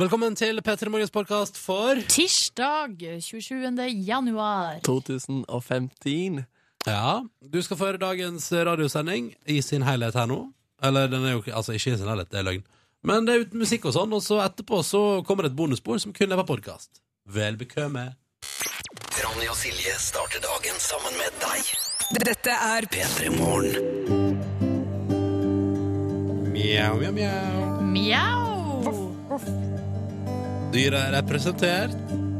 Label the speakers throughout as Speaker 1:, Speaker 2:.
Speaker 1: Velkommen til P3 Morgens podkast for
Speaker 2: Tirsdag 27. januar.
Speaker 3: 2015.
Speaker 1: Ja, du skal få høre dagens radiosending i sin helhet her nå. Eller den er jo ikke- altså, ikke i sin helhet, det er løgn. Men det er uten musikk og sånn, og så etterpå så kommer det et bonusspor som kun er på podkast. Vel bekvemme.
Speaker 4: Ronny og Silje starter dagen sammen med deg.
Speaker 5: Dette er
Speaker 4: P3 Morgen.
Speaker 1: Mjau, mjau, mjau.
Speaker 2: Mjau!
Speaker 1: Dyret er representert.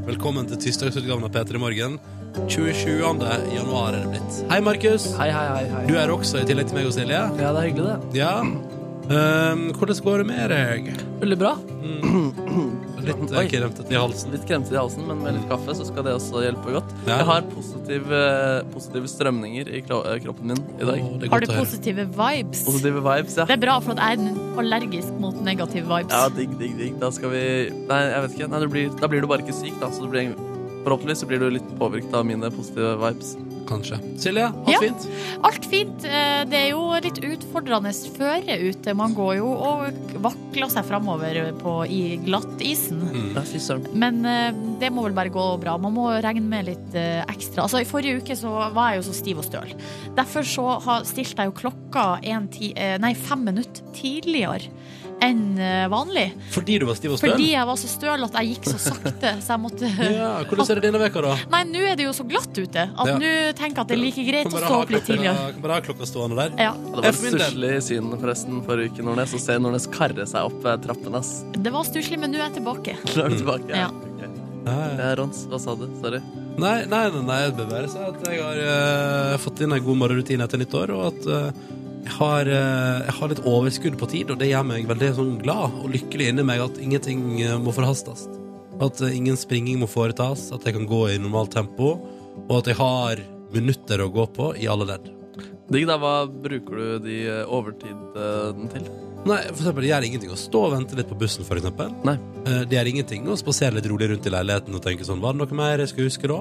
Speaker 1: Velkommen til tirsdagsutgaven av P3 Morgen. 27. januar er det blitt. Hei, Markus.
Speaker 3: Hei, hei, hei. hei.
Speaker 1: Du er også i tillegg til meg og Silje.
Speaker 3: Ja, det er hyggelig, det.
Speaker 1: Ja. Ehm, hvordan går det med deg?
Speaker 3: Veldig bra.
Speaker 1: Litt
Speaker 3: Oi.
Speaker 1: kremtete i halsen.
Speaker 3: Litt kremtet i halsen, men med litt kaffe så skal det også hjelpe godt.
Speaker 1: Ja.
Speaker 3: Jeg har positive, positive strømninger i kro eh, kroppen min i dag.
Speaker 1: Å, det er
Speaker 2: Har
Speaker 1: godt
Speaker 2: du
Speaker 1: å høre.
Speaker 2: positive vibes?
Speaker 3: Positive vibes, ja.
Speaker 2: Det er bra, for at jeg er allergisk mot negative vibes.
Speaker 3: Ja, digg, digg, digg. Da skal vi Nei, jeg vet ikke. Nei, det blir... Da blir du bare ikke syk, da. Så det blir... Forhåpentligvis så blir du litt påvirket av mine positive vibes.
Speaker 1: Kanskje. Silje, alt
Speaker 2: Ja.
Speaker 1: fint?
Speaker 2: Alt fint. eh, Det er jo litt utfordrende føre ute. Man går jo og vakler seg framover på, i glattisen.
Speaker 1: Mm.
Speaker 3: Ja, fy søren.
Speaker 2: Men eh, det må vel bare gå bra. Man må regne med litt eh, ekstra. Altså, I forrige uke så var jeg jo så stiv og støl. Derfor så har stilte jeg jo klokka en ti, eh, nei, fem minutter tidligere enn eh, vanlig.
Speaker 1: Fordi du var stiv og støl?
Speaker 2: Fordi eh, jeg var så støl at jeg gikk så sakte, så jeg måtte
Speaker 1: Ja, Hvordan er det denne veka da?
Speaker 2: Nei, nå er det jo så glatt ute at
Speaker 1: Ja.
Speaker 2: nå tenker jeg at det er like greit
Speaker 1: Kan
Speaker 2: å
Speaker 1: bare
Speaker 2: stå
Speaker 1: ha
Speaker 2: opp litt
Speaker 1: klokka-
Speaker 2: tidligere.
Speaker 1: Kan bare ha klokka stående der.
Speaker 2: Ja.
Speaker 3: Det var
Speaker 1: For min
Speaker 3: et
Speaker 1: del.
Speaker 3: stusslig syn forresten forrige uke, Nordnes. Å se Nordnes karre seg opp eh, trappen, ass.
Speaker 2: Det var stusslig, men nå er jeg tilbake.
Speaker 3: Nå er du tilbake.
Speaker 2: Ja.
Speaker 3: Ok.
Speaker 1: Nei,
Speaker 3: Eh, Rons, hva sa du? Sorry.
Speaker 1: nei, nei, nei jeg bør bare si at jeg har eh, fått inn en god morgenrutine etter nyttår, og at eh, jeg, har, eh, jeg har litt overskudd på tid, og det gjør meg veldig sånn glad og lykkelig inni meg at ingenting eh, må forhastes. At eh, ingen springing må foretas, at jeg kan gå i normalt tempo, og at jeg har minutter å gå på i alle ledd.
Speaker 3: Digg, da. Hva bruker du de eh, overtiden til?
Speaker 1: Nei, for eksempel, det gjør ingenting å stå og vente litt på bussen, for eksempel.
Speaker 3: Nei.
Speaker 1: Eh, Det gjør ingenting å spasere litt rolig rundt i leiligheten og tenke sånn, var det noe mer jeg skulle huske da?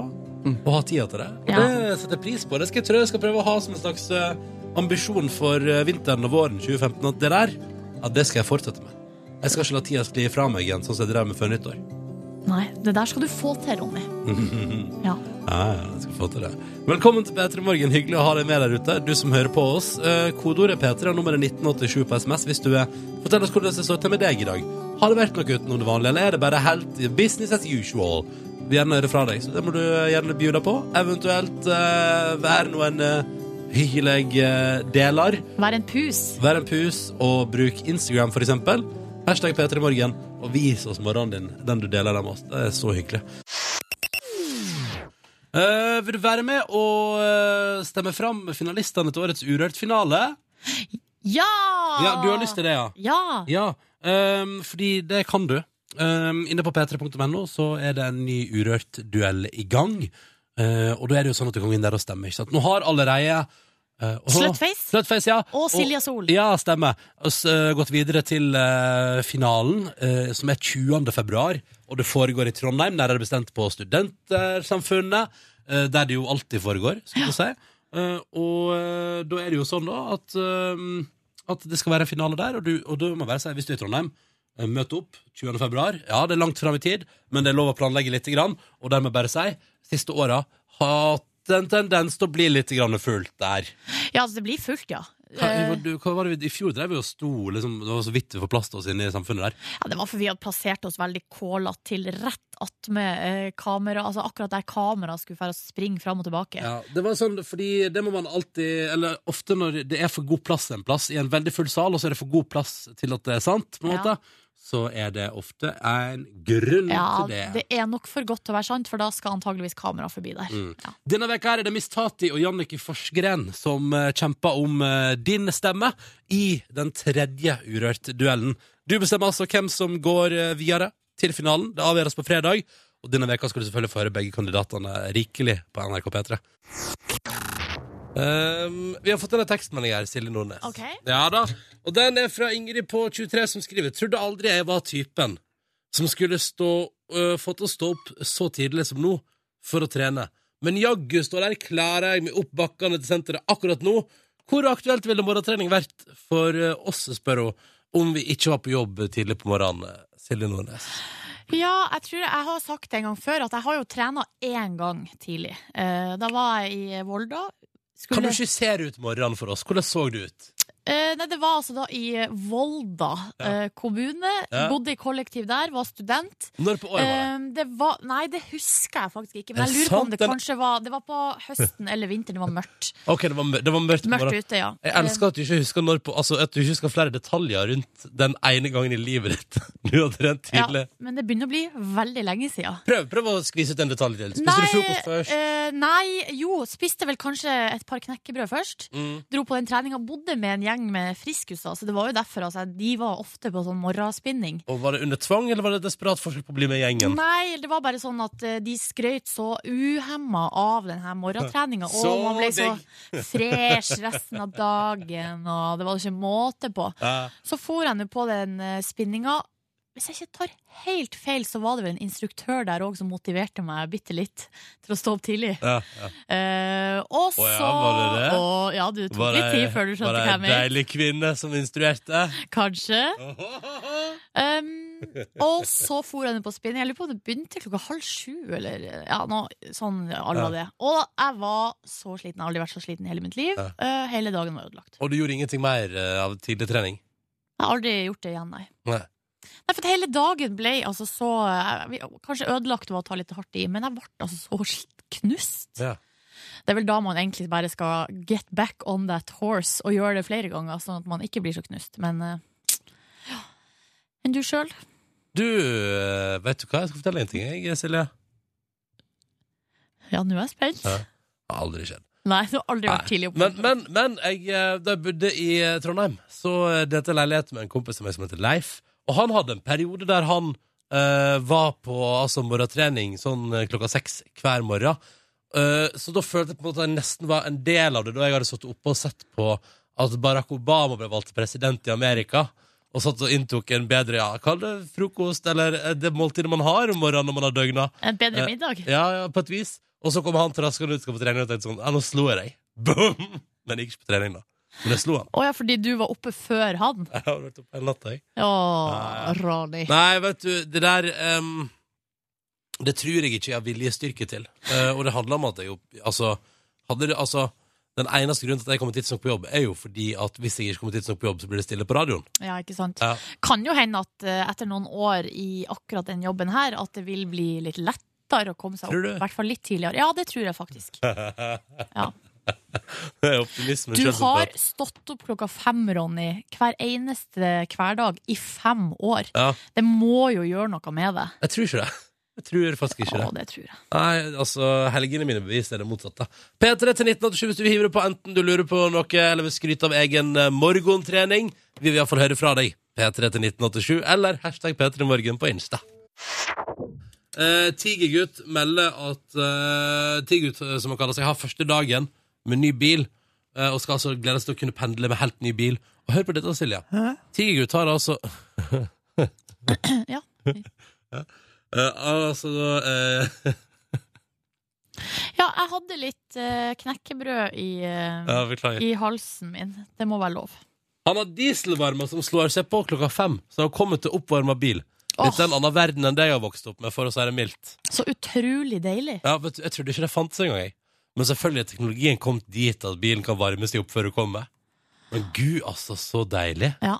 Speaker 1: Og ha tida til det. Og
Speaker 2: Ja.
Speaker 1: det setter jeg pris på. Det skal jeg tro jeg skal prøve å ha som en slags eh, ambisjon for eh, vinteren og våren 2015, at det der, ja, det skal jeg fortsette med. Jeg skal ikke la tida skli fra meg igjen, sånn som jeg drev med før nyttår.
Speaker 2: Nei, det der skal du få til, Ronny. Ja.
Speaker 1: Ja, ja, jeg skal få til det. Velkommen til P3 Morgen. Hyggelig å ha deg med der ute, du som hører på oss. Eh, Kodeordet P3 og nummeret 1987 på SMS hvis du er Fortell oss hvordan det står til med deg i dag. Har det vært noe utenom det vanlige, eller er det bare helt business as usual? Vi gjerne høre fra deg, så det må du eh, gjerne by deg på. Eventuelt eh, være noen eh, hyggelige eh, deler.
Speaker 2: Vær en pus.
Speaker 1: Vær en pus og bruk Instagram, for eksempel. Hashtag P3morgen, og vis oss morgenen din, den du deler den med oss. Det er så hyggelig. Eh, vil du være med og eh, stemme fram finalistene til årets Urørt-finale?
Speaker 2: Ja!
Speaker 1: Ja, Du har lyst til det, ja?
Speaker 2: Ja.
Speaker 1: Ja, ehm, fordi det kan du. Ehm, inne på p3.no så er det en ny Urørt-duell i gang. Eh, og da er det jo sånn at du kan gå inn der og stemme. ikke sant? Nå har allerede uh,
Speaker 2: Slutface
Speaker 1: Slutface, ja.
Speaker 2: og Silja Sol.
Speaker 1: Ja, stemmer. Og så, eh, gått videre til eh, finalen, eh, som er 20. februar. Og det foregår i Trondheim, der er det bestemt på Studentersamfunnet. eh, der det jo alltid foregår, skal vi si. Eh, og eh, da er det jo sånn, da, at, eh, at det skal være en finale der. Og du, og du må bare si, hvis du er i Trondheim, eh, møt opp 20. februar. Ja, det er langt fram i tid, men det er lov å planlegge litt. Grann, og dermed bare si, siste åra hatt en tendens til å bli litt grann fullt der.
Speaker 2: Ja, altså, det blir fullt, ja.
Speaker 1: Hva,
Speaker 2: Eh,
Speaker 1: hva- du, hva var det vi, I fjor drev vi og sto liksom, Det var så vidt vi får plass til oss inne i samfunnet der.
Speaker 2: ja, det var for vi hadde plassert oss veldig kålete til rett attmed eh, kamera, altså akkurat der kamera skulle fære og springe fram og tilbake.
Speaker 1: Ja, det var sånn, fordi det må man alltid Eller ofte når det er for god plass en plass, i en veldig full sal, og så er det for god plass til at det er sant, på en
Speaker 2: Ja.
Speaker 1: måte, så er det ofte en grunn
Speaker 2: Ja,
Speaker 1: til det.
Speaker 2: det er nok for godt til å være sant, for da skal antageligvis kamera forbi der.
Speaker 1: Mm.
Speaker 2: Ja.
Speaker 1: Denne veka her er det Miss Tati og Jannicke Forsgren som eh, kjemper om eh, din stemme i den tredje Urørt-duellen. Du bestemmer altså hvem som går eh, videre til finalen. Det avgjøres på fredag. Og denne veka skal du selvfølgelig få høre begge kandidatene rikelig på NRK P3. Um, vi har fått en tekstmelding her, Silje Nordnes.
Speaker 2: Ok.
Speaker 1: Ja da, Og den er fra Ingrid på 23 som skriver Trodde aldri jeg var typen som skulle stå, øh, fått å stå opp så tidlig som nå for å trene. Men jaggu står der, klarer jeg meg opp bakkene til senteret akkurat nå. Hvor aktuelt ville morgentrening vært for øh, oss, spør hun. om vi ikke var på jobb tidlig på morgenen. Silje Nordnes.
Speaker 2: Ja, jeg tror jeg har sagt det en gang før at jeg har jo trena én gang tidlig. Eh, Da var jeg i Volda.
Speaker 1: Kan
Speaker 2: Skulle-
Speaker 1: du skissere ut morgenen for oss? Hvordan så det ut?
Speaker 2: Eh, nei, det var altså da i Volda
Speaker 1: Ja.
Speaker 2: eh, kommune.
Speaker 1: Ja.
Speaker 2: Bodde i kollektiv der, var student.
Speaker 1: Når på året var det?
Speaker 2: Eh, det var, nei, det husker jeg faktisk ikke. Men
Speaker 1: Er det
Speaker 2: jeg lurer på
Speaker 1: sant,
Speaker 2: om det
Speaker 1: eller?
Speaker 2: kanskje var Det var på høsten eller vinteren. Det var mørkt.
Speaker 1: Ok, det var, mør- det var mørkt på
Speaker 2: Mørkt
Speaker 1: morgenen.
Speaker 2: ute, ja.
Speaker 1: Jeg elsker at du ikke husker når på, altså at du ikke husker flere detaljer rundt den ene gangen i livet ditt du har trent
Speaker 2: Eh, ja,
Speaker 1: tidlig.
Speaker 2: men det begynner å bli veldig lenge siden.
Speaker 1: Prøv, prøv å skvise ut en detalj til. Spiser du frokost først?
Speaker 2: eh, nei, jo, spiste vel kanskje et par knekkebrød først.
Speaker 1: Mm.
Speaker 2: Dro på den treninga, bodde med en gjeng med friskuser, så det var jo derfor. Altså, de var ofte på sånn morgenspinning.
Speaker 1: Og var det under tvang, eller var det et desperat forsøk på å bli med i gjengen?
Speaker 2: Nei, det var bare sånn at eh, de skrøyt så uhemma av den her morgentreninga. Og
Speaker 1: Så
Speaker 2: man ble så fresh resten av dagen, og det var det ikke måte på.
Speaker 1: Eh,
Speaker 2: Så for jeg nå på den eh, spinninga. Hvis jeg ikke tar helt feil, så var det vel en instruktør der òg som motiverte meg bitte litt til å stå opp tidlig.
Speaker 1: ja, ja.
Speaker 2: Eh, og så
Speaker 1: Å ja, var det det?
Speaker 2: Å, ja, du tok
Speaker 1: Var
Speaker 2: litt tid før du
Speaker 1: var
Speaker 2: skjønte
Speaker 1: det en
Speaker 2: hva jeg mente.
Speaker 1: deilig kvinne som instruerte?
Speaker 2: Kanskje. Um, og så for jeg ned på spinning. Jeg lurer på om det begynte klokka halv sju. Eller ja, noe sånn à la
Speaker 1: Ja.
Speaker 2: det. Og jeg var så sliten. Jeg har aldri vært så sliten i hele mitt liv.
Speaker 1: Ja.
Speaker 2: Eh, hele dagen var ødelagt.
Speaker 1: Og du gjorde ingenting mer eh, av tidlig trening?
Speaker 2: Jeg har aldri gjort det igjen, nei.
Speaker 1: Nei.
Speaker 2: Nei, for at Hele dagen ble altså så eh, vi- Kanskje ødelagt ved å ta litt hardt i, men jeg ble altså så sl- knust.
Speaker 1: Ja.
Speaker 2: Det er vel da man egentlig bare skal get back on that horse og gjøre det flere ganger, sånn at man ikke blir så knust. Men eh, ja. Enn du sjøl?
Speaker 1: Du, eh, vet du hva? Jeg skal fortelle en ting, jeg, Silje.
Speaker 2: Ja, nå er jeg spent.
Speaker 1: Ja. Det har Aldri skjedd.
Speaker 2: Nei, du har aldri vært
Speaker 1: Nei.
Speaker 2: tidlig oppe.
Speaker 1: Men, men, men jeg, eh, da jeg bodde i eh, Trondheim, så eh, delte jeg leilighet med en kompis av meg som heter Leif. Og han hadde en periode der han eh, var på altså, morgentrening sånn eh, klokka seks hver morgen. Eh, så da følte jeg på en måte at jeg nesten var en del av det, da jeg hadde stått oppe og sett på at Barack Obama ble valgt til president i Amerika. Og satt og inntok en bedre ja, kall det frokost, eller eh, det måltidet man har om morgenen når man har døgna.
Speaker 2: En bedre
Speaker 1: Eh,
Speaker 2: middag.
Speaker 1: Ja, ja, på et vis. Og så kom han traskende ut skal på trening og tenkte sånn Ja, nå slo jeg deg. Boom! Men jeg gikk ikke på trening, da. Men jeg slo han.
Speaker 2: Å ja, fordi du var oppe før han.
Speaker 1: Jeg har vært oppe hele natta, jeg.
Speaker 2: Å,
Speaker 1: Ja, ja.
Speaker 2: Ronny.
Speaker 1: Nei, vet du, det der ehm, Det tror jeg ikke jeg har viljestyrke til. Eh, og det handler om at jeg jo Altså, hadde det Altså, den eneste grunnen til at jeg kommer tidsnok på jobb, er jo fordi at hvis jeg ikke kommer tidsnok på jobb, så blir det stille på radioen.
Speaker 2: Ja, ikke sant.
Speaker 1: Ja.
Speaker 2: Kan jo hende at eh, etter noen år i akkurat den jobben her, at det vil bli litt lettere å komme seg
Speaker 1: Tror
Speaker 2: opp.
Speaker 1: du?
Speaker 2: I hvert fall litt tidligere. Ja, det tror jeg faktisk.
Speaker 1: Det er optimismen
Speaker 2: Du
Speaker 1: selv som
Speaker 2: har
Speaker 1: prater.
Speaker 2: stått opp klokka fem, Ronny, hver eneste hverdag i fem år.
Speaker 1: Ja.
Speaker 2: Det må jo gjøre noe med det.
Speaker 1: Jeg tror ikke det. Jeg tror faktisk ikke det.
Speaker 2: Å, det tror jeg.
Speaker 1: Nei, altså, helgene mine beviser det motsatte. P3 til 1987 hvis du vil hive deg på enten du lurer på noe eller vil skryte av egen eh, morgentrening. Vi vil iallfall høre fra deg. P3 til 1987 eller hashtag P3morgen på Insta. Eh, Tigergutt melder at eh, Tigergutt, eh, som han kaller seg, har første dagen med ny bil. eh, og skal altså glede seg til å kunne pendle med helt ny bil. Og hør på dette, Silje. Tigergutt har altså
Speaker 2: Ja.
Speaker 1: eh, Altså eh,
Speaker 2: ja, jeg hadde litt eh, knekkebrød i, eh,
Speaker 1: ja, Beklager.
Speaker 2: i halsen min. Det må være lov.
Speaker 1: Han har dieselvarmer som slår seg på klokka fem, så han kommer til oppvarma bil. Litt
Speaker 2: Åh.
Speaker 1: en annen verden enn det jeg har vokst opp med, for å si det mildt.
Speaker 2: Så utrolig deilig.
Speaker 1: Ja, vet du, Jeg trodde ikke det fantes engang, jeg. Men selvfølgelig er teknologien kommet dit at bilen kan varme seg opp før du kommer. Men gud, altså, så deilig.
Speaker 2: Ja.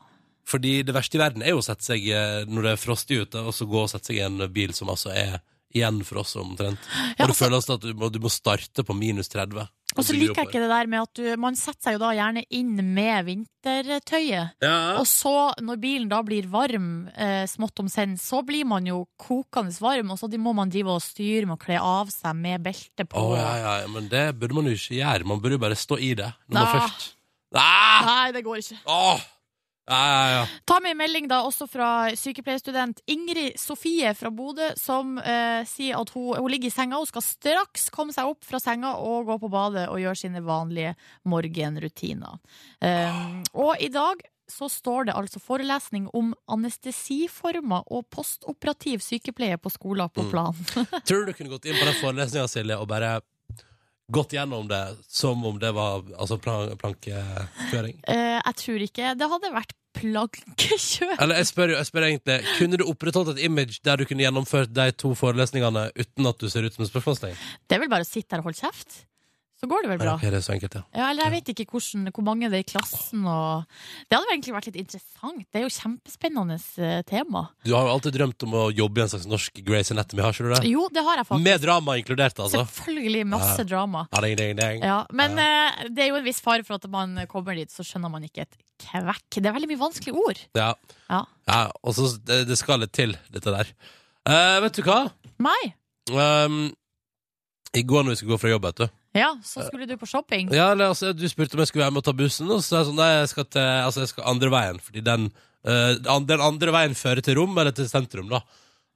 Speaker 1: Fordi det verste i verden er jo å sette seg eh, når det er frostig ute, og så gå og sette seg i en bil som altså er igjen for oss omtrent. Og
Speaker 2: Ja,
Speaker 1: det
Speaker 2: altså-
Speaker 1: føles at du må, du må starte på minus 30.
Speaker 2: Og så liker jeg ikke det der med at du, man setter seg jo da gjerne inn med vintertøyet.
Speaker 1: Ja.
Speaker 2: Og så, når bilen da blir varm, eh, smått om senn, så blir man jo kokende varm, og så de må man drive og styre med å kle av seg med belte
Speaker 1: Å
Speaker 2: på.
Speaker 1: ja, ja, ja, men det burde man jo ikke gjøre. Man burde jo bare stå i det når man
Speaker 2: Nei.
Speaker 1: først Nei!
Speaker 2: Nei, det går ikke.
Speaker 1: Åh! Ja, ja, ja.
Speaker 2: Ta med en melding da også fra sykepleierstudent Ingrid Sofie fra Bodø, som eh, sier at hun, hun ligger i senga og skal straks komme seg opp fra senga og gå på badet og gjøre sine vanlige morgenrutiner. Eh, og i dag så står det altså forelesning om anestesiformer og postoperativ sykepleie på skoler på planen.
Speaker 1: Tror du du kunne gått inn på den forelesninga, Silje, og bare gått gjennom det som om det var altså, plan plankekjøring?
Speaker 2: Eh, jeg tror ikke det hadde vært plankekjør.
Speaker 1: Eller jeg spør, jeg spør egentlig, kunne du opprettholdt et image der du kunne gjennomført de to forelesningene uten at du ser ut som en spørsmålstegn?
Speaker 2: Det er vel bare å sitte der og holde kjeft. Så går det vel
Speaker 1: Ja,
Speaker 2: bra.
Speaker 1: ok, det er så enkelt, ja.
Speaker 2: Ja, eller jeg vet ikke hvordan, hvor mange det er i klassen. Og det hadde vel egentlig vært litt interessant. Det er jo kjempespennende eh, tema.
Speaker 1: Du har jo alltid drømt om å jobbe i en slags norsk Grace Anatomy, har ikke du det?
Speaker 2: Jo, det har jeg faktisk.
Speaker 1: Med drama inkludert, altså.
Speaker 2: Selvfølgelig masse
Speaker 1: Ja.
Speaker 2: drama.
Speaker 1: Ja, ding, ding, ding.
Speaker 2: Ja, men eh, det er jo en viss fare for at man kommer dit, så skjønner man ikke et kvekk. Det er veldig mye vanskelige ord.
Speaker 1: Ja.
Speaker 2: Ja.
Speaker 1: ja og så det, det skal litt til, dette der. Eh, vet du hva?
Speaker 2: Meg?
Speaker 1: Um, I går når vi skulle gå fra jobb, vet du
Speaker 2: Ja, så skulle du på shopping.
Speaker 1: Ja, eller, altså, Du spurte om jeg skulle være med og ta bussen, og så sa jeg sånn Nei, jeg skal, til, altså, jeg skal andre veien, fordi den, eh, an- den andre veien fører til rom, eller til sentrum, da.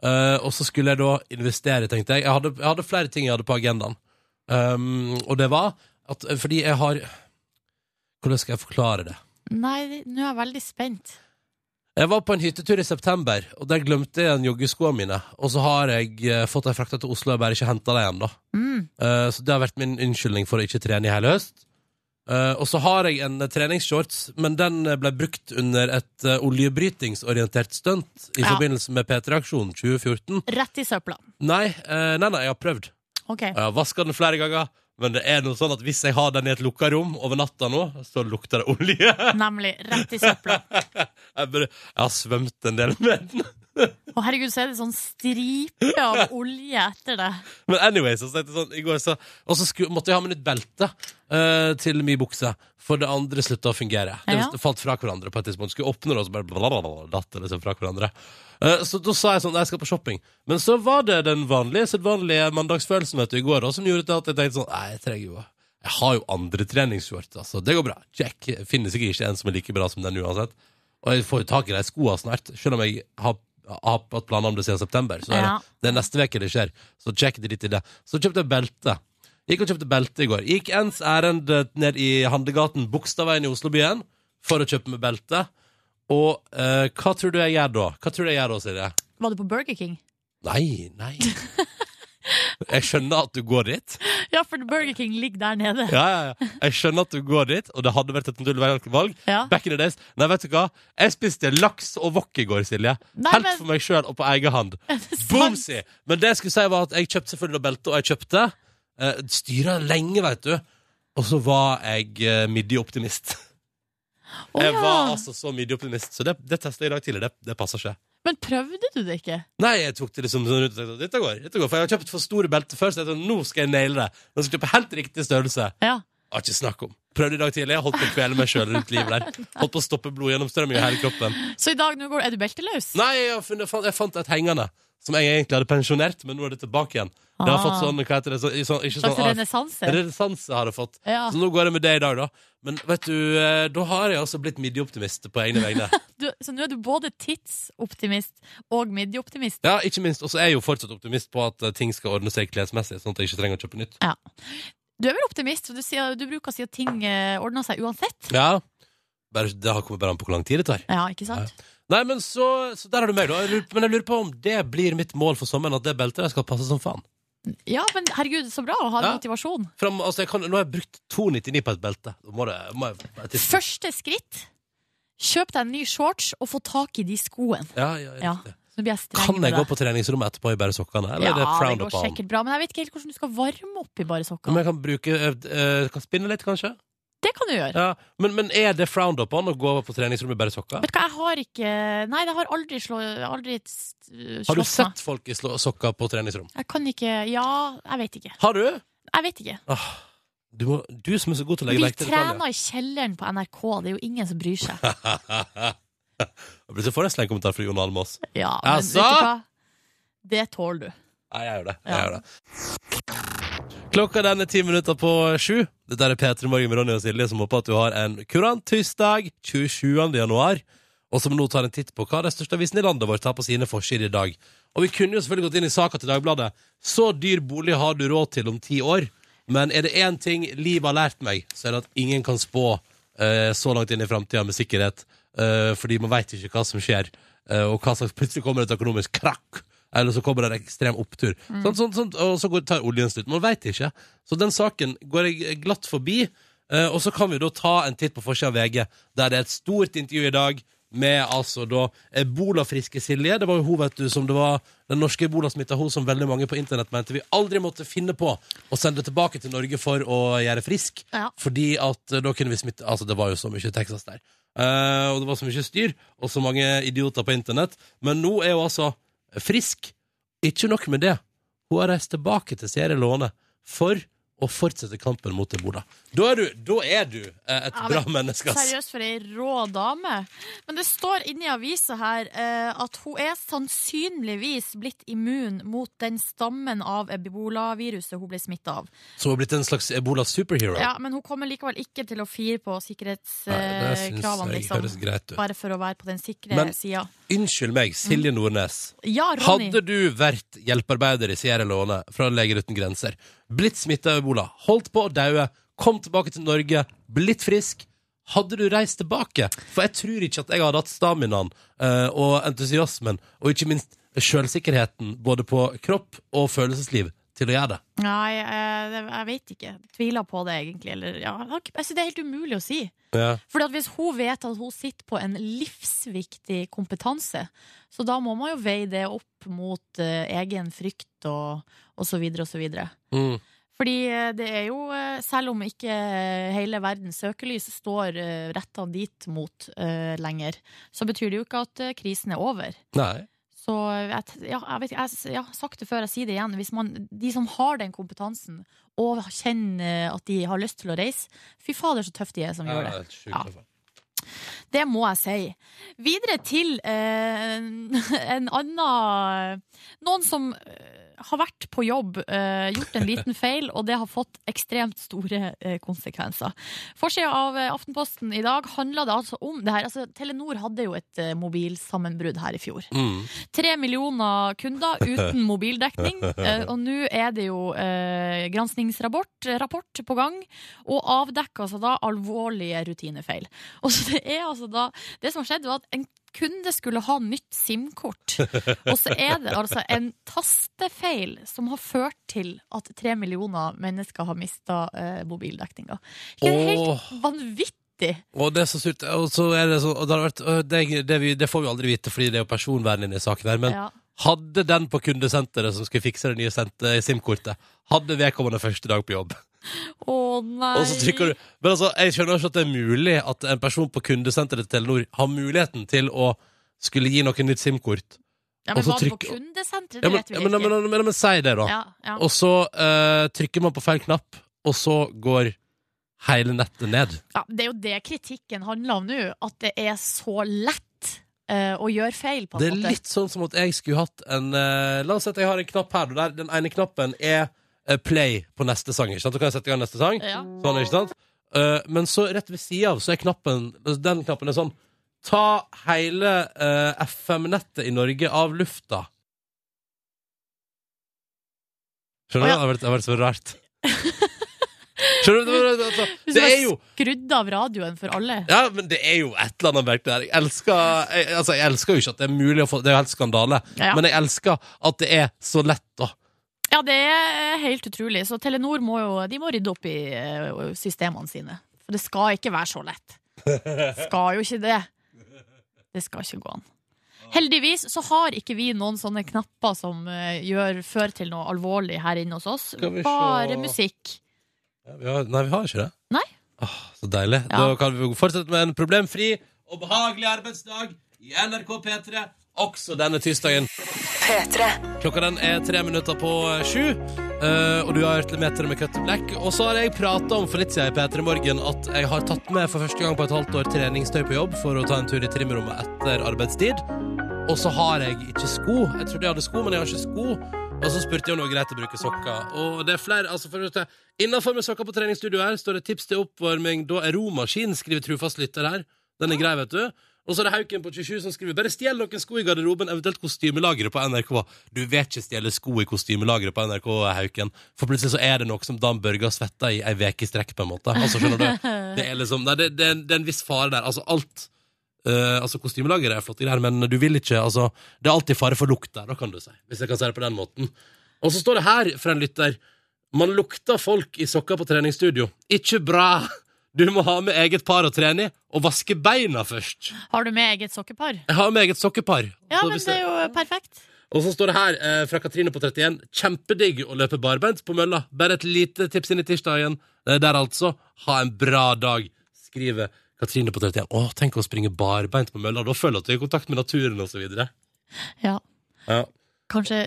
Speaker 1: Eh, og så skulle jeg da investere, tenkte jeg. Jeg hadde, jeg hadde flere ting jeg hadde på agendaen. Um, og det var at Fordi jeg har Hvordan skal jeg forklare det?
Speaker 2: Nei, nå er jeg veldig spent.
Speaker 1: Jeg var på en hyttetur i september, og der glemte jeg igjen joggeskoene mine. Og så har jeg eh, fått dem frakta til Oslo, og bare ikke henta dem igjen, da.
Speaker 2: Mm.
Speaker 1: Eh, Så det har vært min unnskyldning for å ikke trene i hele høst. Eh, og så har jeg en eh, treningsshorts, men den eh, ble brukt under et eh, oljebrytingsorientert stunt i
Speaker 2: Ja.
Speaker 1: forbindelse med P3-aksjonen 2014.
Speaker 2: Rett i søpla.
Speaker 1: Nei, eh, nei, nei, jeg har prøvd.
Speaker 2: Ok.
Speaker 1: Jeg har vaska den flere ganger, men det er noe sånn at hvis jeg har den i et lukka rom over natta nå, så lukter det olje.
Speaker 2: Nemlig. Rett i søpla.
Speaker 1: Jeg, bare, jeg har svømt en del med den.
Speaker 2: Å herregud, så er det sånn stripe av olje etter det.
Speaker 1: Men anyway, så tenkte jeg sånn i går så, Og så sku, måtte jeg ha med nytt belte eh, til min bukse, for det andre slutta å fungere. Det
Speaker 2: Ja.
Speaker 1: det falt fra hverandre på et tidspunkt. Skulle åpne det, og så bare blablabla, datt det liksom fra hverandre. Eh, så da sa jeg sånn, «Nei, jeg skal på shopping. Men så var det den vanlige sedvanlige mandagsfølelsen vet du, i går da, som gjorde at jeg tenkte sånn Nei, jeg trenger jo Jeg har jo andre treningsshorts, altså. Det går bra. Jack finnes sikkert ikke en som er like bra som den uansett. Og jeg får jo tak i de skoene snart, selv om jeg har, har hatt planer om det siden september. Så er
Speaker 2: Ja.
Speaker 1: det, det er neste uke det skjer. Så check det litt i det. Så kjøpte jeg belte. Gikk og kjøpte belte i går. Gikk ens ærend eh, ned i Handegaten, Bogstadveien i Oslobyen, for å kjøpe meg belte. Og eh, hva tror du jeg gjør da? Hva tror du jeg gjør da, Silje?
Speaker 2: Var du på Burger King?
Speaker 1: Nei, nei. Jeg skjønner at du går dit.
Speaker 2: Ja, for Burger King ligger der nede.
Speaker 1: Ja, ja, ja. Jeg skjønner at du går dit, og det hadde vært et naturlig valg.
Speaker 2: Ja.
Speaker 1: Back in the days. Nei, vet du hva? Jeg spiste laks og wok i går, Silje.
Speaker 2: Nei,
Speaker 1: Helt
Speaker 2: men-
Speaker 1: for meg sjøl og på egen hand. Boomsy! Men det jeg skulle si, var at jeg kjøpte selvfølgelig belte, og jeg kjøpte. Eh, Styra lenge, veit du. Og så var jeg eh, midjeoptimist.
Speaker 2: Å,
Speaker 1: Jeg var
Speaker 2: ja.
Speaker 1: altså så midjeoptimist, så det, det testa jeg i dag tidlig. Det, det passer ikke.
Speaker 2: Men prøvde du det ikke?
Speaker 1: Nei, jeg tok det liksom sånn ut og tenkte dette går, dette går. For jeg har kjøpt for store belter før, så jeg tenkte nå skal jeg naile det. Nå skal jeg kjøpe helt riktig størrelse.
Speaker 2: Ja.
Speaker 1: Har ikke snakk om. Prøvde i dag tidlig. Jeg holdt på å kvele meg sjøl rundt livet der. Holdt på å stoppe blodgjennomstrømming i hele kroppen.
Speaker 2: Så i dag nå går, er du belteløs?
Speaker 1: Nei, jeg, har funnet, fant, jeg fant et hengende som jeg egentlig hadde pensjonert, men nå er det tilbake igjen. Det har
Speaker 2: Ah.
Speaker 1: fått sånn, hva heter det, så, i sånn, ikke
Speaker 2: Slags
Speaker 1: sånn AF.
Speaker 2: renessanse?
Speaker 1: Renessanse har det fått.
Speaker 2: Ja.
Speaker 1: Så nå går jeg med det i dag, da. Men vet du, eh, da har jeg altså blitt midjeoptimist på egne vegne.
Speaker 2: Du, så nå er du både tidsoptimist og midjeoptimist?
Speaker 1: Ja, ikke minst. Og så er jeg jo fortsatt optimist på at eh, ting skal ordne seg klesmessig, sånn at jeg ikke trenger å kjøpe nytt.
Speaker 2: Ja. Du er vel optimist, for du, sier, du bruker å si at ting eh, ordner seg uansett?
Speaker 1: Ja. Bare, det har kommet bare an på hvor lang tid det tar.
Speaker 2: Ja, ikke sant?
Speaker 1: Nei, men så, så der har du meg, da. Jeg lurer- Men jeg lurer på om det blir mitt mål for sommeren, at det beltet der skal passe som faen.
Speaker 2: Ja, men herregud, så bra å ha
Speaker 1: Ja.
Speaker 2: motivasjon.
Speaker 1: Fram, altså, jeg kan, nå har jeg brukt 2,99 på et belte. Da må det, må jeg, jeg tister.
Speaker 2: Første skritt kjøp deg en ny shorts og få tak i de skoene.
Speaker 1: Ja, ja,
Speaker 2: Ja.
Speaker 1: riktig.
Speaker 2: Så nå blir jeg streng
Speaker 1: Kan
Speaker 2: med
Speaker 1: jeg gå
Speaker 2: deg.
Speaker 1: på treningsrommet etterpå i bare sokkene? Eller
Speaker 2: Ja,
Speaker 1: er det frowned
Speaker 2: det går
Speaker 1: upon?
Speaker 2: sikkert bra, men jeg vet ikke helt hvordan du skal varme opp i bare
Speaker 1: Men
Speaker 2: sokkene.
Speaker 1: jeg kan bruke eh, eh, Kan spinne litt, kanskje?
Speaker 2: Det kan du gjøre.
Speaker 1: Ja. Men, men er det frowned upon å gå på treningsrommet i bare sokker?
Speaker 2: Vet du hva, jeg har ikke Nei, det har aldri, slå, aldri s- slått
Speaker 1: Har du
Speaker 2: meg.
Speaker 1: sett folk i slå- sokker på treningsrom?
Speaker 2: Jeg kan ikke Ja, jeg vet ikke.
Speaker 1: Har du?
Speaker 2: Jeg vet ikke.
Speaker 1: Ah, du, må, du som er så god til å
Speaker 2: Vi
Speaker 1: legge merke til detaljer.
Speaker 2: trener i kjelleren på NRK, det er jo ingen som bryr seg.
Speaker 1: Så får jeg en slengkommentar fra Jon Almaas.
Speaker 2: Ja, men
Speaker 1: Altså?
Speaker 2: vet du hva? Det tåler du.
Speaker 1: Nei, jeg gjør det. Jeg
Speaker 2: Ja.
Speaker 1: gjør det. Klokka den er ti minutter på sju. Dette er P3 Morgen med Ronny og Silje, som håper at du har en kurant tirsdag 27. januar. Og som nå tar en titt på hva de største avisene i landet vårt har på sine forsider i dag. Og vi kunne jo selvfølgelig gått inn i saka til Dagbladet. Så dyr bolig har du råd til om ti år. Men er det én ting livet har lært meg, så er det at ingen kan spå eh, så langt inn i framtida med sikkerhet. Eh, fordi man veit ikke hva som skjer, eh, og hva slags plutselig kommer det et økonomisk krakk. Eller så kommer det en ekstrem opptur. Sånn, sånn, sånn, og så går, tar oljen slutt. Man veit ikke. Så den saken går jeg glatt forbi. eh, og så kan vi da ta en titt på forsida av VG, der det er et stort intervju i dag med altså da ebolafriske Silje. Det var jo hun, vet du, som det var den norske ebolasmitta, hun som veldig mange på internett mente vi aldri måtte finne på å sende tilbake til Norge for å gjøre frisk.
Speaker 2: Ja.
Speaker 1: Fordi at eh, da kunne vi smitte Altså, det var jo så mye Texas der. Eh, og det var så mye styr, og så mange idioter på internett. Men nå er hun altså frisk. Ikke nok med det. Hun har reist tilbake til Sierra Leone for å fortsette kampen mot ebola. Da er du, da er du eh, et
Speaker 2: Ja, men
Speaker 1: bra menneske, ass.
Speaker 2: Seriøst, for ei rå dame. Men det står inni avisa her eh, at hun er sannsynligvis blitt immun mot den stammen av ebolaviruset hun ble smitta av.
Speaker 1: Så hun har blitt en slags ebola-superhero.
Speaker 2: Ja, Men hun kommer likevel ikke til å fire på
Speaker 1: Nei, det synes
Speaker 2: sikkerhetskravene,
Speaker 1: jeg
Speaker 2: liksom.
Speaker 1: høres greit ut.
Speaker 2: Bare for å være på den sikre
Speaker 1: Men-
Speaker 2: sida.
Speaker 1: Unnskyld meg, Silje Nordnes.
Speaker 2: Ja, Ronny.
Speaker 1: Hadde du vært hjelpearbeider i Sierra Leone fra Leger uten grenser, blitt smitta av ebola, holdt på å daue, kom tilbake til Norge, blitt frisk, hadde du reist tilbake? For jeg tror ikke at jeg hadde hatt staminaen eh, og entusiasmen og ikke minst sjølsikkerheten både på kropp og følelsesliv til å gjøre det.
Speaker 2: Nei, eh, det- jeg vet ikke. Tviler på det, egentlig. Eller, ja. jeg har ikke- altså, det er helt umulig å si. Fordi at Hvis hun vet at hun sitter på en livsviktig kompetanse, så da må man jo veie det opp mot eh, egen frykt og, og så videre og så videre.
Speaker 1: Mm.
Speaker 2: Fordi eh, det er jo, eh, selv om ikke eh, hele verdens søkelys står eh, retta dit mot eh, lenger, så betyr det jo ikke at eh, krisen er over.
Speaker 1: Nei.
Speaker 2: Så jeg, t- ja, jeg vet ikke, jeg s- jeg har sagt det før, jeg sier det igjen. Hvis man, de som har den kompetansen, og kjenner at de har lyst til å reise, fy fader så tøft de er som gjør det. Ja. Det må jeg si. Videre til eh, en annen Noen som eh, har vært på jobb, eh, gjort en liten feil, og det har fått ekstremt store eh, konsekvenser. Forsida av eh, Aftenposten i dag handla det altså om det her. Altså, Telenor hadde jo et eh, mobilsammenbrudd her i fjor.
Speaker 1: Mm.
Speaker 2: Tre millioner kunder uten mobildekning. eh, Og nå er det jo eh, granskningsrapport rapport på gang, og avdekker altså da alvorlige rutinefeil. Og så det er altså da Det som har skjedd, var at en kunde skulle ha nytt SIM-kort, og så er det altså en tastefeil som har ført til at tre millioner mennesker har mista eh, mobildekninga. Det er helt vanvittig!
Speaker 1: Og det er så surt. Og så er det sånn og det, har vært, øh, det, det, vi, det får vi aldri vite, fordi det er jo personvernet inne i saken her. Men
Speaker 2: Ja.
Speaker 1: Hadde den på kundesenteret som skulle fikse det nye sent- eh, SIM-kortet, hadde vedkommende første dag på jobb.
Speaker 2: Å nei!
Speaker 1: Og så trykker du Men altså, jeg skjønner ikke at det er mulig at en person på kundesenteret til Telenor har muligheten til å skulle gi noen nytt SIM-kort.
Speaker 2: ja,
Speaker 1: og
Speaker 2: men
Speaker 1: så
Speaker 2: var det på
Speaker 1: trykker-
Speaker 2: kundesenteret?
Speaker 1: Ja,
Speaker 2: Det
Speaker 1: men,
Speaker 2: vet vi
Speaker 1: ja,
Speaker 2: ikke.
Speaker 1: men, men, men, men, men si det, da.
Speaker 2: ja, ja.
Speaker 1: Og så eh, trykker man på feil knapp, og så går hele nettet ned.
Speaker 2: Ja, det er jo det kritikken handler om nå, at det er så lett eh, å gjøre feil, på en
Speaker 1: Det er
Speaker 2: måte.
Speaker 1: litt sånn som at jeg skulle hatt en eh, La oss si at jeg har en knapp her, og der den ene knappen er eh, play på neste sang. Ikke sant? Da kan jeg sette i gang neste sang.
Speaker 2: Ja.
Speaker 1: Sånn, ikke sant? Eh, men så rett ved sida av så er knappen Den knappen er sånn Ta hele eh, FM-nettet i Norge av lufta. Skjønner du?
Speaker 2: Å, ja.
Speaker 1: Det har vært- det har vært så rart. Skjønner du? Det, var- altså, det er jo
Speaker 2: Skrudd av radioen for alle.
Speaker 1: ja, men det er jo et eller annet merkelig der. Jeg elsker, jeg, altså, jeg elsker jo ikke at det er mulig å få Det er jo helt skandale.
Speaker 2: Ja.
Speaker 1: Men jeg elsker at det er så lett, da.
Speaker 2: Ja, det er helt utrolig. Så Telenor må jo de må rydde opp i eh, systemene sine. For det skal ikke være så lett. Skal jo ikke det. Det skal ikke gå an. Heldigvis så har ikke vi noen sånne knapper som eh, gjør, fører til noe alvorlig her inne hos oss.
Speaker 1: Skal vi se.
Speaker 2: Bare musikk.
Speaker 1: Ja, vi har, nei, vi har ikke det.
Speaker 2: Nei.
Speaker 1: Åh, så deilig.
Speaker 2: Ja.
Speaker 1: Da kan vi fortsette med en problemfri og behagelig arbeidsdag i NRK P3 også denne tirsdagen. Klokka den er tre minutter på sju, eh, og du har hørt Meter med Cut Black. Og så har jeg prata om for litt siden i P3 Morgen at jeg har tatt med for første gang på et halvt år treningstøy på jobb for å ta en tur i trimrommet etter arbeidstid. Og så har jeg ikke sko. Jeg trodde jeg hadde sko, men jeg har ikke sko. Og så spurte jeg om det var greit å bruke sokker. Og det er flere, altså for å ta- Innenfor med sokker på treningsstudio her står det tips til oppvarming. Da er romaskin, skriver trufast lytter her. Den er grei, vet du. Og så er det Hauken på 27 som skriver Bare stjel noen sko i garderoben, eventuelt kostymelageret på NRK. Du vet ikke stjele sko i kostymelageret på NRK, Hauken. For plutselig så er det noe som Dan Børge har svetta i ei uke i strekk, på en måte. Altså, skjønner du? Det er liksom Nei, det, det, er en- det er en viss fare der. Altså, alt Eh, altså Kostymelageret er flott, greier, men du vil ikke altså, Det er alltid fare for lukt der, da kan du si. Hvis jeg kan si det på den måten. Og så står det her fra en lytter Man lukter folk i sokker på treningsstudio. Ikke bra! Du må ha med eget par å trene i, og vaske beina først.
Speaker 2: Har du med eget sokkepar?
Speaker 1: Jeg har med eget sokkepar.
Speaker 2: Ja,
Speaker 1: Så
Speaker 2: men
Speaker 1: hvis
Speaker 2: det er jo perfekt.
Speaker 1: Og så står det her eh, fra Katrine på 31 Kjempedigg å løpe barbeint på mølla Bare et lite tips inn i tirsdagen Det er der altså Ha en bra dag Skriver Katrine på 31 Åh, tenk å springe barbeint på mølla Da føler jeg at du er i kontakt med naturen og så videre
Speaker 2: Ja.
Speaker 1: Ja,
Speaker 2: Kanskje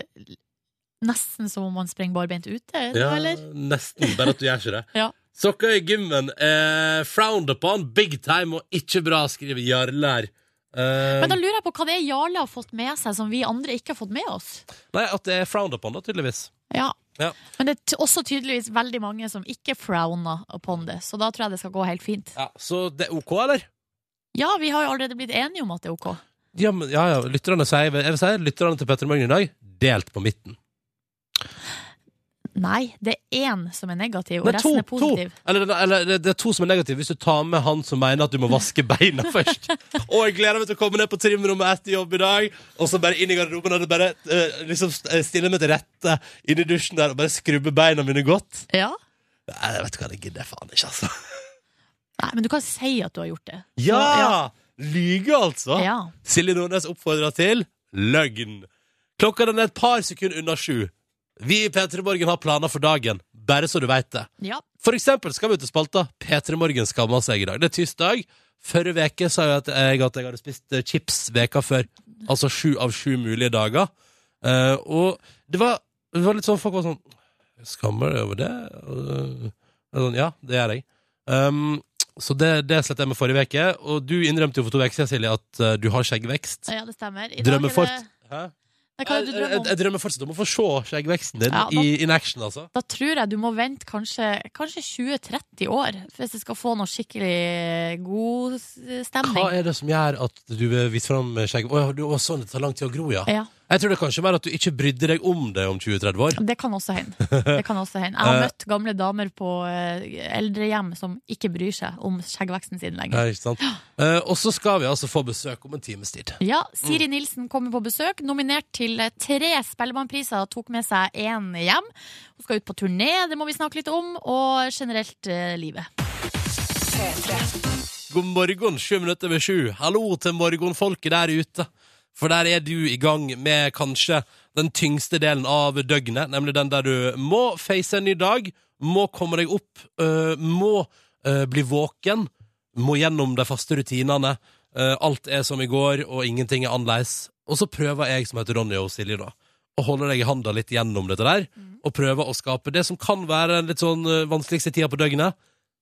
Speaker 2: nesten som om man springer barbeint ute,
Speaker 1: ja
Speaker 2: eller?
Speaker 1: nesten Bare at du gjør ikke det
Speaker 2: Ja.
Speaker 1: Sokker i gymmen eh, Frowned upon Big time Og ikke bra Skriver Jarle her eh,
Speaker 2: Men da lurer jeg på hva det er Jarle har fått med seg som vi andre ikke har fått med oss.
Speaker 1: Nei, at det er frowned upon da, tydeligvis
Speaker 2: Ja.
Speaker 1: Ja.
Speaker 2: Men det er t- også tydeligvis veldig mange som ikke frowner upon det, så da tror jeg det skal gå helt fint.
Speaker 1: Ja, så det er ok, eller?
Speaker 2: Ja, vi har jo allerede blitt enige om at det er ok.
Speaker 1: Ja, men, ja, ja. Lytterne sier, jeg vil si, lytterne til Petter Magne i dag, delt på midten.
Speaker 2: Nei, det er én som er negativ, og
Speaker 1: Nei,
Speaker 2: resten er
Speaker 1: to, to.
Speaker 2: positiv.
Speaker 1: Eller, eller det- det er to som er negative, hvis du tar med han som mener at du må vaske beina først. og jeg gleder meg til å komme ned på trimrommet etter jobb i dag, og så bare inn i garderoben og bare eh, liksom eh, stille meg til rette inn i dusjen der og bare skrubbe beina mine godt.
Speaker 2: Ja.
Speaker 1: Nei, jeg vet ikke hva, det gidder jeg faen ikke, altså.
Speaker 2: Nei, men du kan si at du har gjort det. Så,
Speaker 1: Ja! Lyge, altså.
Speaker 2: ja.
Speaker 1: Silje Nordnes oppfordrer til løgn. Klokka den er et par sekunder unna sju. Vi i P3 Morgen har planer for dagen, bare så du veit det.
Speaker 2: Ja.
Speaker 1: For eksempel skal vi ut til spalta P3 Morgen skammer seg i dag. Det er tirsdag. Forrige veke sa jeg at jeg, at jeg hadde spist eh, chips veka før. Altså sju av sju mulige dager. Eh, og det var, det var litt sånn folk var sånn Skammer deg over det? Og, eh, sånn, ja, det gjør jeg. Um, så det, det slettet jeg med forrige veke Og du innrømte jo for to uker siden, Silje, at eh, du har skjeggvekst.
Speaker 2: ja, det stemmer. I dag er
Speaker 1: Drømmer Eh,
Speaker 2: det-
Speaker 1: fort. Hæ?
Speaker 2: Nei, hva er
Speaker 1: Jeg,
Speaker 2: det du
Speaker 1: jeg,
Speaker 2: drømmer om?
Speaker 1: jeg drømmer fortsatt om å få se skjeggveksten din
Speaker 2: Ja, da-
Speaker 1: i in action, altså.
Speaker 2: Da tror jeg du må vente kanskje, kanskje 20-30 år hvis du skal få noe skikkelig god s-
Speaker 1: Hva
Speaker 2: stemning.
Speaker 1: er det som gjør at du vil vise fram skjegget? Å, ja, du- å, sånn, det tar lang tid å gro, ja.
Speaker 2: Ja,
Speaker 1: Jeg tror det er kanskje mer at du ikke brydde deg om det om 20-30 år.
Speaker 2: det kan også hende. Det kan også hende. Jeg
Speaker 1: Eh.
Speaker 2: har møtt gamle damer på eh, eldrehjem som ikke bryr seg om skjeggveksten sin
Speaker 1: Ja,
Speaker 2: lenger.
Speaker 1: ikke sant? Eh, og så skal vi altså få besøk om en times tid.
Speaker 2: Ja, Siri Nilsen kommer på besøk, nominert til eh, tre Spellemannpriser, tok med seg én hjem. Hun skal ut på turné, det må vi snakke litt om, og generelt eh, livet.
Speaker 1: God morgen, sju minutter over sju. Hallo til morgenfolket der ute. For der er du i gang med kanskje den tyngste delen av døgnet, nemlig den der du må face en ny dag, må komme deg opp, øh, må øh, bli våken, må gjennom de faste rutinene. Øh, alt er som i går, og ingenting er annerledes. Og så prøver jeg, som heter Ronny og Silje, da, å holde deg i handa litt gjennom dette der, og prøve å skape det som kan være den litt sånn øh, vanskeligste tida på døgnet,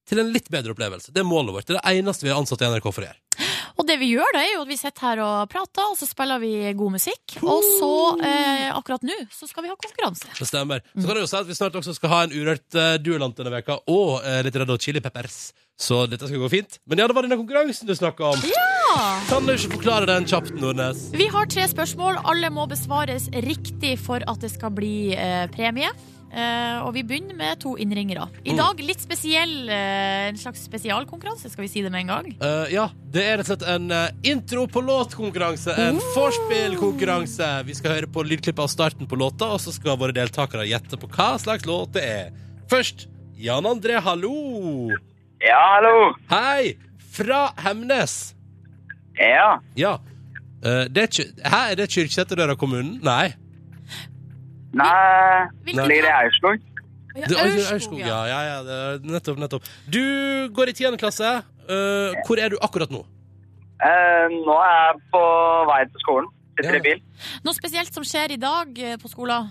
Speaker 1: til en litt bedre opplevelse. Det er målet vårt. Det er det eneste vi er ansatt i NRK for å gjøre.
Speaker 2: Og det vi gjør da er jo at vi sitter her og prater, og så spiller vi god musikk. Og så, eh, akkurat nå, så skal vi ha konkurranse.
Speaker 1: Det stemmer. Så kan jeg jo si at vi snart også skal ha en urørt uh, duelant denne veka, og eh, litt Red Hot Chili Peppers. Så dette skal gå fint. Men ja, det var denne konkurransen du snakka om. Kan du ikke forklare den kjapt, Nordnes?
Speaker 2: Vi har tre spørsmål. Alle må besvares riktig for at det skal bli eh, premie. Eh, og vi begynner med to innringere. I
Speaker 1: Mm.
Speaker 2: dag litt spesiell, eh, en slags spesialkonkurranse, skal vi si det med en gang.
Speaker 1: Eh, ja, det er rett og slett en eh, intro på låtkonkurranse. En vorspiel-konkurranse. Vi skal høre på lydklippet av starten på låta, og så skal våre deltakere gjette på hva slags låt det er. Først Jan André, hallo.
Speaker 5: Ja, hallo.
Speaker 1: Hei! Fra Hemnes.
Speaker 5: Ja.
Speaker 1: Ja. Eh, det er, kyr- Hæ, er det Kyrksæterdøra kommunen? Nei.
Speaker 5: Nei,
Speaker 2: Hvilken-
Speaker 5: blir det Aurskog?
Speaker 2: Ja,
Speaker 1: Det er
Speaker 2: Aurskog, ja.
Speaker 1: ja. ja, ja, det er nettopp, nettopp. Du går i 10. klasse. Eh, hvor er du akkurat nå?
Speaker 5: Eh, nå er jeg på vei til skolen. Sitter
Speaker 1: Ja.
Speaker 5: i bil.
Speaker 2: Noe spesielt som skjer i dag eh, på skolen?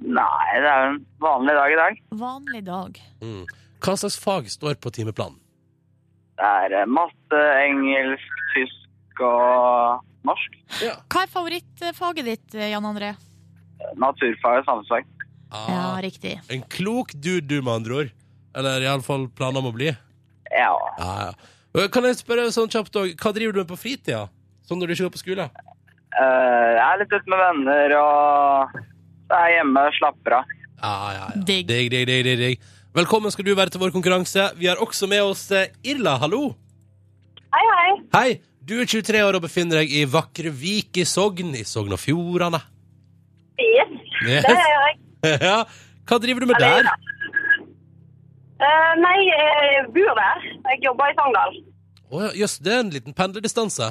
Speaker 5: Nei, det er jo en vanlig dag i dag.
Speaker 2: Vanlig dag.
Speaker 1: Mm. Hva slags fag står på timeplanen?
Speaker 5: Det er eh, matte, engelsk, tysk og norsk.
Speaker 1: Ja.
Speaker 2: Hva er favorittfaget ditt, eh, Jan André?
Speaker 5: Naturfag og samfunnsfag.
Speaker 2: Ja,
Speaker 1: Ah,
Speaker 2: riktig.
Speaker 1: en klok dude, du, med andre ord. Eller iallfall planer om å bli.
Speaker 5: Ja.
Speaker 1: Ja, ja. Eh, Kan jeg spørre sånn kjapt også, Hva driver du med på fritida? Sånn når du ikke går på skole?
Speaker 5: Eh, jeg er litt ute med venner og så er jeg hjemme og slapper av.
Speaker 1: Ja, ja, ja.
Speaker 2: Digg.
Speaker 1: Digg, digg, digg, digg, digg. Velkommen skal du være til vår konkurranse. Vi har også med oss eh, Irla, hallo.
Speaker 6: Hei, hei.
Speaker 1: Hei, du er 23 år og befinner deg i vakre Vik i Sogn, i Sogn og Fjordane.
Speaker 6: Yes,
Speaker 1: Yes.
Speaker 6: det gjør jeg.
Speaker 1: Ja. Hva driver du med der?
Speaker 6: Eh, nei, jeg bor der. Jeg jobber i Sogndal.
Speaker 1: Å ja, jøss, det er en liten pendlerdistanse.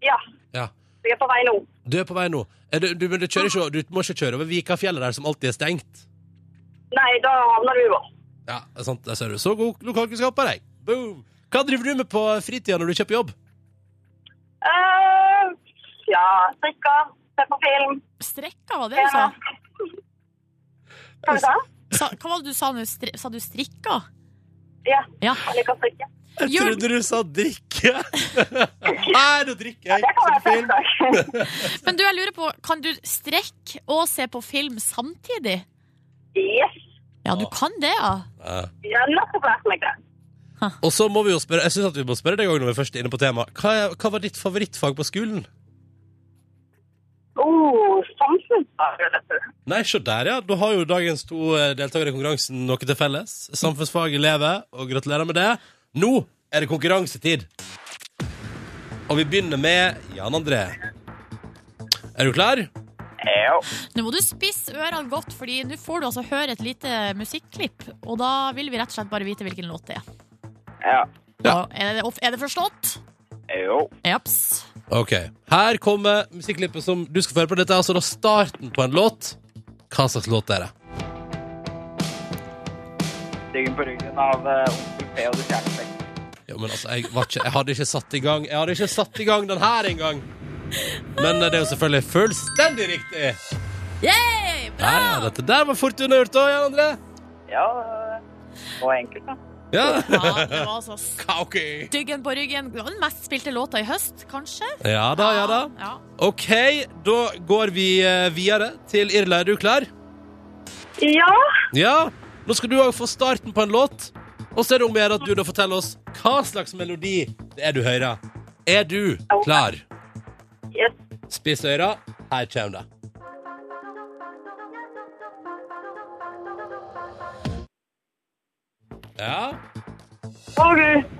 Speaker 6: Ja,
Speaker 1: Ja.
Speaker 6: jeg er på vei nå.
Speaker 1: Du er på vei nå. Er du, du, men du, kjører ikke, du må ikke kjøre over Vikafjellet der, som alltid er stengt.
Speaker 6: Nei, da havner du i vår.
Speaker 1: Ja, det er sant, der ser du. Så god lokalkunnskap av deg. Boom! Hva driver du med på fritida når du kjøper jobb?
Speaker 6: Eh, ja, strikker, ser på film.
Speaker 2: Strekka, var det du sa?
Speaker 6: Hva sa du?
Speaker 2: sa? Hva var det du sa nå? Stri- Sa du strikka?
Speaker 6: Ja,
Speaker 2: Ja.
Speaker 6: jeg liker å strikke.
Speaker 1: Jeg
Speaker 2: Gjør-
Speaker 1: trodde du sa drikke. Nei, nå drikker jeg.
Speaker 6: Det kan være
Speaker 1: Ser film.
Speaker 6: fredag.
Speaker 2: Men du, jeg lurer på, kan du strekke og se på film samtidig?
Speaker 6: yes,
Speaker 2: Ja, du
Speaker 1: Ja.
Speaker 2: kan det, ja.
Speaker 1: Ja.
Speaker 6: jeg har nettopp lært meg det.
Speaker 1: Og så må vi jo spørre, jeg synes at vi må spørre deg også når vi først er inne på temaet. Hva, er- hva var ditt favorittfag på skolen?
Speaker 6: Oh, samfunnsfag, vet du.
Speaker 1: Nei, se der, ja. Da har jo dagens to eh, deltakere i konkurransen noe til felles. Samfunnsfag elever, og gratulerer med det. Nå er det konkurransetid. Og vi begynner med Jan André. Er du klar?
Speaker 5: Jo.
Speaker 2: Nå må du spisse ørene godt, fordi nå får du altså høre et lite musikklipp, og da vil vi rett og slett bare vite hvilken låt det er.
Speaker 5: Ja.
Speaker 2: Og Er, det, off- er det forstått?
Speaker 5: Jo.
Speaker 2: Japs.
Speaker 1: Ok. Her kommer musikklippet som du skal føre på. Dette er altså da starten på en låt. Hva slags låt er det?
Speaker 5: Styggen på ryggen av eh, onkel P og de kjæreste.
Speaker 1: Jo, men altså, jeg, var ikke, jeg hadde ikke satt i gang Jeg hadde ikke satt i gang den her engang. Men eh, det er jo selvfølgelig fullstendig riktig.
Speaker 2: Yay!
Speaker 1: Ja, ja,
Speaker 2: Bra!
Speaker 1: dette der var fort unnagjort òg, Jan André.
Speaker 5: Ja, eh, og enkelt, da.
Speaker 1: Ja.
Speaker 2: Ja, det var altså
Speaker 1: Kauki.
Speaker 2: styggen på ryggen. Det var den mest spilte låta i høst, kanskje?
Speaker 1: Ja da, ja da.
Speaker 2: Ja.
Speaker 1: OK, da går vi eh, videre til Irla. Er du klar?
Speaker 6: Ja,
Speaker 1: Ja. Nå skal du òg få starten på en låt. Og så er det om å gjøre at du da forteller oss hva slags melodi det er du hører. Er du klar?
Speaker 6: yes.
Speaker 1: Spiss øra. Her kommer det. Ja.
Speaker 6: Å, Gud.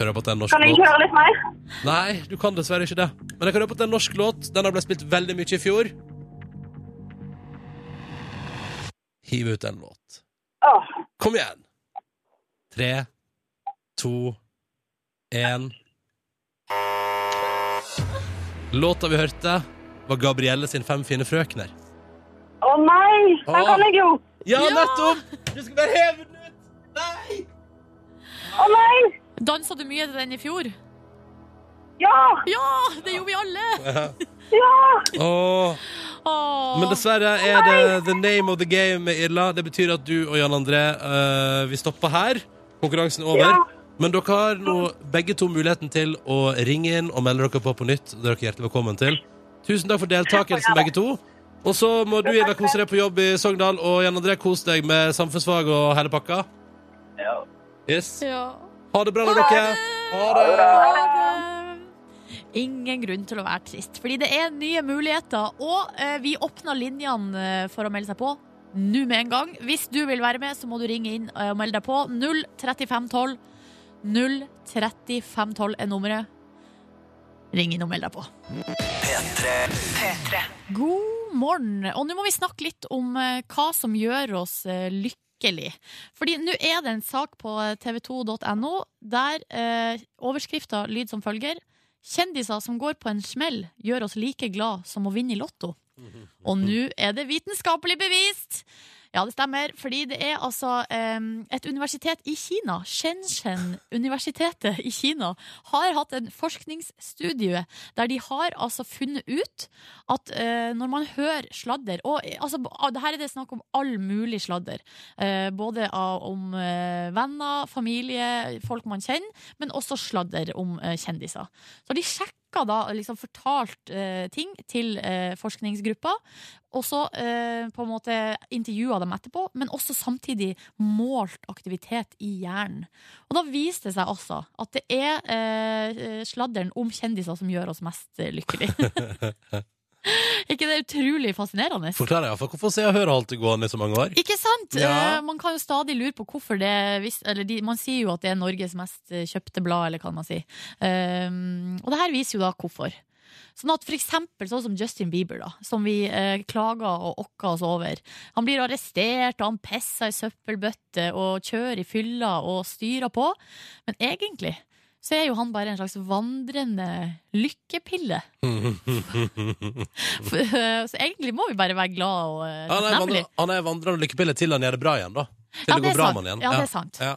Speaker 1: Hører på at det er en norsk
Speaker 6: Kan jeg
Speaker 1: låt.
Speaker 6: ikke høre litt mer?
Speaker 1: Nei, du kan dessverre ikke det. Men jeg kan røpe at det er en norsk låt. Den har blitt spilt veldig mye i fjor. Hiv ut en låt.
Speaker 6: Åh,
Speaker 1: Kom igjen. Tre, to, én Låta vi hørte, var Gabrielle sin Fem fine frøkner.
Speaker 6: Å nei, den kan jeg jo.
Speaker 1: Ja,
Speaker 2: Ja!
Speaker 1: nettopp! Du skal bare heve den ut! Nei!
Speaker 6: Å nei,
Speaker 2: Dansa du mye til den i fjor?
Speaker 6: ja,
Speaker 2: Ja, det gjorde vi alle!
Speaker 6: ja.
Speaker 1: Åh.
Speaker 2: Åh.
Speaker 1: Men dessverre er det the name of the game med Irla. Det betyr at du og Jan André eh, Vi stopper her. Konkurransen er over.
Speaker 6: Ja.
Speaker 1: Men dere har nå begge to muligheten til å ringe inn og melde dere på på nytt. Det er dere hjertelig velkommen til. Tusen takk for deltakelsen, begge to. Og så må du Irla kose deg på jobb i Sogndal, og Jan André kose deg med samfunnsfag og hele pakka.
Speaker 5: Ja.
Speaker 1: Yes.
Speaker 2: Ja.
Speaker 1: Ha det bra, da, dere. Ha det.
Speaker 2: Ha det. Ingen grunn til å være trist, fordi det er nye muligheter. Og eh, vi åpner linjene eh, for å melde seg på nå med en gang. Hvis du vil være med, så må du ringe inn eh, og melde deg på. 03512. 03512 er nummeret. Ring inn og meld deg på. God morgen. Og nå må vi snakke litt om eh, hva som gjør oss eh, lykkelig. Fordi nå er det en sak på tv2.no der eh, overskrifta lyd som følger Kjendiser som går på en smell, gjør oss like glad som å vinne i Lotto. Og nå er det vitenskapelig bevist! Ja, det stemmer. Fordi det er altså eh, et universitet i Kina, Shenzhen-universitetet i Kina, har hatt en forskningsstudie der de har altså funnet ut at eh, når man hører sladder Og eh, altså, b- ah, det her er det snakk om all mulig sladder. Eh, både av, om eh, venner, familie, folk man kjenner, men også sladder om eh, kjendiser. Så de sjekka da liksom fortalt eh, ting til eh, forskningsgruppa, og så eh, på en måte intervjua dem etterpå, men også samtidig målt aktivitet i hjernen. Og da viste det seg altså at det er eh, sladderen om kjendiser som gjør oss mest eh, lykkelige. Ikke det er utrolig fascinerende?
Speaker 1: Forklar deg, iallfall. Hvorfor Se og Hør har holdt det gående i så mange år?
Speaker 2: Ikke sant?
Speaker 1: Ja.
Speaker 2: Eh, Man kan jo stadig lure på hvorfor det vis- eller de, Man sier Ehm, jo at det er Norges mest eh, kjøpte blad, eller hva man sier. Um, og det her viser jo da hvorfor. Sånn at for eksempel sånn som Justin Bieber, da, som vi eh, klager og okker oss over. Han blir arrestert, og han pisser i søppelbøtte og kjører i fylla og styrer på. Men egentlig så er jo han bare en slags vandrende lykkepille. For, eh, så egentlig må vi bare være glad og eh,
Speaker 1: Han er,
Speaker 2: takknemlig.
Speaker 1: vandre, han er vandrende lykkepille til han gjør det bra igjen, da. Til
Speaker 2: Ja,
Speaker 1: det
Speaker 2: det
Speaker 1: går
Speaker 2: er
Speaker 1: bra
Speaker 2: sant.
Speaker 1: med han igjen.
Speaker 2: Ja, det er sant.
Speaker 1: Ja.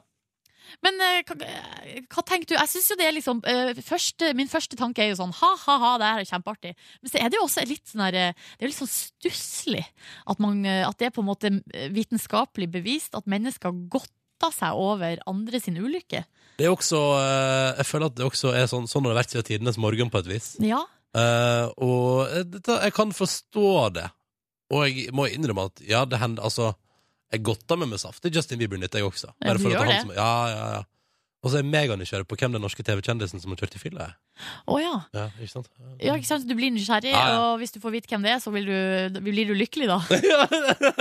Speaker 2: Men eh, hva, eh, hva tenker du? Jeg synes jo det er liksom eh, første, Min første tanke er jo sånn ha, ha, ha, det her er kjempeartig. Men så er det jo også litt sånn her eh, Det er jo litt sånn stusslig at, man, eh, at det er på en måte eh, vitenskapelig bevist at mennesker godter seg over andre sin ulykke.
Speaker 1: Det er også, eh, jeg føler at det også er sånn, sånn har det vært siden tidenes morgen på et vis.
Speaker 2: Ja.
Speaker 1: Eh, og eh, dette, jeg kan forstå det. Og jeg må innrømme at ja, det hender Altså, jeg godta meg med saft til Justin Bieber nytt, jeg også.
Speaker 2: Ja, du
Speaker 1: for at
Speaker 2: gjør
Speaker 1: han
Speaker 2: det.
Speaker 1: Som, ja, ja, ja. Og så er jeg meganysgjerrig på hvem den norske TV-kjendisen som har kjørt i fylla, er.
Speaker 2: Å ja.
Speaker 1: Ja, ikke sant?
Speaker 2: ja. Ikke sant? Du blir nysgjerrig,
Speaker 1: Ja, ja.
Speaker 2: og hvis du får vite hvem det er, så vil du, blir du lykkelig, da. Ja, det er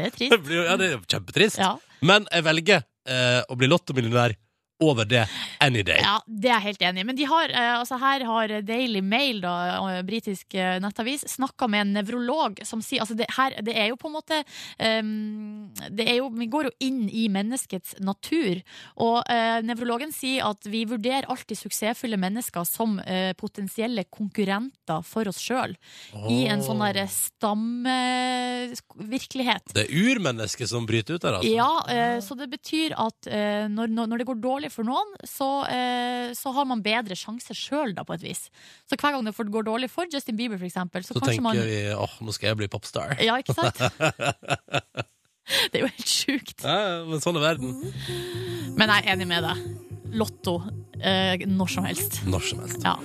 Speaker 1: Det
Speaker 2: trist.
Speaker 1: blir jo- ja, det er jo kjempetrist.
Speaker 2: Ja.
Speaker 1: Men jeg velger eh, å bli lottomillionær over det any day.
Speaker 2: Ja, det er jeg helt enig i. Men de har, eh, altså her har Daily Mail, da, eh, britisk eh, nettavis, snakka med en nevrolog som sier altså det, her, det er jo på en måte eh, det er jo, Vi går jo inn i menneskets natur. Og eh, nevrologen sier at vi vurderer alltid suksessfulle mennesker som eh, potensielle konkurrenter for oss sjøl. I en sånn der stammevirkelighet.
Speaker 1: Det er urmennesket som bryter ut der, altså.
Speaker 2: Ja, eh, så det betyr at eh, når, når når det går dårlig for noen, så, eh, så har man bedre sjanse sjøl, da, på et vis. Så hver gang det for- går dårlig for Justin Bieber, for eksempel, så,
Speaker 1: Så
Speaker 2: kanskje
Speaker 1: tenker
Speaker 2: man
Speaker 1: vi åh, nå skal jeg bli popstar.
Speaker 2: Ja, ikke sant? det er jo helt sjukt.
Speaker 1: Ja, men sånn er verden.
Speaker 2: Men jeg er enig med deg. Lotto eh, når som helst.
Speaker 1: Når som helst.
Speaker 2: Ja.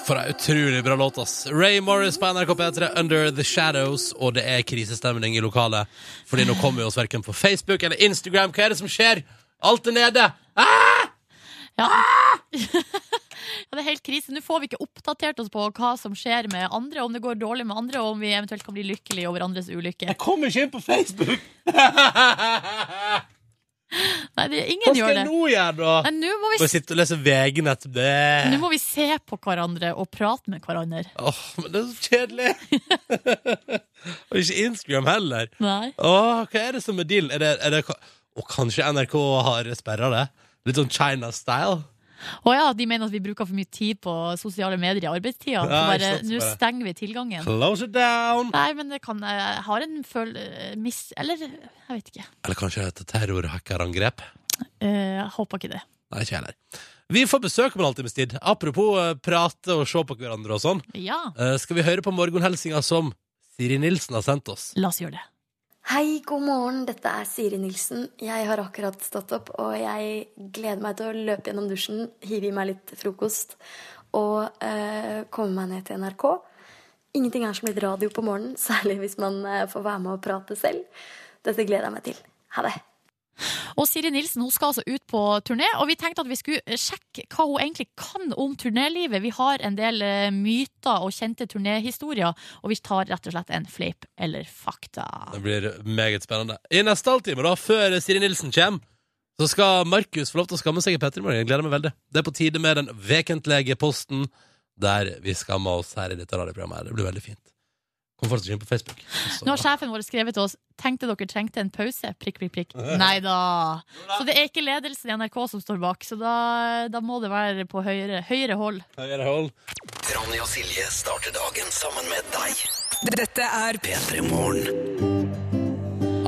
Speaker 1: For ei utrolig bra låt, ass. Ray Morris på NRK P3, 'Under The Shadows', og det er krisestemning i lokalet. Fordi nå kommer vi oss verken på Facebook eller Instagram. Hva er det som skjer? Alt er nede!
Speaker 2: Ja. ja, det er helt krise. Nå får vi ikke oppdatert oss på hva som skjer med andre, om det går dårlig med andre, og om vi eventuelt kan bli lykkelige over andres ulykke.
Speaker 1: Kommer ikke inn på Facebook!
Speaker 2: Nei, det, ingen gjør det.
Speaker 1: nå gjøre, da?
Speaker 2: Nei, nå må
Speaker 1: Må
Speaker 2: vi
Speaker 1: jeg sitte og lese VG-nett?
Speaker 2: Nå
Speaker 1: Det
Speaker 2: må vi se på hverandre og prate med hverandre.
Speaker 1: Åh, men det er så kjedelig! og ikke Instagram heller.
Speaker 2: Nei.
Speaker 1: Åh, hva er det som er dealen? Er det, er det, og kanskje NRK har sperra det? Litt sånn China-style?
Speaker 2: Å ja, de mener at vi bruker for mye tid på sosiale medier i arbeidstida. Så
Speaker 1: Ja, ikke
Speaker 2: bare,
Speaker 1: sant,
Speaker 2: nå
Speaker 1: bare.
Speaker 2: stenger vi tilgangen.
Speaker 1: Close it down!
Speaker 2: Nei, men det kan Jeg har en føl... eh, Mis... Eller, jeg vet ikke.
Speaker 1: Eller kanskje det heter terrorhackerangrep?
Speaker 2: Eh, Jeg håper ikke det.
Speaker 1: Nei, ikke heller. Vi får besøk om en halvtimes tid. Apropos eh, prate og se på hverandre og sånn.
Speaker 2: Ja,
Speaker 1: Eh, skal vi høre på morgenhelsinga som Siri Nilsen har sendt oss?
Speaker 2: la oss gjøre det.
Speaker 7: Hei, god morgen. Dette er Siri Nilsen. Jeg har akkurat stått opp, og jeg gleder meg til å løpe gjennom dusjen, hive i meg litt frokost og eh, komme meg ned til NRK. Ingenting er som litt radio på morgenen, særlig hvis man eh, får være med og prate selv. Dette gleder jeg meg til. Ha det.
Speaker 2: Og Siri Nilsen hun skal altså ut på turné, og vi tenkte at vi skulle eh, sjekke hva hun egentlig kan om turnélivet. Vi har en del eh, myter og kjente turnéhistorier, og vi tar rett og slett en fleip eller fakta.
Speaker 1: Det blir meget spennende. I neste halvtime, da, før Siri Nilsen kommer, så skal Markus få lov til å skamme seg i Petter i morgen. Jeg gleder meg veldig. Det er på tide med den vekentlige posten der vi skammer oss her i dette radioprogrammet. her. Det blir veldig fint. Kom fortsatt inn på Facebook. Så-
Speaker 2: Nå har sjefen vår skrevet til oss Tenkte dere trengte en pause? Prikk, prikk, prikk. Nei da. Så det er ikke ledelsen i NRK som står bak, så da, da må det være på høyere, høyere hold.
Speaker 1: Høyere hold.
Speaker 4: Ronny og Silje starter dagen sammen med deg.
Speaker 8: Dette er
Speaker 4: P3 Morgen.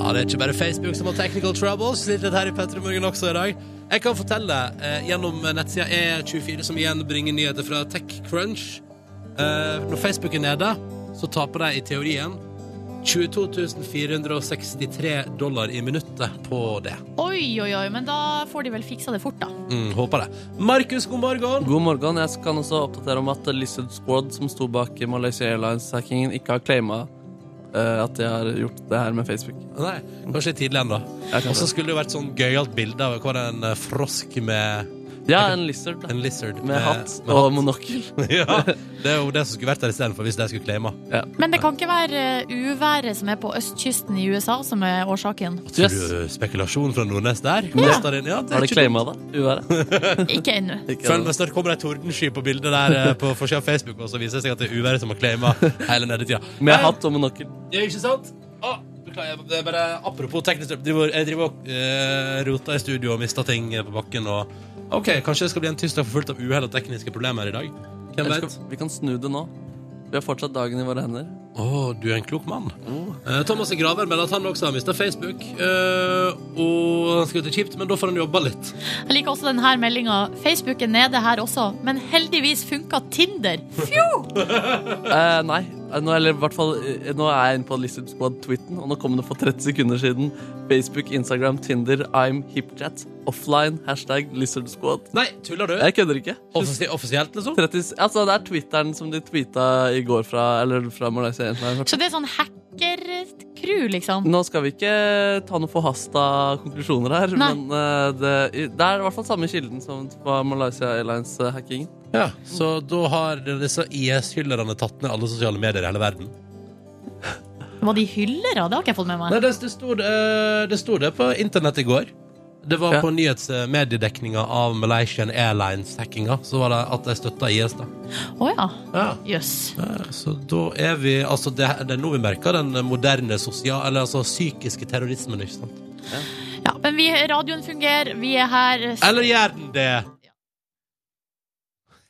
Speaker 1: Ja, Det er ikke bare Facebook som har technical troubles. Litt litt her i Petter i Morgen også i dag. Jeg kan fortelle eh, gjennom nettsida E24, som igjen bringer nyheter fra TechCrunch. Eh, når Facebook er nede, så taper de i teorien 22 463 dollar i minuttet på det.
Speaker 2: Oi, oi, oi, men da får de vel fiksa det fort, da.
Speaker 1: Mm, håper det. Markus, god morgen!
Speaker 3: God morgen. Jeg kan også oppdatere om at Lizard Squad, som sto bak Malaysia Airlines-hackingen, ikke har claima eh, at de har gjort det her med Facebook.
Speaker 1: Nei, kanskje tidlig ennå.
Speaker 3: Jeg kan
Speaker 1: Og så skulle det jo vært sånn gøyalt bilde av hva var det, en eh, frosk med
Speaker 3: Ja, en lizard da.
Speaker 1: En lizard
Speaker 3: med hatt
Speaker 1: med
Speaker 3: og monokkel.
Speaker 1: ja, det er jo det som skulle vært der istedenfor, hvis de skulle claima.
Speaker 2: Men det kan ikke være eh, uværet som er på østkysten i USA, som er årsaken.
Speaker 1: Tror
Speaker 3: Yes.
Speaker 1: du spekulasjon fra Nordnes der?
Speaker 2: Ja.
Speaker 1: Kastet inn- ja det er
Speaker 3: Har de
Speaker 1: ikke
Speaker 3: claima det? Uværet?
Speaker 2: Ikke ennå.
Speaker 3: Ikke
Speaker 1: Følg
Speaker 3: det.
Speaker 1: med, snart kommer det ei tordensky på bildet der eh, på forsida av Facebook, og så viser det seg at det er uværet som har claima hele nedetida.
Speaker 3: Med hatt og monokkel.
Speaker 1: Ja, ikke sant? Å, beklager, det er bare apropos teknisk Jeg driver, jeg driver og eh, roter i studio og mister ting eh, på bakken og OK, kanskje det skal bli en tirsdag forfulgt av uhell og tekniske problemer i dag. Hvem
Speaker 3: Eller
Speaker 1: vet?
Speaker 3: skal- Vi kan snu det nå. Vi har fortsatt dagen i våre hender.
Speaker 1: Å, du er en klok mann. Eh, Thomas Graver melder at han også har mista Facebook. eh, og han skal ut til kjipt, men da får han jobba litt.
Speaker 2: Jeg liker også denne meldinga. Facebook er nede her også, men heldigvis funka Tinder.
Speaker 3: Eh, nei. Eh, Nå, eller, i hvert fall, eh, nå er jeg inne på Lizard Squad-tweeten, og nå kom det for 30 sekunder siden. Facebook, Instagram, Tinder, I'm hipchat. Offline, hashtag Lizard Squad.
Speaker 1: Nei, tuller du?
Speaker 3: Jeg kødder ikke.
Speaker 1: Offisi offisielt, liksom?
Speaker 3: 30, altså, det er Twitteren som de tweeta i går fra, eller fra Malaysia. egentlig, har jeg hørt.
Speaker 2: Så det er sånn hacker-crew, liksom.
Speaker 3: Nå skal vi ikke ta noen forhasta konklusjoner her,
Speaker 2: Nei.
Speaker 3: men eh, det, i- det er i hvert fall samme kilden som var Malaysia eh, Airlines-hackingen.
Speaker 1: Ja, Så da har disse IS-hyllerne tatt ned alle sosiale medier i hele verden?
Speaker 2: Var de hyllere? Det har ikke jeg fått med meg.
Speaker 1: Nei, det, det, sto, det, eh, det sto det på internett i går. Det var
Speaker 3: Ja.
Speaker 1: på nyhetsmediedekninga av Malaysian Airlines-hackinga. Så var det at de støtta IS, da.
Speaker 2: Å ja.
Speaker 1: Ja.
Speaker 2: Jøss.
Speaker 1: Så da er vi Altså, det, det er nå vi merker den moderne sosial... Eller altså psykiske terrorismen, ikke sant?
Speaker 2: Ja, men vi, radioen fungerer, vi er her.
Speaker 1: Eller gjør den det?
Speaker 2: Ja.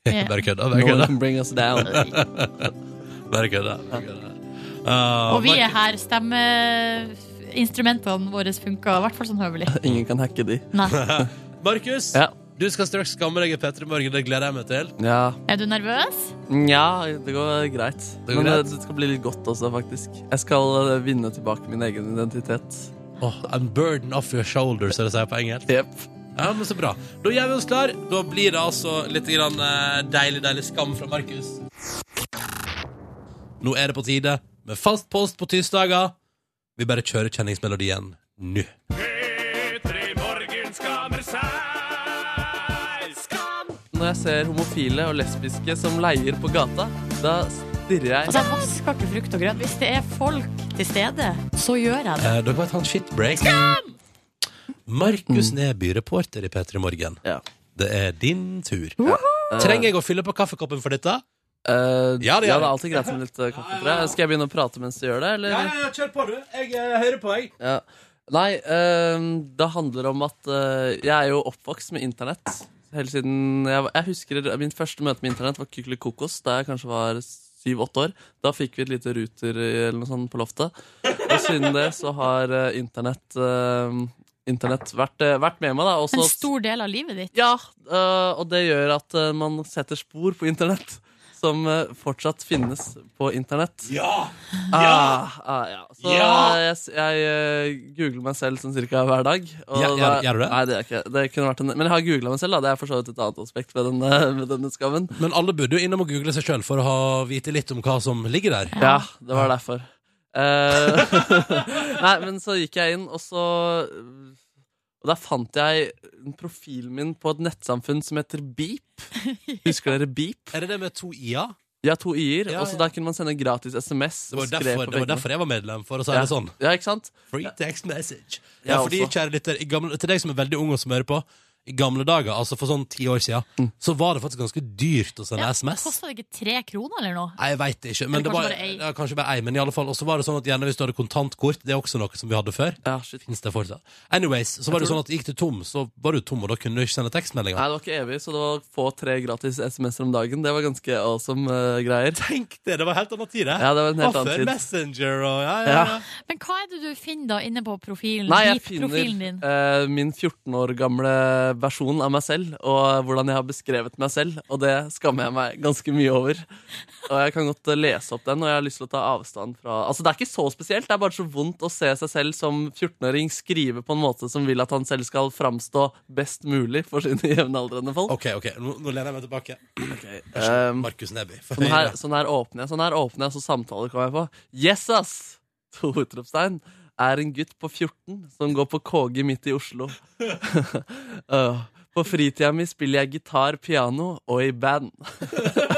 Speaker 1: Bare kødda,
Speaker 3: No
Speaker 1: bare
Speaker 3: one
Speaker 1: kødda.
Speaker 3: can bring us down.
Speaker 1: Bare kødda. bare kødda. Ah,
Speaker 2: Og vi er
Speaker 1: Markus-
Speaker 2: her. Stemmeinstrumentene våre funka i hvert fall sånn høvelig.
Speaker 3: Ingen kan hacke de.
Speaker 2: Nei.
Speaker 1: Markus,
Speaker 3: Ja.
Speaker 1: du skal straks skamme deg i P3 Morgen. Det gleder jeg meg til.
Speaker 3: Ja,
Speaker 2: Er du nervøs?
Speaker 3: Nja, det går greit.
Speaker 1: Det går
Speaker 3: Men eh,
Speaker 1: greit.
Speaker 3: det, det skal bli litt godt også, faktisk. Jeg skal eh, vinne tilbake min egen identitet.
Speaker 1: Oh, I'm burden off your shoulders, som det sier på engelsk.
Speaker 3: Jepp.
Speaker 1: Ja, men så bra. Da gjør vi oss klar. Da blir det altså litt grann eh, deilig, deilig skam fra Markus. Nå er det på tide med fast post på tirsdager. Vi bare kjører kjenningsmelodien nå.
Speaker 3: Når jeg ser homofile og lesbiske som leier på gata, da stirrer jeg
Speaker 2: Altså, jeg vasker ikke frukt og grønt. Hvis det er folk til stede, så gjør jeg det.
Speaker 1: Eh, dere må ta en shitbreak. Markus Neby, reporter i P3 Morgen.
Speaker 3: Ja.
Speaker 1: Det er din tur. Trenger jeg å fylle på kaffekoppen for dette?
Speaker 3: Eh,
Speaker 1: Ja,
Speaker 3: ja,
Speaker 1: det
Speaker 3: det
Speaker 1: gjør
Speaker 3: er
Speaker 1: jeg.
Speaker 3: alltid greit med litt eh, kaffe. tror jeg. Skal jeg begynne å prate mens du gjør det, eller?
Speaker 1: kjør på, du. Jeg eh, hører på, jeg.
Speaker 3: Ja. Nei, ehm, det handler om at eh, jeg er jo oppvokst med internett. Hele siden jeg, var- jeg husker det- Min første møte med internett var Kykeli Kokos da jeg kanskje var syv-åtte år. Da fikk vi et lite ruter eh, eller noe sånt på loftet. Og siden det så har eh, internett ehm, Internett vært, eh, vært med meg, da. og
Speaker 2: En
Speaker 3: så-
Speaker 2: stor del av livet ditt.
Speaker 3: ja, øh, og det gjør at øh, man setter spor på internett. Som øh, fortsatt finnes på internett. Ja! Ah, ah, ja. Så
Speaker 1: Ja!
Speaker 3: øh, jeg, s- jeg øh, googler meg selv sånn cirka hver dag. og
Speaker 1: Ja, gjør-
Speaker 3: da-
Speaker 1: gjør du det?
Speaker 3: Nei, det, er ikke, det kunne vært en, men jeg har googla meg selv, da. Det er for så vidt et annet aspekt ved denne, ved denne skammen.
Speaker 1: Men alle burde jo innom og google seg sjøl for å ha vite litt om hva som ligger der.
Speaker 3: Ja, det var derfor. Eh, nei, men så gikk jeg inn, og så Og der fant jeg profilen min på et nettsamfunn som heter Beep. Husker dere Beep?
Speaker 1: Er det det med to i-er?
Speaker 3: Ja, to i-er.
Speaker 1: Ja,
Speaker 3: og så
Speaker 1: ja.
Speaker 3: der kunne man sende gratis SMS.
Speaker 1: Det var,
Speaker 3: skrev på
Speaker 1: derfor, det var
Speaker 3: veggene.
Speaker 1: derfor jeg var medlem, for å si
Speaker 3: ja.
Speaker 1: det sånn.
Speaker 3: Ja, ikke sant?
Speaker 1: Free text message.
Speaker 3: Ja,
Speaker 1: Ja, fordi,
Speaker 3: også.
Speaker 1: kjære lytter, i gamle, til deg som er veldig ung og som hører på, i gamle dager, altså for sånn ti år siden,
Speaker 3: Mm.
Speaker 1: så var det faktisk ganske dyrt å sende
Speaker 2: Ja,
Speaker 1: SMS.
Speaker 2: Kosta det ikke tre kroner eller noe?
Speaker 1: Nei, Jeg veit ikke, men
Speaker 2: Eller
Speaker 1: det
Speaker 2: kanskje
Speaker 1: var,
Speaker 2: bare ei.
Speaker 1: ja, kanskje bare ei. Men i alle fall, og så var det sånn at gjerne hvis du hadde kontantkort, det er også noe som vi hadde før.
Speaker 3: Ja, shit.
Speaker 1: Finnes det fortsatt? Anyways, så var det
Speaker 3: tror
Speaker 1: sånn at gikk du tom, så var du tom, og da kunne du ikke sende tekstmeldinger.
Speaker 3: Nei, det var ikke evig, så det var få tre gratis SMS-er om dagen. Det var ganske awesome eh, greier.
Speaker 1: Tenk det! Det var helt annet tid, det.
Speaker 3: Ja, det var en helt
Speaker 1: og før
Speaker 3: annen tid.
Speaker 1: Messenger og ja, ja, ja.
Speaker 3: Ja.
Speaker 2: Men hva er det du finner da inne på profilen?
Speaker 3: Nei, jeg
Speaker 2: Profilen din?
Speaker 3: finner eh, min 14 år gamle versjon av meg selv, og hvordan jeg har beskrevet meg selv, og det skammer jeg meg ganske mye over. Og jeg kan godt eh, lese opp den, og jeg har lyst til å ta avstand fra Altså, det er ikke så spesielt, det er bare så vondt å se seg selv som 14-åring skrive på en måte som vil at han selv skal framstå best mulig for sine jevnaldrende folk.
Speaker 1: OK, ok, nå, nå lener jeg meg tilbake.
Speaker 3: Eh,
Speaker 1: Markus Neby.
Speaker 3: sånn, her, sånn her åpner jeg, sånn her åpner jeg, så samtaler kommer jeg på. Yes, ass! To utropstegn. Er en gutt på 14 som går på KG midt i Oslo. Øh, På fritida mi spiller jeg gitar, piano og i band.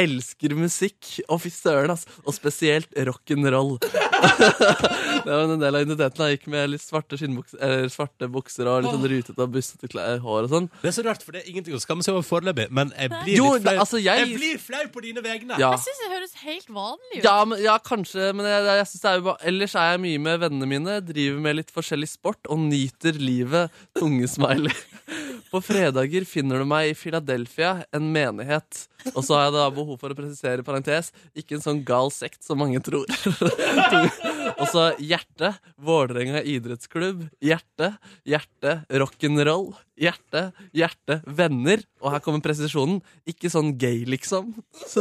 Speaker 3: Elsker musikk. Å, fy søren, ass. Og spesielt rock'n'roll. det var en del av identiteten. Jeg gikk med litt svarte, skinnbukser, eller svarte bukser og litt sånn rutete og bustete klær, hår og sånn.
Speaker 1: Det er så rart, for det er ingenting å skamme seg over foreløpig. Men jeg blir
Speaker 3: Jo,
Speaker 1: litt flau.
Speaker 3: altså, jeg-
Speaker 1: blir flau på dine vegne.
Speaker 3: Ja.
Speaker 2: Jeg syns det høres helt vanlig ut.
Speaker 3: Ja, men, ja, kanskje, men jeg, jeg synes det er jo bare Ellers er jeg mye med vennene mine, driver med litt forskjellig sport og nyter livet. Tungesmiley. På fredager finner du meg i Philadelphia, en menighet. Og så har jeg da behov for å presisere i parentes, ikke en sånn gal sekt som mange tror. Tung- og så hjerte, Vålerenga idrettsklubb. Hjerte, hjerte, rock'n'roll. Hjerte, hjerte, venner. Og her kommer presisjonen. Ikke sånn gay, liksom.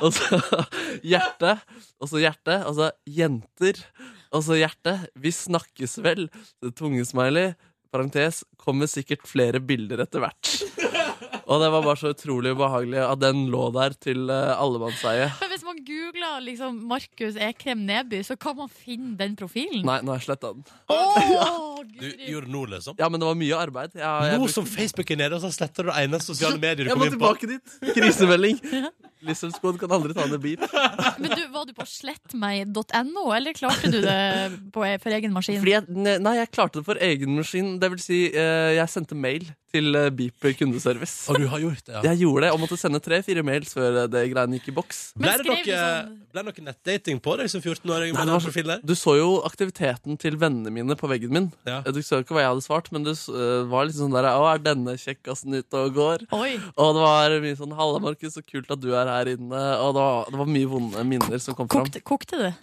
Speaker 3: Og så hjerte, og så hjerte, og så jenter, og så hjerte. Vi snakkes vel. Det tungesmiley, parentes, kommer sikkert flere bilder etter hvert. Og det var bare så utrolig ubehagelig at den lå der til eh, allemannseie.
Speaker 2: Men hvis man googler liksom Markus Ekrem Neby, så kan man finne den profilen.
Speaker 3: Nei, nå har jeg sletta den.
Speaker 2: Åh,
Speaker 1: Du
Speaker 2: Guri.
Speaker 1: gjorde nå, liksom.
Speaker 3: Ja, men det var mye arbeid. Jeg, jeg,
Speaker 1: Nå
Speaker 3: brukte-
Speaker 1: som Facebook er nede, og så sletter du det eneste sosiale mediet du
Speaker 3: jeg
Speaker 1: kom
Speaker 3: må
Speaker 1: inn på.
Speaker 3: tilbake dit! Krisemelding. Lisselskoen kan aldri ta ned bil.
Speaker 2: Men du, var du på slettmeg.no, eller klarte du det på, e, for egen maskin?
Speaker 3: Fordi jeg, ne- nei, jeg klarte det for egen maskin. Det vil si, eh, jeg sendte mail til eh, Beep kundeservice.
Speaker 1: Og du har gjort det, ja.
Speaker 3: Jeg gjorde det, og måtte sende tre-fire mails før det greiene gikk i boks.
Speaker 1: Ble
Speaker 2: Men
Speaker 1: det
Speaker 2: skrev du
Speaker 1: noe,
Speaker 2: sånn-
Speaker 1: ble det noe nettdating på deg som 14-åring?
Speaker 3: Nei,
Speaker 1: med
Speaker 3: det var
Speaker 1: den profilen der?
Speaker 3: Du så jo aktiviteten til vennene mine på veggen min.
Speaker 1: Ja.
Speaker 3: Du så ikke hva jeg hadde svart, men du s- øh, var liksom sånn der Å, er denne kjekkasen ute og går?
Speaker 2: Oi.
Speaker 3: Og det var mye sånn Halla, Markus, så kult at du er her inne. Og det var, det var mye vonde minner som kom fram.
Speaker 2: Kokte, kokte det?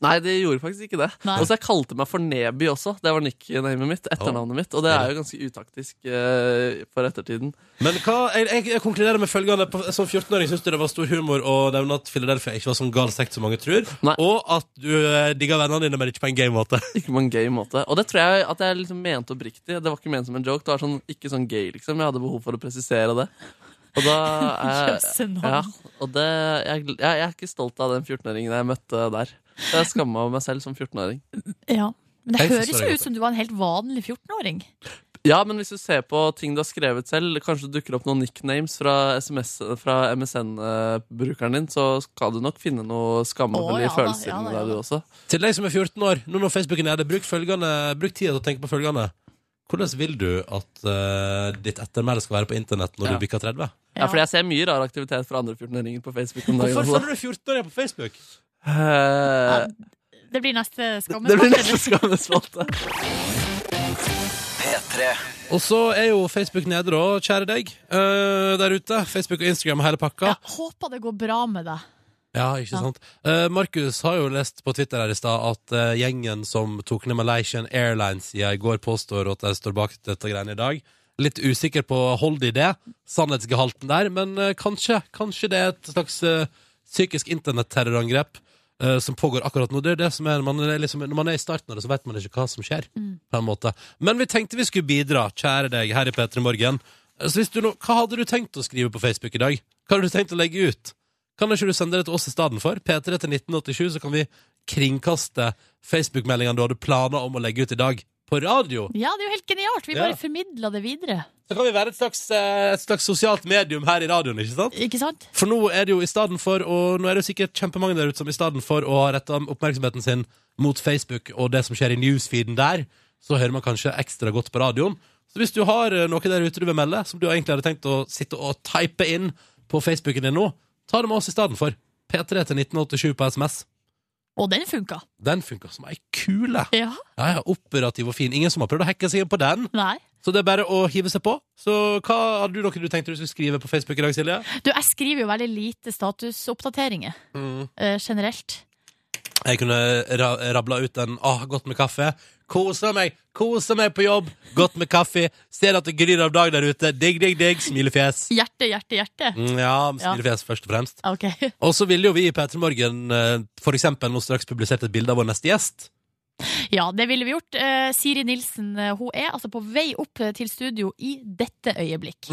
Speaker 3: Nei, det gjorde faktisk ikke det.
Speaker 2: Nei.
Speaker 3: Og så jeg kalte meg for Neby også. Det var nicknamet mitt. Etternavnet mitt. Og det er jo ganske utaktisk øh, for ettertiden.
Speaker 1: Men hva, jeg, jeg, jeg konkluderer med følgende. På- Som 14-åring syns du det var stor humor å nevne at Philadelphia ikke var sånn gal sekt som mange tror,
Speaker 3: Nei.
Speaker 1: og at du eh, digger vennene dine, men ikke på en gay måte.
Speaker 3: Ikke på en gay måte. Og det tror jeg at jeg liksom mente oppriktig. Det var ikke ment som en joke. Det var sånn, ikke sånn gay, liksom. Jeg hadde behov for å presisere det. Og da er,
Speaker 2: Jøsse navn.
Speaker 3: ja, og det, jeg, jeg, jeg er ikke stolt av den 14-åringen jeg møtte der. Jeg skamma meg selv som 14-åring.
Speaker 2: Ja. Men det
Speaker 1: Jeg
Speaker 2: høres
Speaker 1: forstår
Speaker 2: jo
Speaker 1: det.
Speaker 2: ut som du var en helt vanlig 14-åring.
Speaker 3: Ja, men hvis du ser på ting du har skrevet selv, kanskje det dukker opp noen nicknames fra, SMS fra MSN-brukeren din, så skal du nok finne noe
Speaker 2: Å,
Speaker 3: skammelige
Speaker 2: ja da,
Speaker 3: følelser
Speaker 2: ja da,
Speaker 3: inni
Speaker 2: ja
Speaker 3: deg,
Speaker 2: da.
Speaker 3: du også.
Speaker 1: Til deg som er 14 år, nå når Facebook er nede, bruk, følgende, bruk tida til å tenke på følgende. Hvordan vil du at eh, ditt ettermæle skal være på internett når
Speaker 3: Ja.
Speaker 1: du bikker 30?
Speaker 3: Ja. fordi jeg ser mye rar aktivitet fra andre 14-åringer på Facebook om dagen.
Speaker 1: Hvorfor
Speaker 3: også.
Speaker 1: følger du 14-åringer på Facebook?
Speaker 3: Eh,
Speaker 2: Det blir neste
Speaker 3: det blir
Speaker 2: skammespalte.
Speaker 3: nesten skammespalte.
Speaker 4: P3.
Speaker 1: Og så er jo Facebook nede, da, kjære deg, eh, der ute. Facebook og Instagram og hele pakka.
Speaker 2: Ja, håper det går bra med deg.
Speaker 1: Ja, ikke
Speaker 2: Ja.
Speaker 1: sant. Eh, Markus har jo lest på Twitter her i stad at eh, gjengen som tok ned Malaysian Airlines-sida i går, påstår at de står bak dette greiene i dag. Litt usikker på hold i det, sannhetsgehalten der, men eh, kanskje, kanskje det er et slags eh, psykisk internetterrorangrep eh, som pågår akkurat nå. Det er det som er, man er liksom, Når man er i starten av det, så vet man ikke hva som skjer. på en måte. Men vi tenkte vi skulle bidra, kjære deg, her i P3 Morgen. Eh, Så hvis du nå, hva hadde du tenkt å skrive på Facebook i dag? Hva hadde du tenkt å legge ut? Kan ikke du sende det til oss i stedet for? P3 til 1987, så kan vi kringkaste Facebook-meldingene du hadde planer om å legge ut i dag, på radio.
Speaker 2: Ja, det er jo helt genialt. Vi
Speaker 1: Ja.
Speaker 2: bare formidla det videre.
Speaker 1: Så kan vi være et slags, eh, et slags sosialt medium her i radioen, ikke sant?
Speaker 2: Ikke sant?
Speaker 1: For nå er det jo i stedet for, og nå er det jo sikkert kjempemange der ute som i stedet for å ha retta oppmerksomheten sin mot Facebook og det som skjer i newsfeeden der, så hører man kanskje ekstra godt på radioen. Så hvis du har eh, noe der ute du vil melde, som du egentlig hadde tenkt å sitte og type inn på Facebooken din nå, ta det med oss i stedet for. P3 til 1987 på SMS.
Speaker 2: Og den funka.
Speaker 1: Den funker som ei kule.
Speaker 2: Ja.
Speaker 1: Ja, ja, Operativ og fin. Ingen som har prøvd å hacke seg inn på den.
Speaker 2: Nei.
Speaker 1: Så det er bare å hive seg på. Så hva hadde du noe du tenkte du skulle skrive på Facebook i dag, Silje?
Speaker 2: Du, jeg skriver jo veldig lite statusoppdateringer eh, generelt.
Speaker 1: Jeg kunne ra rabla ut en Åh, godt med kaffe. Koser meg! Koser meg på jobb! Godt med kaffe. Ser at det gryr av dag der ute. Digg, digg, digg. Smilefjes.
Speaker 2: Hjerte, hjerte, hjerte.
Speaker 1: Mm, Ja, smilefjes først og fremst.
Speaker 2: Ok.
Speaker 1: Og så ville jo vi i P3 Morgen eh, for eksempel nå straks publisert et bilde av vår neste gjest.
Speaker 2: Ja, det ville vi gjort. Eh, Siri Nilsen eh, hun er altså på vei opp eh, til studio i dette øyeblikk.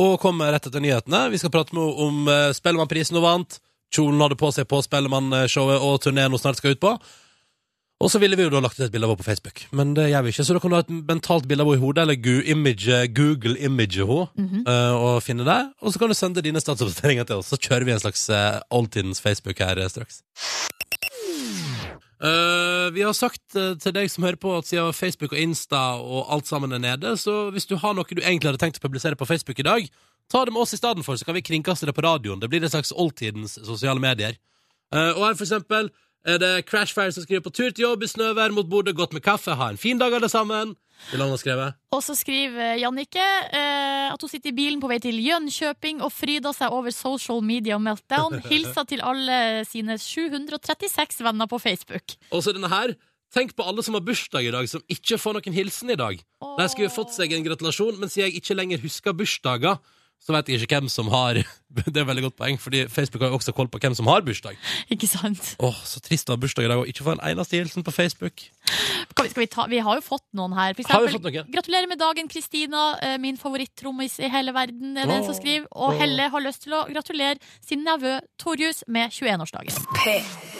Speaker 1: Og kommer rett etter nyhetene. Vi skal prate med henne om eh, Spellemannprisen hun vant, kjolen hun hadde på seg på Spellemannshowet og turneen hun snart skal ut på. Og så ville vi jo da lagt ut et bilde av henne på Facebook, men det gjør vi ikke. Så da kan du ha et mentalt bilde av henne i hodet, eller gu- image- Google image henne, eh, og finne det. Og så kan du sende dine statsoppdateringer til oss, så kjører vi en slags eh, oldtidens Facebook her eh, straks. Eh, vi har sagt eh, til deg som hører på at siden Facebook og Insta og alt sammen er nede, så hvis du har noe du egentlig hadde tenkt å publisere på Facebook i dag, ta det med oss i stedet for, så kan vi kringkaste det på radioen. Det blir en slags oldtidens sosiale medier. Eh, og her for eksempel er det Crashfire som skriver på tur til jobb i snøvær mot Bodø, godt med kaffe, ha en fin dag alle sammen. Vil han ha skrevet?
Speaker 2: Og så skriver Jannicke eh, at hun sitter i bilen på vei til Jönköping og fryder seg over social media meltdown. Hilser til alle sine 736 venner på Facebook.
Speaker 1: Og så denne her. Tenk på alle som har bursdag i dag, som ikke får noen hilsen i dag. De skulle fått seg en gratulasjon, men siden jeg ikke lenger husker bursdager, så vet jeg ikke hvem som har Det er et veldig godt poeng, fordi Facebook har jo også koll på hvem som har bursdag.
Speaker 2: Ikke sant?
Speaker 1: Åh, så trist å ha bursdag i dag og ikke få en eneste hilsen på Facebook.
Speaker 2: Skal vi, skal vi, ta, vi har jo fått noen her. For
Speaker 1: Har vi
Speaker 2: eksempel,
Speaker 1: fått noen?
Speaker 2: Gratulerer med dagen, Kristina. eh, Min favorittrommis i hele verden, er det en som skriver. Og Helle har lyst til å gratulere sin nevø Torjus med 21-årsdagen.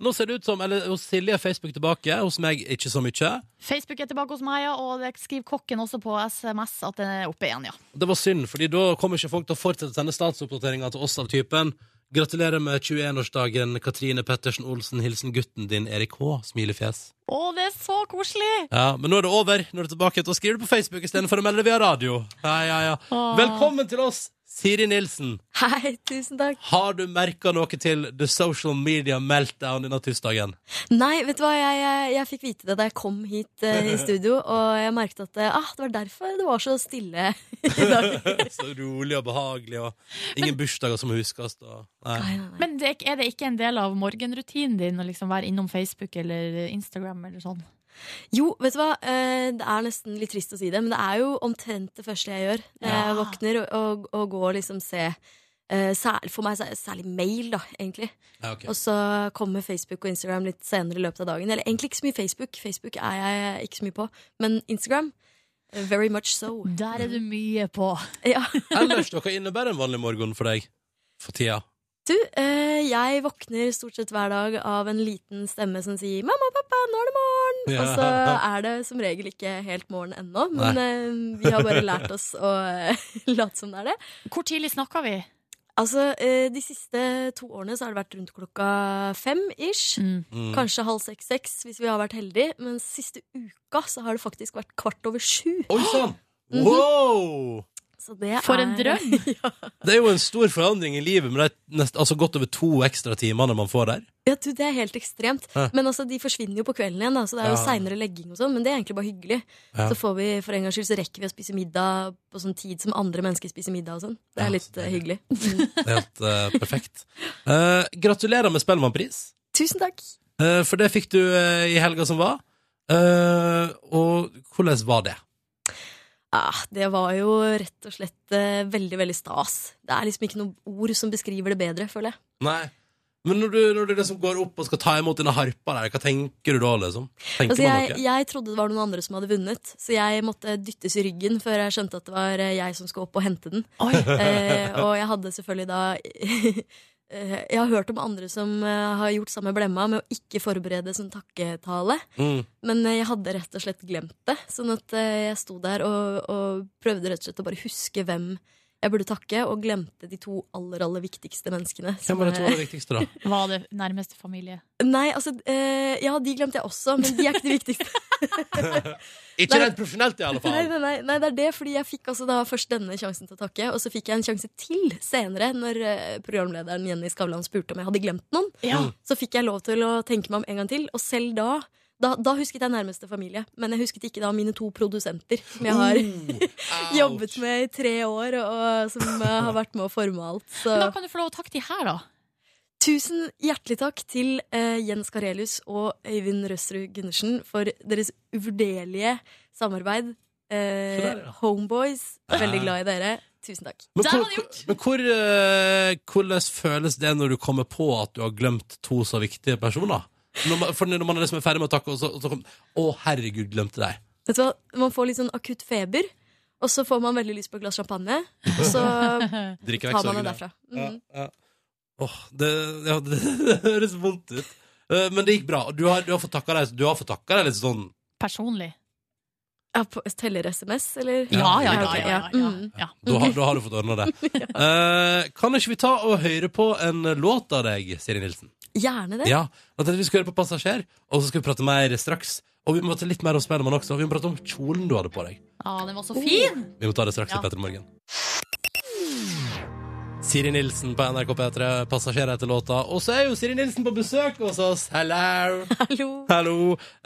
Speaker 1: Nå ser det ut som Eller hos Silje er Facebook tilbake, hos meg ikke så mye.
Speaker 2: Facebook er tilbake hos meg, ja, og det skriver kokken også på SMS at den er oppe igjen, ja.
Speaker 1: Det var synd, fordi da kommer ikke folk til å fortsette å sende statsoppdateringer til oss av typen Gratulerer med 21-årsdagen, Katrine Pettersen Olsen. Hilsen gutten din, Erik H. Smilefjes.
Speaker 2: Å, det er så koselig!
Speaker 1: Ja, Men nå er det over. Nå er det tilbake til å skrive det på Facebook istedenfor å melde det via radio. Ja, ja, ja. Velkommen til oss, Siri Nilsen.
Speaker 7: Hei, tusen takk.
Speaker 1: Har du merka noe til the social media meltdown denne tirsdagen?
Speaker 7: Nei, vet du hva, jeg, jeg, jeg fikk vite det da jeg kom hit eh, i studio, og jeg merket at eh, ah, det var derfor det var så stille i dag.
Speaker 1: Så rolig og behagelig, og ingen bursdager som huskes. Og... Nei.
Speaker 2: Men det, er ikke- er det ikke en del av morgenrutinen din å liksom være innom Facebook eller Instagram eller sånn?
Speaker 7: Jo, vet du hva, eh, det er nesten litt trist å si det, men det er jo omtrent det første jeg gjør. Når
Speaker 2: Ja.
Speaker 7: jeg våkner og, og, og går og liksom se eh, sær- For meg så er det særlig mail, da, egentlig.
Speaker 1: Ja, ok.
Speaker 7: Og så kommer Facebook og Instagram litt senere i løpet av dagen. Eller egentlig ikke så mye Facebook. Facebook er jeg ikke så mye på. Men Instagram, eh, very much so.
Speaker 2: Der er du mye på.
Speaker 7: Ja.
Speaker 1: Ellers, hva innebærer en vanlig morgen for deg for tida?
Speaker 7: Du, eh, jeg våkner stort sett hver dag av en liten stemme som sier 'mamma, pappa, nå er det morgen'.
Speaker 1: Ja.
Speaker 7: Og så er det som regel ikke helt morgen ennå, men eh, vi har bare lært oss å eh, late som det er det.
Speaker 2: Hvor tidlig snakka vi?
Speaker 7: Altså, eh, De siste to årene så har det vært rundt klokka fem ish.
Speaker 1: Mm.
Speaker 7: Kanskje halv seks-seks hvis vi har vært heldige. Men siste uka så har det faktisk vært kvart over sju.
Speaker 1: Oi sann!
Speaker 7: Mhm.
Speaker 1: Wow!
Speaker 7: Så det
Speaker 2: For en
Speaker 7: er-
Speaker 2: drøm!
Speaker 1: Det er jo en stor forandring i livet med de nest, altså godt over to ekstra timene man får der.
Speaker 7: Ja, du, Det er helt ekstremt.
Speaker 1: Hæ?
Speaker 7: Men altså, de forsvinner jo på kvelden igjen, da, så det er jo
Speaker 1: Ja.
Speaker 7: seinere legging og sånn. Men det er egentlig bare hyggelig.
Speaker 1: Ja.
Speaker 7: Så får vi for en gangs skyld så rekker vi å spise middag på sånn tid som andre mennesker spiser middag og sånn. Det
Speaker 1: Ja,
Speaker 7: er litt
Speaker 1: så
Speaker 7: eh, hyggelig.
Speaker 1: Det er Helt eh, perfekt. Eh, gratulerer med Spellemannpris,
Speaker 7: Tusen takk.
Speaker 1: Eh, for det fikk du eh, i helga som var. Eh, og hvordan var det?
Speaker 7: Ah, det var jo rett og slett eh, veldig, veldig stas. Det er liksom ikke noe ord som beskriver det bedre, føler jeg.
Speaker 1: Nei. Men når du, når du liksom går opp og skal ta imot denne harpa der, hva tenker du da, liksom? Tenker
Speaker 7: Altså,
Speaker 1: man
Speaker 7: jeg,
Speaker 1: noe?
Speaker 7: jeg trodde det var noen andre som hadde vunnet, så jeg måtte dyttes i ryggen før jeg skjønte at det var eh, jeg som skulle opp og hente den. Eh, og jeg hadde selvfølgelig da eh, Jeg har hørt om andre som eh, har gjort samme blemma med å ikke forberede sånn takketale,
Speaker 1: Mm.
Speaker 7: men eh, jeg hadde rett og slett glemt det. Sånn at eh, jeg sto der og, og prøvde rett og slett å bare huske hvem jeg burde takke, og glemte de to aller, aller viktigste menneskene. som
Speaker 1: Hvem var det
Speaker 7: er-
Speaker 1: to av det viktigste, da?
Speaker 2: Var det nærmeste familie?
Speaker 7: Nei, altså eh, Ja, de glemte jeg også, men de er ikke de viktigste.
Speaker 1: Ikke
Speaker 7: Nei.
Speaker 1: rent profesjonelt, i alle
Speaker 7: Nei,
Speaker 1: fall.
Speaker 7: nei, nei, nei, det er det, fordi jeg fikk altså da først denne sjansen til å takke, og så fikk jeg en sjanse til senere, når eh, programlederen Jenny Skavlan spurte om jeg hadde glemt noen.
Speaker 2: Ja.
Speaker 7: Så fikk jeg lov til å tenke meg om en gang til, og selv da da, da husket jeg nærmeste familie, men jeg husket ikke da mine to produsenter, som jeg har
Speaker 1: Oh,
Speaker 7: jobbet med i tre år, og som eh, har vært med å forme alt. Så
Speaker 2: Men da kan du få lov å takke de her, da.
Speaker 7: tusen hjertelig takk til eh, Jens Karelius og Øyvind Røsrud Gundersen for deres uvurderlige samarbeid. Eh,
Speaker 1: Så der, ja.
Speaker 7: Homeboys, veldig glad i dere. Tusen takk.
Speaker 1: Men,
Speaker 2: Der
Speaker 1: hvor,
Speaker 2: var det gjort!
Speaker 1: men hvor, eh, hvordan føles det når du kommer på at du har glemt to så viktige personer? Når man, for når man liksom er ferdig med å takke, og så, og så kom, Å, herregud, glemte deg.
Speaker 7: Vet du hva? Man får litt sånn akutt feber, og så får man veldig lyst på et glass champagne. Og så
Speaker 1: Drikker vekk
Speaker 7: tar man Mm.
Speaker 1: sorgen.
Speaker 2: Mm.
Speaker 7: det
Speaker 1: ja. Ja,
Speaker 7: derfra. Mm.
Speaker 1: ja. Åh, det, ja, det, det høres vondt ut. Eh, Men det gikk bra. Du har, du har fått takka deg, du har fått takka deg litt sånn
Speaker 2: Personlig.
Speaker 7: Ja, på, teller SMS, eller?
Speaker 2: Ja, ja, ja.
Speaker 7: ok,
Speaker 2: ja, ja, ja.
Speaker 7: Mm.
Speaker 2: ja.
Speaker 1: Da, har- da har du fått ordna det. Eh, kan ikke vi ta og høre på en låt av deg, Siri Nilsen?
Speaker 7: Gjerne det.
Speaker 1: Ja, og til at Vi skal høre på Passasjer, og så skal vi prate mer straks. Og vi må ta litt mer om Spellemann også. Vi må prate om kjolen du hadde på deg.
Speaker 2: Ja, den var så fin!
Speaker 1: Vi må ta det straks
Speaker 2: Ja.
Speaker 1: i Petter Morgen. Siri Nilsen på NRK P3, Passasjer heter låta. Og så er jo Siri Nilsen på besøk hos oss. Hello!
Speaker 7: Hallo.
Speaker 1: Hallo.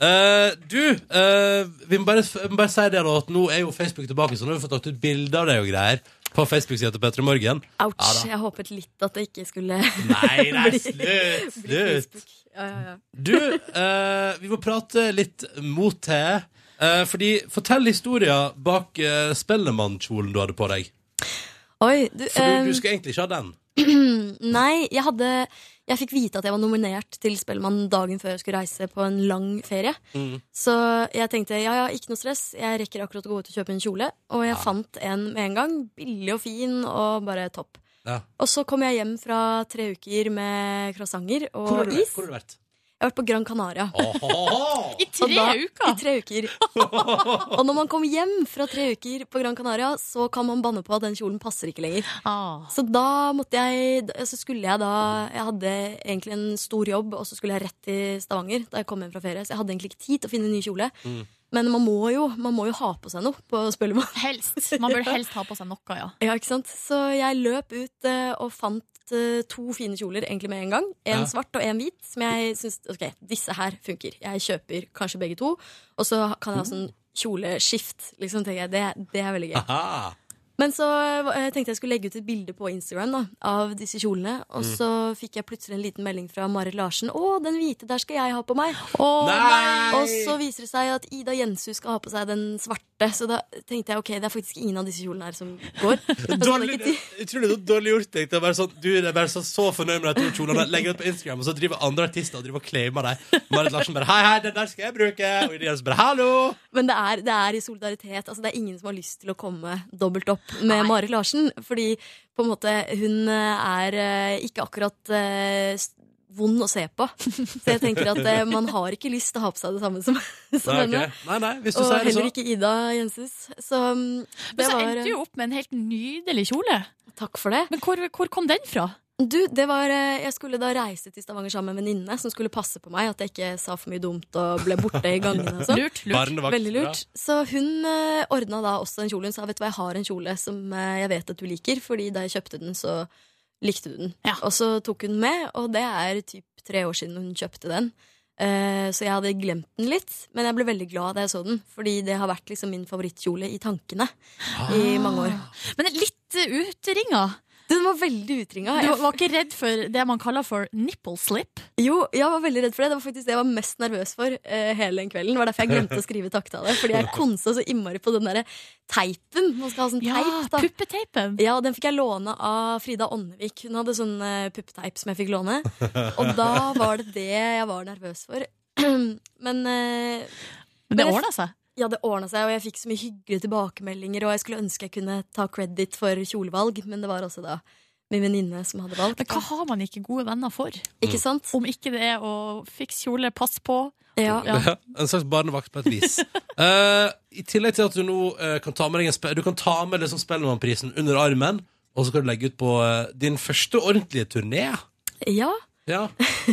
Speaker 1: Eh, du, eh, vi må bare, vi må bare si det da, at nå er jo Facebook tilbake, så nå har vi fått tatt ut bilder av det og greier på Facebook-sida til Petter Morgen.
Speaker 7: Ouch.
Speaker 1: Ja da.
Speaker 7: jeg håpet litt at det ikke skulle
Speaker 1: Nei, nei,
Speaker 7: Bli-
Speaker 1: slutt!
Speaker 7: bli
Speaker 1: slutt.
Speaker 7: Facebook. Ja, ja, ja.
Speaker 1: Du, eh, vi må prate litt mot det. Eh, fordi, Fortell historien bak eh, Spellemannskjolen du hadde på deg.
Speaker 7: Oi, du,
Speaker 1: For du,
Speaker 7: eh,
Speaker 1: du skulle egentlig ikke ha den.
Speaker 7: Nei, jeg hadde Jeg fikk vite at jeg var nominert til Spellemann dagen før jeg skulle reise på en lang ferie.
Speaker 1: Mm.
Speaker 7: Så jeg tenkte ja, ja, ikke noe stress. Jeg rekker akkurat å gå ut og kjøpe en kjole. Og jeg fant en med en gang. Billig og fin og bare topp.
Speaker 1: Ja.
Speaker 7: Og så kom jeg hjem fra tre uker med croissanter og
Speaker 1: Hvor har du,
Speaker 7: is.
Speaker 1: hvor har du vært?
Speaker 7: Jeg har vært på Gran Canaria.
Speaker 1: Åhå!
Speaker 2: I
Speaker 7: Og da-
Speaker 2: tre
Speaker 7: I
Speaker 2: uker!
Speaker 7: tre uker. og når man kom hjem fra tre uker på Gran Canaria, så kan man banne på at den kjolen passer ikke lenger.
Speaker 2: Ah.
Speaker 7: Så da måtte jeg Så skulle jeg da Jeg hadde egentlig en stor jobb, og så skulle jeg rett til Stavanger da jeg kom hjem fra ferie. Så jeg hadde egentlig ikke tid til å finne en ny kjole. Men man må, jo, man må jo ha på seg noe på Spellemann.
Speaker 2: Helst. Man burde helst ha på seg noe, ja.
Speaker 7: Ja, ikke sant? Så jeg løp ut eh, og fant eh, to fine kjoler egentlig med en gang. En
Speaker 1: Ja.
Speaker 7: svart og en hvit. Som jeg syns Ok, disse her funker. Jeg kjøper kanskje begge to. Og så kan jeg ha sånn kjoleskift. Liksom, tenker jeg. Det, det er veldig gøy.
Speaker 1: Aha.
Speaker 7: Men så eh, tenkte jeg skulle legge ut et bilde på Instagram da, av disse kjolene. Og
Speaker 1: Mm.
Speaker 7: så fikk jeg plutselig en liten melding fra Marit Larsen. 'Å, den hvite der skal jeg ha på meg'.
Speaker 1: Nei!
Speaker 7: Og så viser det seg at Ida Jenshus skal ha på seg den svarte. Så da tenkte jeg ok, det er faktisk ingen av disse kjolene her som går. Og så hadde jeg
Speaker 1: Dårlig,
Speaker 7: Altså, ikke tid.
Speaker 1: utrolig dårlig gjort. deg. Det er bare sånn, du det er bare så, så fornøyd med de to kjolene. Legger det ut på Instagram, og så driver andre artister og driver og claimer deg. Marit Larsen bare 'Hei, hei, den der skal jeg bruke'. Og Ida Jensen bare 'Hallo'.
Speaker 7: Men det er, det er i solidaritet. Altså, det er ingen som har lyst til å komme dobbelt opp med Marit Larsen. Fordi på en måte, hun eh, er eh, ikke akkurat eh, s- vond å se på. Så jeg tenker at eh, man har ikke lyst til å ha på seg det samme som, som
Speaker 1: Nei, ok.
Speaker 7: henne.
Speaker 1: nei, nei, hvis du
Speaker 7: Og
Speaker 1: sier det
Speaker 7: heller
Speaker 1: så.
Speaker 7: ikke Ida Jenses. Så mm,
Speaker 2: Men
Speaker 7: det
Speaker 2: så
Speaker 7: var eh,
Speaker 2: endte du jo opp med en helt nydelig kjole.
Speaker 7: Takk for det.
Speaker 2: Men hvor, hvor kom den fra?
Speaker 7: Du, det var eh, Jeg skulle da reise til Stavanger sammen med en venninne som skulle passe på meg, at jeg ikke sa for mye dumt og ble borte i gangene og sånn.
Speaker 2: Lurt, lurt.
Speaker 1: Barnevakt.
Speaker 7: Veldig lurt. Så hun uh, ordna da også en kjole. Hun sa vet du hva, jeg har en kjole som eh, jeg vet at du liker, fordi da jeg kjøpte den, så likte du den.
Speaker 2: Ja.
Speaker 7: Og så tok hun den med, og det er typ tre år siden hun kjøpte den. Eh, så jeg hadde glemt den litt, men jeg ble veldig glad da jeg så den. Fordi det har vært liksom min favorittkjole i tankene i mange år.
Speaker 2: Men litt eh, utringa.
Speaker 7: Den var veldig utringa.
Speaker 2: Du
Speaker 7: Jeg,
Speaker 2: var ikke redd for det man kaller for nipple slip?
Speaker 7: jo, jeg var veldig redd for det. Det var faktisk det jeg var mest nervøs for eh, hele den kvelden. Det var derfor jeg glemte å skrive takketale. Fordi jeg konsa så innmari på den derre teipen. Man skal ha sånn
Speaker 2: Ja,
Speaker 7: teip, da.
Speaker 2: puppeteipen.
Speaker 7: Ja, den fikk jeg låne av Frida Åndevik. Hun hadde sånn uh, puppeteip som jeg fikk låne. Og da var det det jeg var nervøs for. Men eh,
Speaker 2: Men det
Speaker 7: Men jeg-
Speaker 2: ordna seg.
Speaker 7: ja, det ordna seg, og jeg fikk så mye hyggelige tilbakemeldinger. Og jeg skulle ønske jeg kunne ta credit for kjolevalg, men det var også da min venninne som hadde valgt.
Speaker 2: Men hva har man ikke gode venner for?
Speaker 7: Ikke sant?
Speaker 2: Om ikke det er å fikse kjole, pass på.
Speaker 7: Ja.
Speaker 2: Ja.
Speaker 1: En slags barnevakt på et vis. Eh, I tillegg til at du nå eh, kan ta med deg en spe Du kan ta med liksom Spellemannprisen under armen, og så kan du legge ut på eh, din første ordentlige turné.
Speaker 7: ja.
Speaker 1: Ja,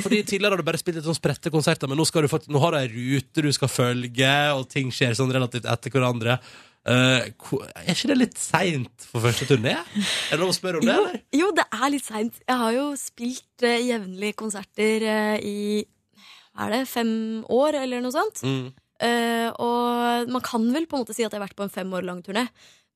Speaker 1: fordi Tidligere har du bare spilt litt sånn spredte konserter, men nå, skal du fakt- nå har du ei rute du skal følge, og ting skjer sånn relativt etter hverandre. Eh, ko- er ikke det litt seint for første turné? Er det lov å spørre om det,
Speaker 7: Jo,
Speaker 1: eller?
Speaker 7: jo, det er litt seint. Jeg har jo spilt eh, jevnlig konserter eh, i hva er det, fem år, eller noe sånt.
Speaker 1: Mm.
Speaker 7: Eh, og man kan vel på en måte si at jeg har vært på en fem år lang turné.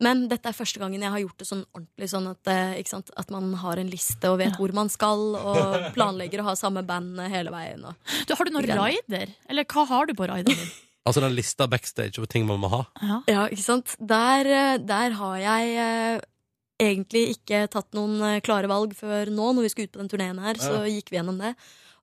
Speaker 7: Men dette er første gangen jeg har gjort det sånn ordentlig, sånn at, eh, ikke sant? at man har en liste og vet hvor man skal, og planlegger å ha samme band hele veien. Og.
Speaker 2: Du, har du noen rider? Eller hva har du på rideren din?
Speaker 1: Altså den lista backstage over ting man må ha.
Speaker 2: Ja.
Speaker 7: Ja, ikke sant? Der, eh, der har jeg eh, egentlig ikke tatt noen eh, klare valg før nå, når vi skulle ut på den turneen her, så gikk vi gjennom det.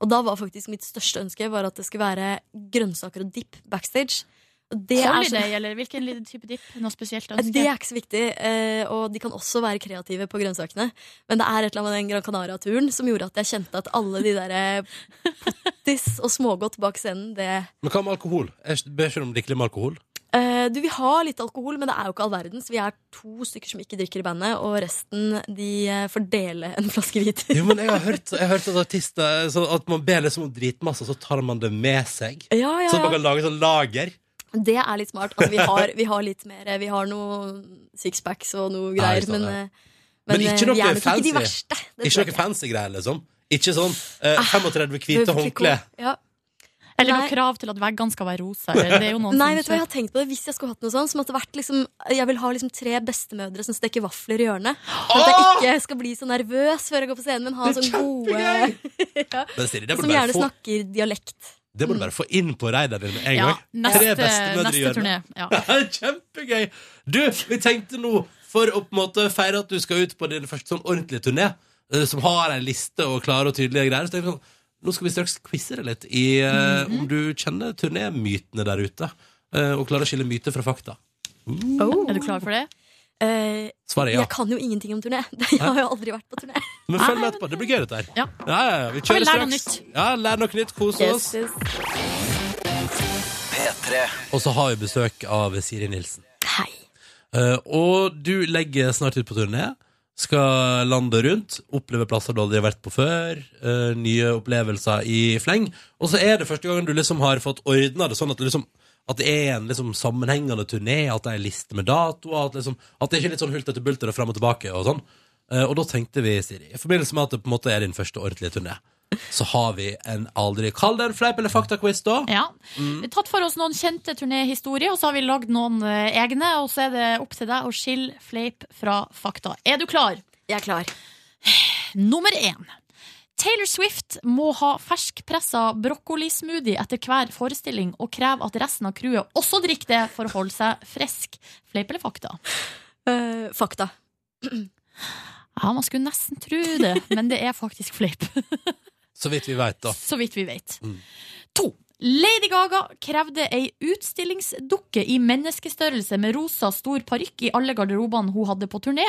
Speaker 7: Og da var faktisk mitt største ønske var at det skulle være grønnsaker og dipp backstage. Sånn Det er, så,
Speaker 2: Holiday, eller hvilken liten type dipp? Noe spesielt
Speaker 7: det
Speaker 2: ønske?
Speaker 7: er ikke så viktig, eh, og de kan også være kreative på grønnsakene. Men det er et eller annet med den Gran Canaria-turen som gjorde at jeg kjente at alle de der eh, pottis og smågodt bak scenen, det
Speaker 1: Men hva med alkohol? Jeg ber ikke om å drikke litt med alkohol.
Speaker 7: Eh, Du, Vi har litt alkohol, men det er jo ikke all verden. Så vi er to stykker som ikke drikker i bandet, og resten de eh, får dele en flaske hvit.
Speaker 1: Jo, men jeg har hørt, jeg har hørt at artister så At man ber liksom om dritmasse, og så tar man det med seg.
Speaker 7: Ja, ja,
Speaker 1: Sånn at man
Speaker 7: ja.
Speaker 1: kan lage sånn lager.
Speaker 7: Det er litt smart. Altså, vi, har, vi har litt mer eh, Vi har noen sixpacks og noe
Speaker 1: Ja,
Speaker 7: greier,
Speaker 1: ikke sant,
Speaker 7: men,
Speaker 1: ja.
Speaker 7: eh,
Speaker 1: Men
Speaker 7: eh,
Speaker 1: ikke noe
Speaker 7: vi er nok ikke
Speaker 1: fancy.
Speaker 7: de verste. det tror
Speaker 1: Ikke
Speaker 7: jeg
Speaker 1: noe fancy greier, liksom. Ikke sånn eh,
Speaker 7: Ah,
Speaker 1: 35 hvite
Speaker 7: Behøver ikke
Speaker 1: håndkle.
Speaker 7: gå- Ja.
Speaker 2: Eller
Speaker 7: Nei.
Speaker 2: noe krav til at veggene skal være rosa? Eller? Det er jo noen
Speaker 7: Nei,
Speaker 1: Sånn
Speaker 2: som
Speaker 7: vet du hva, jeg har tenkt på det Hvis jeg skulle hatt noe sånn, så måtte det vært liksom Jeg vil ha liksom tre bestemødre som steker vafler i hjørnet. For at jeg ikke skal bli så nervøs før jeg går på scenen, men ha
Speaker 1: Det er
Speaker 7: sånn gode ja,
Speaker 1: Men Siri, det må
Speaker 7: Som
Speaker 1: du bare
Speaker 7: gjerne
Speaker 1: få,
Speaker 7: snakker dialekt.
Speaker 1: det må du bare få inn på reideren din med en
Speaker 2: ja,
Speaker 1: gang. Tre
Speaker 2: neste,
Speaker 1: bestemødre i
Speaker 2: neste
Speaker 1: hjørnet.
Speaker 2: turné. Ja.
Speaker 1: Kjempegøy! Du, vi tenkte nå, for å på en måte feire at du skal ut på din første sånn ordentlige turné, eh, som har ei liste og klare og tydelige greier, så tenkte vi sånn Nå skal vi straks quize deg litt i eh,
Speaker 2: Mhm.
Speaker 1: om du kjenner turnémytene der ute, eh, og klarer å skille myte fra fakta.
Speaker 2: Er du klar for det?
Speaker 7: Eh,
Speaker 1: Svaret er ja.
Speaker 7: Jeg kan jo ingenting om turné. Jeg har jo aldri vært på turné.
Speaker 1: Men følg med etterpå. Det blir gøy, dette her.
Speaker 2: Ja.
Speaker 1: ja, ja, ja. Vi
Speaker 2: vi
Speaker 1: kjører
Speaker 2: lære noe
Speaker 1: straks. Ja, lær noe nytt. Kos oss.
Speaker 9: P3.
Speaker 1: Og så har vi besøk av Siri Nilsen.
Speaker 7: Hei.
Speaker 1: Eh, og du legger snart ut på turné. Skal lande rundt, oppleve plasser du aldri har vært på før. eh, nye opplevelser i fleng. Og så er det første gangen du liksom har fått ordna det sånn at, du liksom, at det er en liksom sammenhengende turné, at det er en liste med datoer, at, liksom, at det ikke er litt sånn hulter til bulter og fram og tilbake og sånn. Eh, og da tenkte vi, Siri, i forbindelse med at det på en måte er din første ordentlige turné, så har vi en aldri Kall det en fleip eller fakta-quiz, da.
Speaker 2: Ja. Vi har tatt for oss noen kjente turnéhistorier, og så har vi lagd noen eh, egne. Og så er det opp til deg å skille fleip fra fakta. Er du klar?
Speaker 7: Jeg er klar.
Speaker 2: Nummer én. Taylor Swift må ha ferskpressa brokkolismoothie etter hver forestilling og kreve at resten av crewet også drikker det for å holde seg frisk. Fleip eller fakta?
Speaker 7: Eh, fakta.
Speaker 2: Ja, man skulle nesten tro det, men det er faktisk fleip.
Speaker 1: Så vidt vi veit, da.
Speaker 2: Så vidt vi vet.
Speaker 1: Mm.
Speaker 2: To. Lady Gaga krevde ei utstillingsdukke i menneskestørrelse med rosa stor parykk i alle garderobene hun hadde på turné.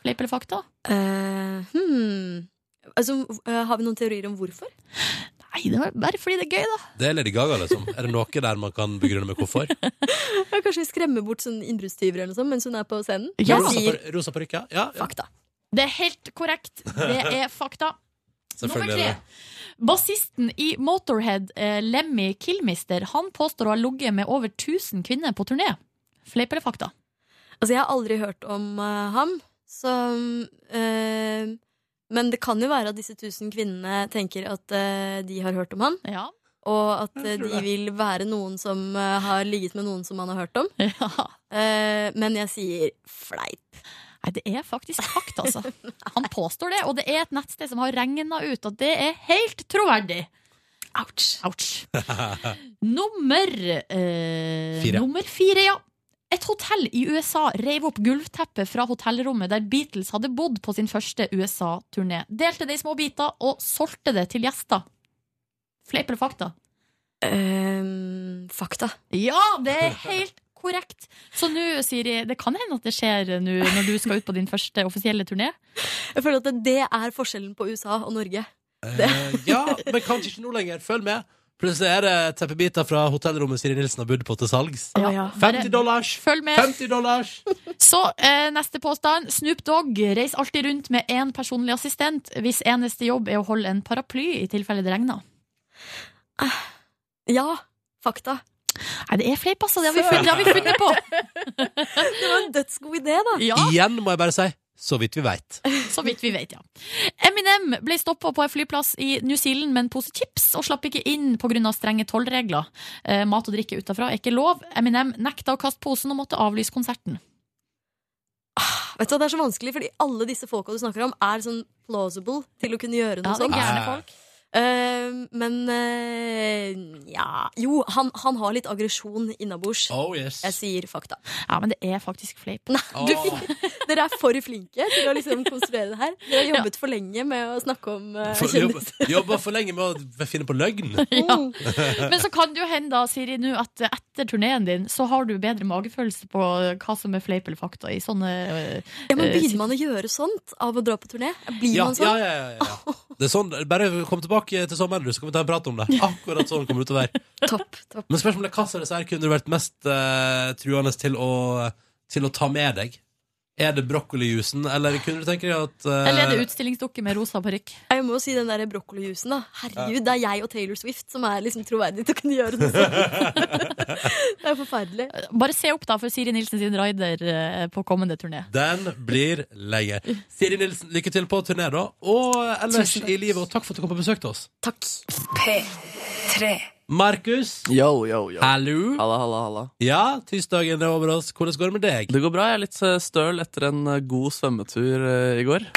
Speaker 2: Fleip eller fakta?
Speaker 7: Eh, hmm. Altså, eh, har vi noen teorier om hvorfor?
Speaker 2: Nei, det var bare fordi det er gøy, da.
Speaker 1: Det er Lady Gaga, liksom. Er det noe der man kan begrunne med hvorfor?
Speaker 7: Ja, Kanskje vi skremmer bort sånn innbruddstyver eller noe sånt mens hun er på scenen?
Speaker 2: Ja.
Speaker 7: Jeg
Speaker 1: Rosa,
Speaker 7: sier
Speaker 1: par rosa parykk, ja. ja, ja.
Speaker 7: fakta.
Speaker 2: Det er helt korrekt. Det er fakta. Nummer
Speaker 1: Selvfølgelig er
Speaker 2: tre.
Speaker 1: det.
Speaker 2: Bassisten i Motorhead, eh, Lemmy Kilmister, han påstår å ha ligget med over 1000 kvinner på turné. Fleip eller fakta?
Speaker 7: Altså, jeg har aldri hørt om eh, ham, så eh, Men det kan jo være at disse tusen kvinnene tenker at eh, de har hørt om han,
Speaker 2: Ja.
Speaker 7: og at eh, de vil være noen som eh, har ligget med noen som han har hørt om.
Speaker 2: ja.
Speaker 7: Eh, men jeg sier fleip.
Speaker 2: Nei, det er faktisk fakta, altså. Han påstår det, og det er et nettsted som har regna ut at det er helt troverdig. Ouch. nummer eh,
Speaker 1: Fire.
Speaker 2: Nummer fire, ja. Et hotell i USA reiv opp gulvteppet fra hotellrommet der Beatles hadde bodd på sin første USA-turné. Delte det i små biter og solgte det til gjester. Fleip eller fakta?
Speaker 7: Eh, fakta.
Speaker 2: Ja, det er helt korrekt. Så nå, Siri, det kan hende at det skjer nå når du skal ut på din første offisielle turné.
Speaker 7: Jeg føler at det er forskjellen på USA og Norge.
Speaker 1: Eh, ja, men kanskje ikke nå lenger. Følg med. Plutselig er det teppebiter fra hotellrommet Siri Nilsen har budd på til salgs.
Speaker 7: Ja,
Speaker 1: 50 dollars!
Speaker 2: Følg med.
Speaker 1: 50 dollars!
Speaker 2: Så eh, neste påstand. Snoop Dogg reiser alltid rundt med én personlig assistent hvis eneste jobb er å holde en paraply i tilfelle det regner.
Speaker 7: Ja, fakta.
Speaker 2: Nei, det er fleip, altså. Det har vi funnet, det har vi funnet på.
Speaker 7: Det var en dødsgod idé, da.
Speaker 2: Ja,
Speaker 1: Igjen må jeg bare si så vidt vi veit.
Speaker 2: så vidt vi vet, ja. Eminem ble stoppa på en flyplass i New Zealand med en pose chips og slapp ikke inn pga. strenge tollregler. Eh, mat og drikke utafra er ikke lov. Eminem nekta å kaste posen og måtte avlyse konserten.
Speaker 7: Vet du, hva, Det er så vanskelig, fordi alle disse folka du snakker om, er sånn plausible til å kunne gjøre noe
Speaker 2: Ja, det er
Speaker 7: sånt.
Speaker 2: gærne
Speaker 1: Nei.
Speaker 2: folk.
Speaker 8: Eh, men eh, ja Jo, han, han har litt aggresjon innabords.
Speaker 1: Oh yes. Ah.
Speaker 8: Jeg sier fakta.
Speaker 2: Ja, men det er faktisk fleip.
Speaker 1: Åh.
Speaker 8: Du Dere er for flinke til å liksom konstruere det her. Dere har jobbet for lenge med å snakke om eh,
Speaker 1: For-
Speaker 8: kjendiser.
Speaker 1: jobba- Jobba for lenge med å finne på løgn.
Speaker 2: Ja. Men så kan det jo hende, da, Siri, nå at etter turneen din så har du bedre magefølelse på hva som er fleip eller fakta i sånne øh,
Speaker 8: Ja, men Begynner man å gjøre sånt av å dra på turné? Blir
Speaker 1: Ja,
Speaker 8: man
Speaker 1: ja,
Speaker 8: sånn?
Speaker 1: ja, ja, ja. Det er sånn, bare kom tilbake til sommeren, du, så kan vi ta en prat om det. Akkurat sånn kommer det til å være.
Speaker 8: Topp. topp
Speaker 1: Men spørsmålet er hva som disse her kunne du vært mest eh, truende til å, til å ta med deg? Er det brokkolijusen, eller kunne du tenke deg at eh,
Speaker 2: Eller er det utstillingsdukke med rosa parykk?
Speaker 8: Jeg må jo si den der brokkolijusen, da. Herregud, det er jeg og Taylor Swift som er liksom troverdig til å kunne gjøre noe sånt. det er forferdelig.
Speaker 2: Bare se opp da for Siri Nilsen sin rider øh, på kommende turné.
Speaker 1: Den blir lenger. Siri Nilsen, lykke til på turné, da. Og ellers i livet, og takk for at du kom på besøk til oss.
Speaker 8: Takk.
Speaker 1: Markus.
Speaker 3: Yo, yo, yo.
Speaker 1: Hallo.
Speaker 3: Halla, halla, halla.
Speaker 1: Ja, tirsdagen er over oss. Hvordan går det med deg?
Speaker 3: Det går bra. Jeg er litt eh, støl etter en eh, god svømmetur eh, i går.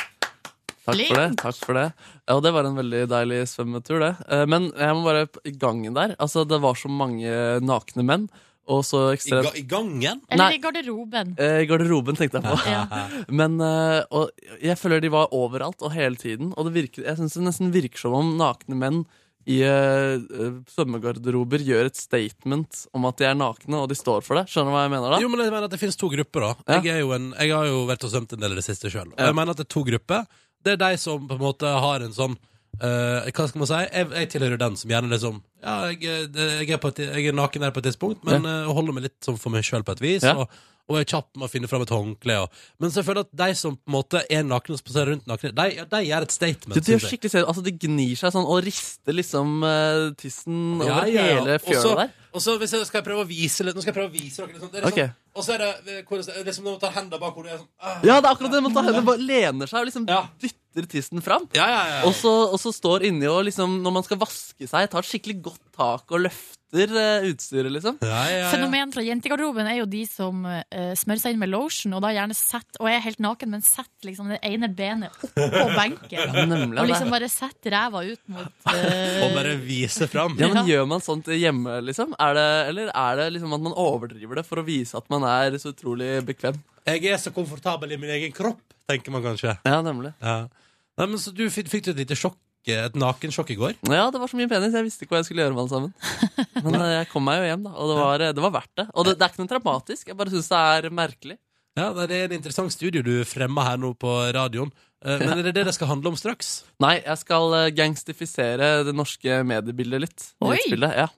Speaker 3: Takk for det. takk for det Ja, det var en veldig deilig svømmetur, det. Eh, Men jeg må bare i gangen der. Altså, Det var så mange nakne menn, og så
Speaker 1: I, ga
Speaker 3: ekstremt
Speaker 1: I gangen?
Speaker 2: Eller
Speaker 3: Nei.
Speaker 2: i garderoben.
Speaker 3: Eh, I garderoben, tenkte jeg på.
Speaker 2: Ja.
Speaker 3: Men eh, og jeg føler de var overalt og hele tiden. Og det virker, jeg syns det nesten virker som om nakne menn i eh, eh, svømmegarderober gjør et statement om at de er nakne, og de står for det. Skjønner du hva jeg mener da?
Speaker 1: Jo, men jeg mener at det finnes to grupper, da.
Speaker 3: Ja.
Speaker 1: Jeg, er jo en, jeg har jo vært og svømt en del i det siste sjøl. Og
Speaker 3: Ja.
Speaker 1: jeg mener at det er to grupper. Det er de som på en måte har en sånn eh, Hva skal man si? Jeg, jeg tilhører den som gjerne liksom Ja, jeg, er- jeg, er, på et, jeg er naken her på et tidspunkt, men eh, holder meg litt sånn for meg sjøl på et vis.
Speaker 3: Ja.
Speaker 1: Og, og er kjapp med å finne fram et håndkle. Og. Men så jeg føler at de som på en måte er nakne og spaserer rundt nakne, de, ja, de gjør et statement.
Speaker 3: Du, de, gjør
Speaker 1: synes jeg.
Speaker 3: skikkelig seriøst. altså, de gnir seg sånn og rister liksom eh, tissen over
Speaker 1: Ja, ja, ja.
Speaker 3: hele fjøla
Speaker 1: Også-
Speaker 3: der.
Speaker 1: Og så hvis jeg skal jeg prøve å vise litt Nå skal jeg prøve å vise dere litt sånn, det er litt
Speaker 3: Ok.
Speaker 1: sånn- Og så er det eh, hvordan- det er liksom når man tar hendene bak hodet jeg er sånn, ah.
Speaker 3: Ja, det er akkurat det! Man tar hendene, bare lener seg og liksom
Speaker 1: Ja.
Speaker 3: dytter tissen fram.
Speaker 1: Ja, ja, ja.
Speaker 3: Og så, og så står inni og liksom, når man skal vaske seg, tar et skikkelig godt tak og løfter eh, utstyret, liksom.
Speaker 1: ja, ja, ja.
Speaker 2: Fenomen fra jentegarderoben er jo de som eh, smører seg inn med lotion og da gjerne setter, og er helt naken, men setter liksom det ene benet oppå benken.
Speaker 3: Nemlig.
Speaker 2: Og
Speaker 3: det er-
Speaker 2: liksom bare setter ræva ut mot eh,
Speaker 1: Og bare vise fram.
Speaker 3: Ja, men
Speaker 2: Ja.
Speaker 3: Gjør man sånt hjemme, liksom? Er det, eller er det liksom at man overdriver det for å vise at man er så utrolig bekvem?
Speaker 1: Jeg er så komfortabel i min egen kropp, tenker man kanskje.
Speaker 3: Ja, nemlig.
Speaker 1: Ja. Nei, men så du fikk, fikk du et lite sjokk, et nakensjokk i går?
Speaker 3: Ja, det var så mye penis. Jeg visste ikke hva jeg skulle gjøre med alle sammen. Men eh, jeg kom meg jo hjem, da. Og det var, eh, det var verdt det. Og det, det er ikke noe dramatisk. Jeg bare syns det er merkelig.
Speaker 1: Ja, nei, Det er en interessant studio du fremmer her nå på radioen. Eh, Men er det det det skal handle om straks?
Speaker 3: Nei, jeg skal eh, gangstifisere det norske mediebildet litt.
Speaker 2: Oi!
Speaker 3: Nyhetsbildet, Ja,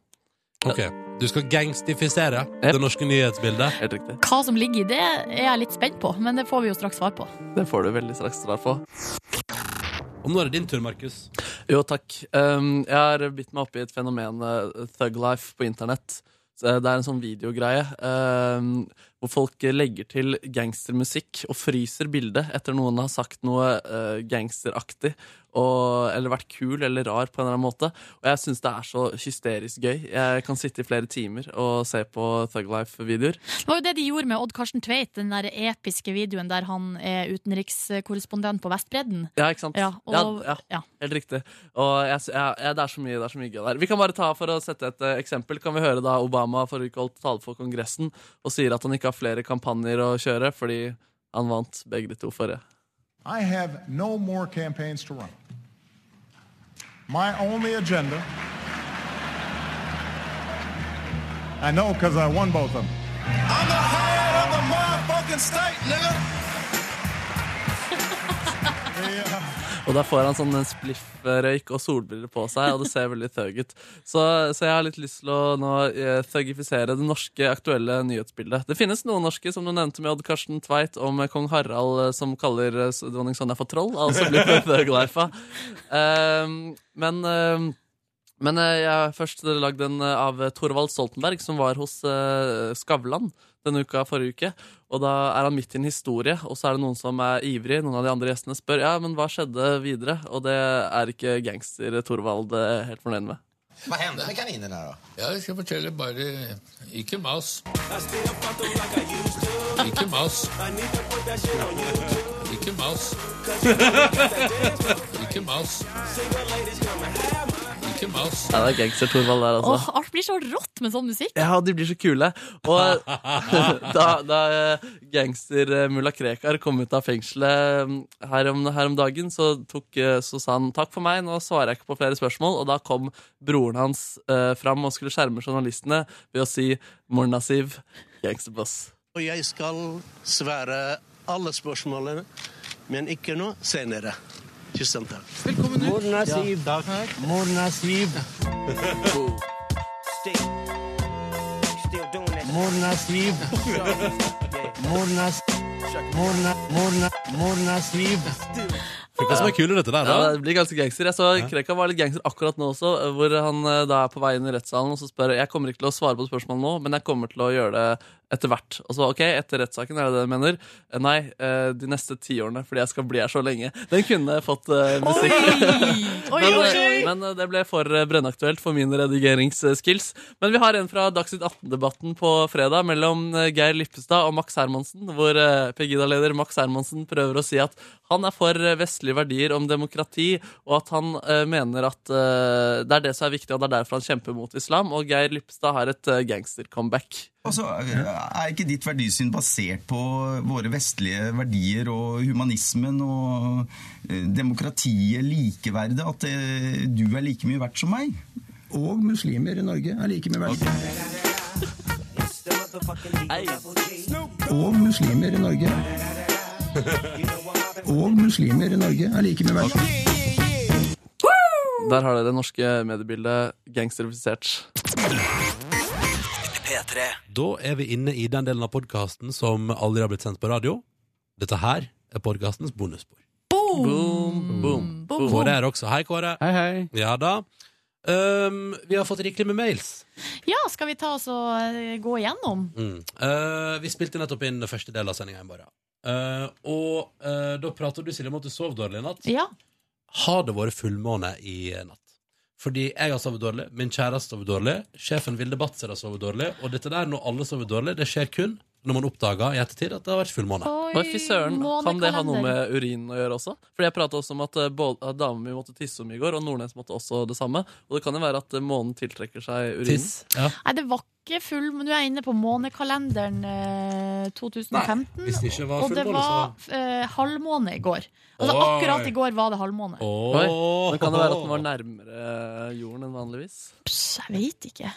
Speaker 1: Ok, Du skal gangstifisere
Speaker 3: Jep.
Speaker 1: det norske nyhetsbildet.
Speaker 3: helt riktig.
Speaker 2: Hva som ligger i det, er jeg litt spent på, men det får vi jo straks svar på.
Speaker 3: Det får du veldig straks svar på.
Speaker 1: Og nå er det din tur, Markus.
Speaker 3: Jo, takk. Um, jeg har bitt meg opp i et fenomen, eh, Thug Life, på internett. Så Det er en sånn videogreie um, hvor folk legger til gangstermusikk og fryser bildet etter noen har sagt noe eh, gangsteraktig og, eller vært kul eller rar på en eller annen måte. Og jeg syns det er så hysterisk gøy. Jeg kan sitte i flere timer og se på Thug Life-videoer.
Speaker 2: Det var jo det de gjorde med Odd Karsten Tveit, den der episke videoen der han er utenrikskorrespondent på Vestbredden.
Speaker 3: Ja, ikke sant?
Speaker 2: Ja, og,
Speaker 3: ja, ja.
Speaker 2: ja.
Speaker 3: Helt riktig. Og jeg, sy- ja, ja, det, er så mye, det er så mye gøy der. Vi kan bare ta For å sette et eh, eksempel kan vi høre da Obama forrige uke holdt tale for Kongressen og sier at han ikke har flere kampanjer å kjøre fordi han vant begge de to forrige.
Speaker 10: I have no more campaigns to run. My only agenda, I know because I won both of them. I'm the head of the motherfucking state, nigga.
Speaker 3: Og der får han sånn en spliff-røyk og solbriller på seg, og det ser veldig thug ut. Så, så jeg har litt lyst til å nå eh, thugifisere det norske aktuelle nyhetsbildet. Det finnes noen norske, som du nevnte med Odd Karsten Tveit, om eh, kong Harald eh, som kaller eh, s- dronning Sonja for troll. Altså blir det thug life av. Ehm, men ehm, men eh, jeg har først lagd en eh, av Thorvald Stoltenberg, som var hos eh, Skavlan denne uka forrige uke. Og da er han midt i en historie, og så er det noen som er ivrig. Noen av de andre gjestene spør ja, men hva skjedde videre, og det er ikke gangster Thorvald eh, helt fornøyd med.
Speaker 11: Hva hender med kaninene da? Jeg skal fortelle bare Ikke mas. Ikke mas. Ikke mas. Ikke mas. Ikke mas.
Speaker 3: Nei, det er gangster Torvald der, altså.
Speaker 2: Åh, alt blir så rått med sånn musikk.
Speaker 3: Ja, de blir så kule. Og da, da eh, gangster eh, mulla Krekar kom ut av fengselet eh, her om, her om dagen, så, tok, eh, så sa han takk for meg, nå svarer jeg ikke på flere spørsmål. Og da kom broren hans eh, fram og skulle skjerme journalistene ved å si Morna Siv, gangsterboss.
Speaker 12: Og jeg skal svare alle spørsmålene, men ikke nå, senere. Tusen takk. Velkommen ut. Morna Siv. takk. Morna Siv. Morna Siv. Morna Morna, morna, morna Siv.
Speaker 1: Hva som er kulere dette der, da?
Speaker 3: Ja, det blir ganske gangster. Jeg så Krekar var litt gangster akkurat nå også, hvor han eh, da er på vei inn i rettssalen og så spør jeg kommer ikke til å svare på spørsmål nå, men jeg kommer til å gjøre det etter hvert. Og så, ok, etter rettssaken, er det det du mener? Eh, Nei, eh, de neste tiårene, fordi jeg skal bli her så lenge. Den kunne fått eh, musikk.
Speaker 2: Oi,
Speaker 3: men,
Speaker 2: oi,
Speaker 3: eh, men eh, det ble for eh, brennaktuelt for mine redigeringsskills. Men vi har en fra Dagsnytt 18-debatten på fredag mellom eh, Geir Lippestad og Max Hermansen, hvor eh, Pegida-leder Max Hermansen prøver å si at han er for eh, vestlige verdier om demokrati, og at han eh, mener at eh, det er det som er viktig, og det er derfor han kjemper mot islam. Og Geir Lippestad har et eh, gangster-comeback.
Speaker 13: Altså, Er ikke ditt verdisyn basert på våre vestlige verdier og humanismen og eh, demokratiet, likeverdet? At eh, du er like mye verdt som meg? Og muslimer i Norge er like mye verdt.
Speaker 10: Og muslimer i Norge. Og muslimer i Norge er like mye verdt.
Speaker 3: Der har dere det norske mediebildet gangsterifisert.
Speaker 1: P3. Da er vi inne i den delen av podkasten som aldri har blitt sendt på radio. Dette her er podkastens bonusspor.
Speaker 2: Boom!
Speaker 3: Boom, boom,
Speaker 2: boom.
Speaker 1: Kåre er også. Hei, Kåre.
Speaker 3: Hei, hei.
Speaker 1: Ja da. Um, vi har fått rikelig med mails.
Speaker 2: Ja, skal vi ta oss og eh, gå igjennom?
Speaker 1: Mm. Eh, vi spilte nettopp inn første del av sendinga i morgen. Eh, og eh, da prater du, Silje, om at du sov dårlig i natt.
Speaker 2: Ja.
Speaker 1: Har det vært fullmåne i natt? Fordi jeg har sovet dårlig, min kjæreste sover dårlig, sjefen Vilde Batzer har sovet dårlig, og dette der når alle sover dårlig, det skjer kun når man oppdager i ettertid at det har vært fullmåne.
Speaker 3: Oi, fy søren. Kan det ha noe med urinen å gjøre også? Fordi jeg prata også om at, eh, både- at damen min måtte tisse så mye i går, og Nordnes måtte også det samme. Og det kan jo være at eh, månen tiltrekker seg urinen.
Speaker 1: Tiss, ja.
Speaker 2: Nei, det var ikke full, men nå er jeg inne på månekalenderen eh, 2015.
Speaker 1: Nei, hvis det ikke var
Speaker 2: og det
Speaker 1: fullmåne,
Speaker 2: var
Speaker 1: så-
Speaker 2: eh, halvmåne i går. Altså
Speaker 1: Oi.
Speaker 2: akkurat i går var det halvmåne.
Speaker 3: Oi, men kan det være at den var nærmere jorden enn vanligvis?
Speaker 2: Pss, jeg vet ikke.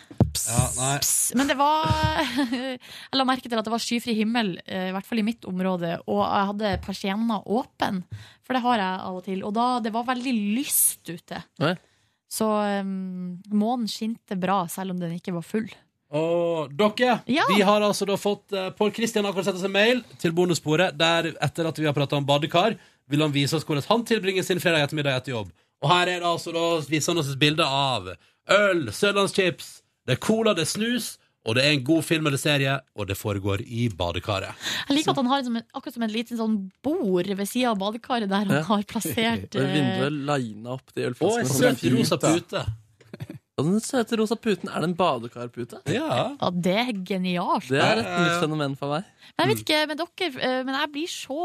Speaker 1: Ja, nei.
Speaker 2: Men det var Jeg la merke til at det var skyfri himmel, eh, i hvert fall i mitt område, og jeg hadde persienna åpen, for det har jeg av og til. Og da det var veldig lyst ute.
Speaker 3: Oi.
Speaker 2: Så um, månen skinte bra, selv om den ikke var full.
Speaker 1: Og dere,
Speaker 2: Ja.
Speaker 1: vi har altså da fått eh, Pål Kristian har akkurat sendt oss en mail til bonussporet, der etter at vi har prata om badekar, vil han vise oss hvordan han tilbringer sin fredag ettermiddag etter jobb. Og her er det altså da viser han oss et bilde av øl, sørlandschips, det er cola, det er snus, og det er en god film eller serie, og det foregår i badekaret.
Speaker 2: Jeg liker at han har liksom, en- akkurat som et lite sånn bord ved sida av badekaret, der han
Speaker 3: Ja.
Speaker 2: har plassert
Speaker 3: Og i
Speaker 2: eh,
Speaker 3: vinduet lina opp de ølflaskene.
Speaker 1: Å, en
Speaker 3: som
Speaker 1: søt
Speaker 3: er
Speaker 1: rosa
Speaker 3: fint,
Speaker 1: da.
Speaker 3: Ja, den søte rosa puten. Er det en badekarpute?
Speaker 1: Ja.
Speaker 2: Ja, det er genialt.
Speaker 3: Det er et nytt fenomen for meg.
Speaker 2: Men jeg vet ikke med dere, eh, men jeg blir så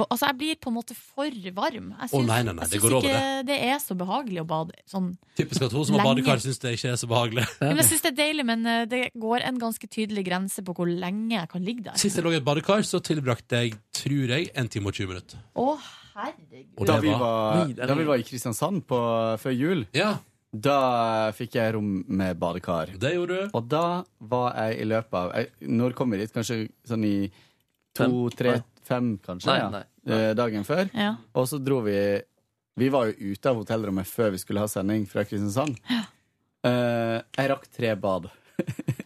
Speaker 2: va- Altså, jeg blir på en måte for varm. Jeg syns,
Speaker 1: nei, nei, nei, det
Speaker 2: jeg syns
Speaker 1: går over,
Speaker 2: ikke det. er så behagelig å bade sånn.
Speaker 1: Typisk at hun som har
Speaker 2: Lenge.
Speaker 1: badekar, syns det ikke er så behagelig.
Speaker 2: Ja, men jeg syns det er deilig, men eh, det går en ganske tydelig grense på hvor lenge jeg kan ligge der.
Speaker 1: Sist jeg lå i et badekar, så tilbrakte jeg, tror jeg, en time og 20 minutter.
Speaker 2: Å, herregud.
Speaker 1: Og
Speaker 14: da
Speaker 1: det
Speaker 14: vi
Speaker 1: var-
Speaker 14: var,
Speaker 1: Videre.
Speaker 14: da vi var i Kristiansand på, før jul, da fikk jeg rom med badekar.
Speaker 1: Det gjorde du.
Speaker 14: Og da var jeg i løpet av jeg, Når kom jeg dit? Kanskje sånn i to, tre, fem, kanskje?
Speaker 3: Nei,
Speaker 14: ja.
Speaker 3: nei,
Speaker 14: Eh, Dagen før.
Speaker 2: Ja.
Speaker 14: Og så dro vi Vi var jo ute av hotellrommet før vi skulle ha sending fra Kristiansand. Eh, jeg rakk tre bad.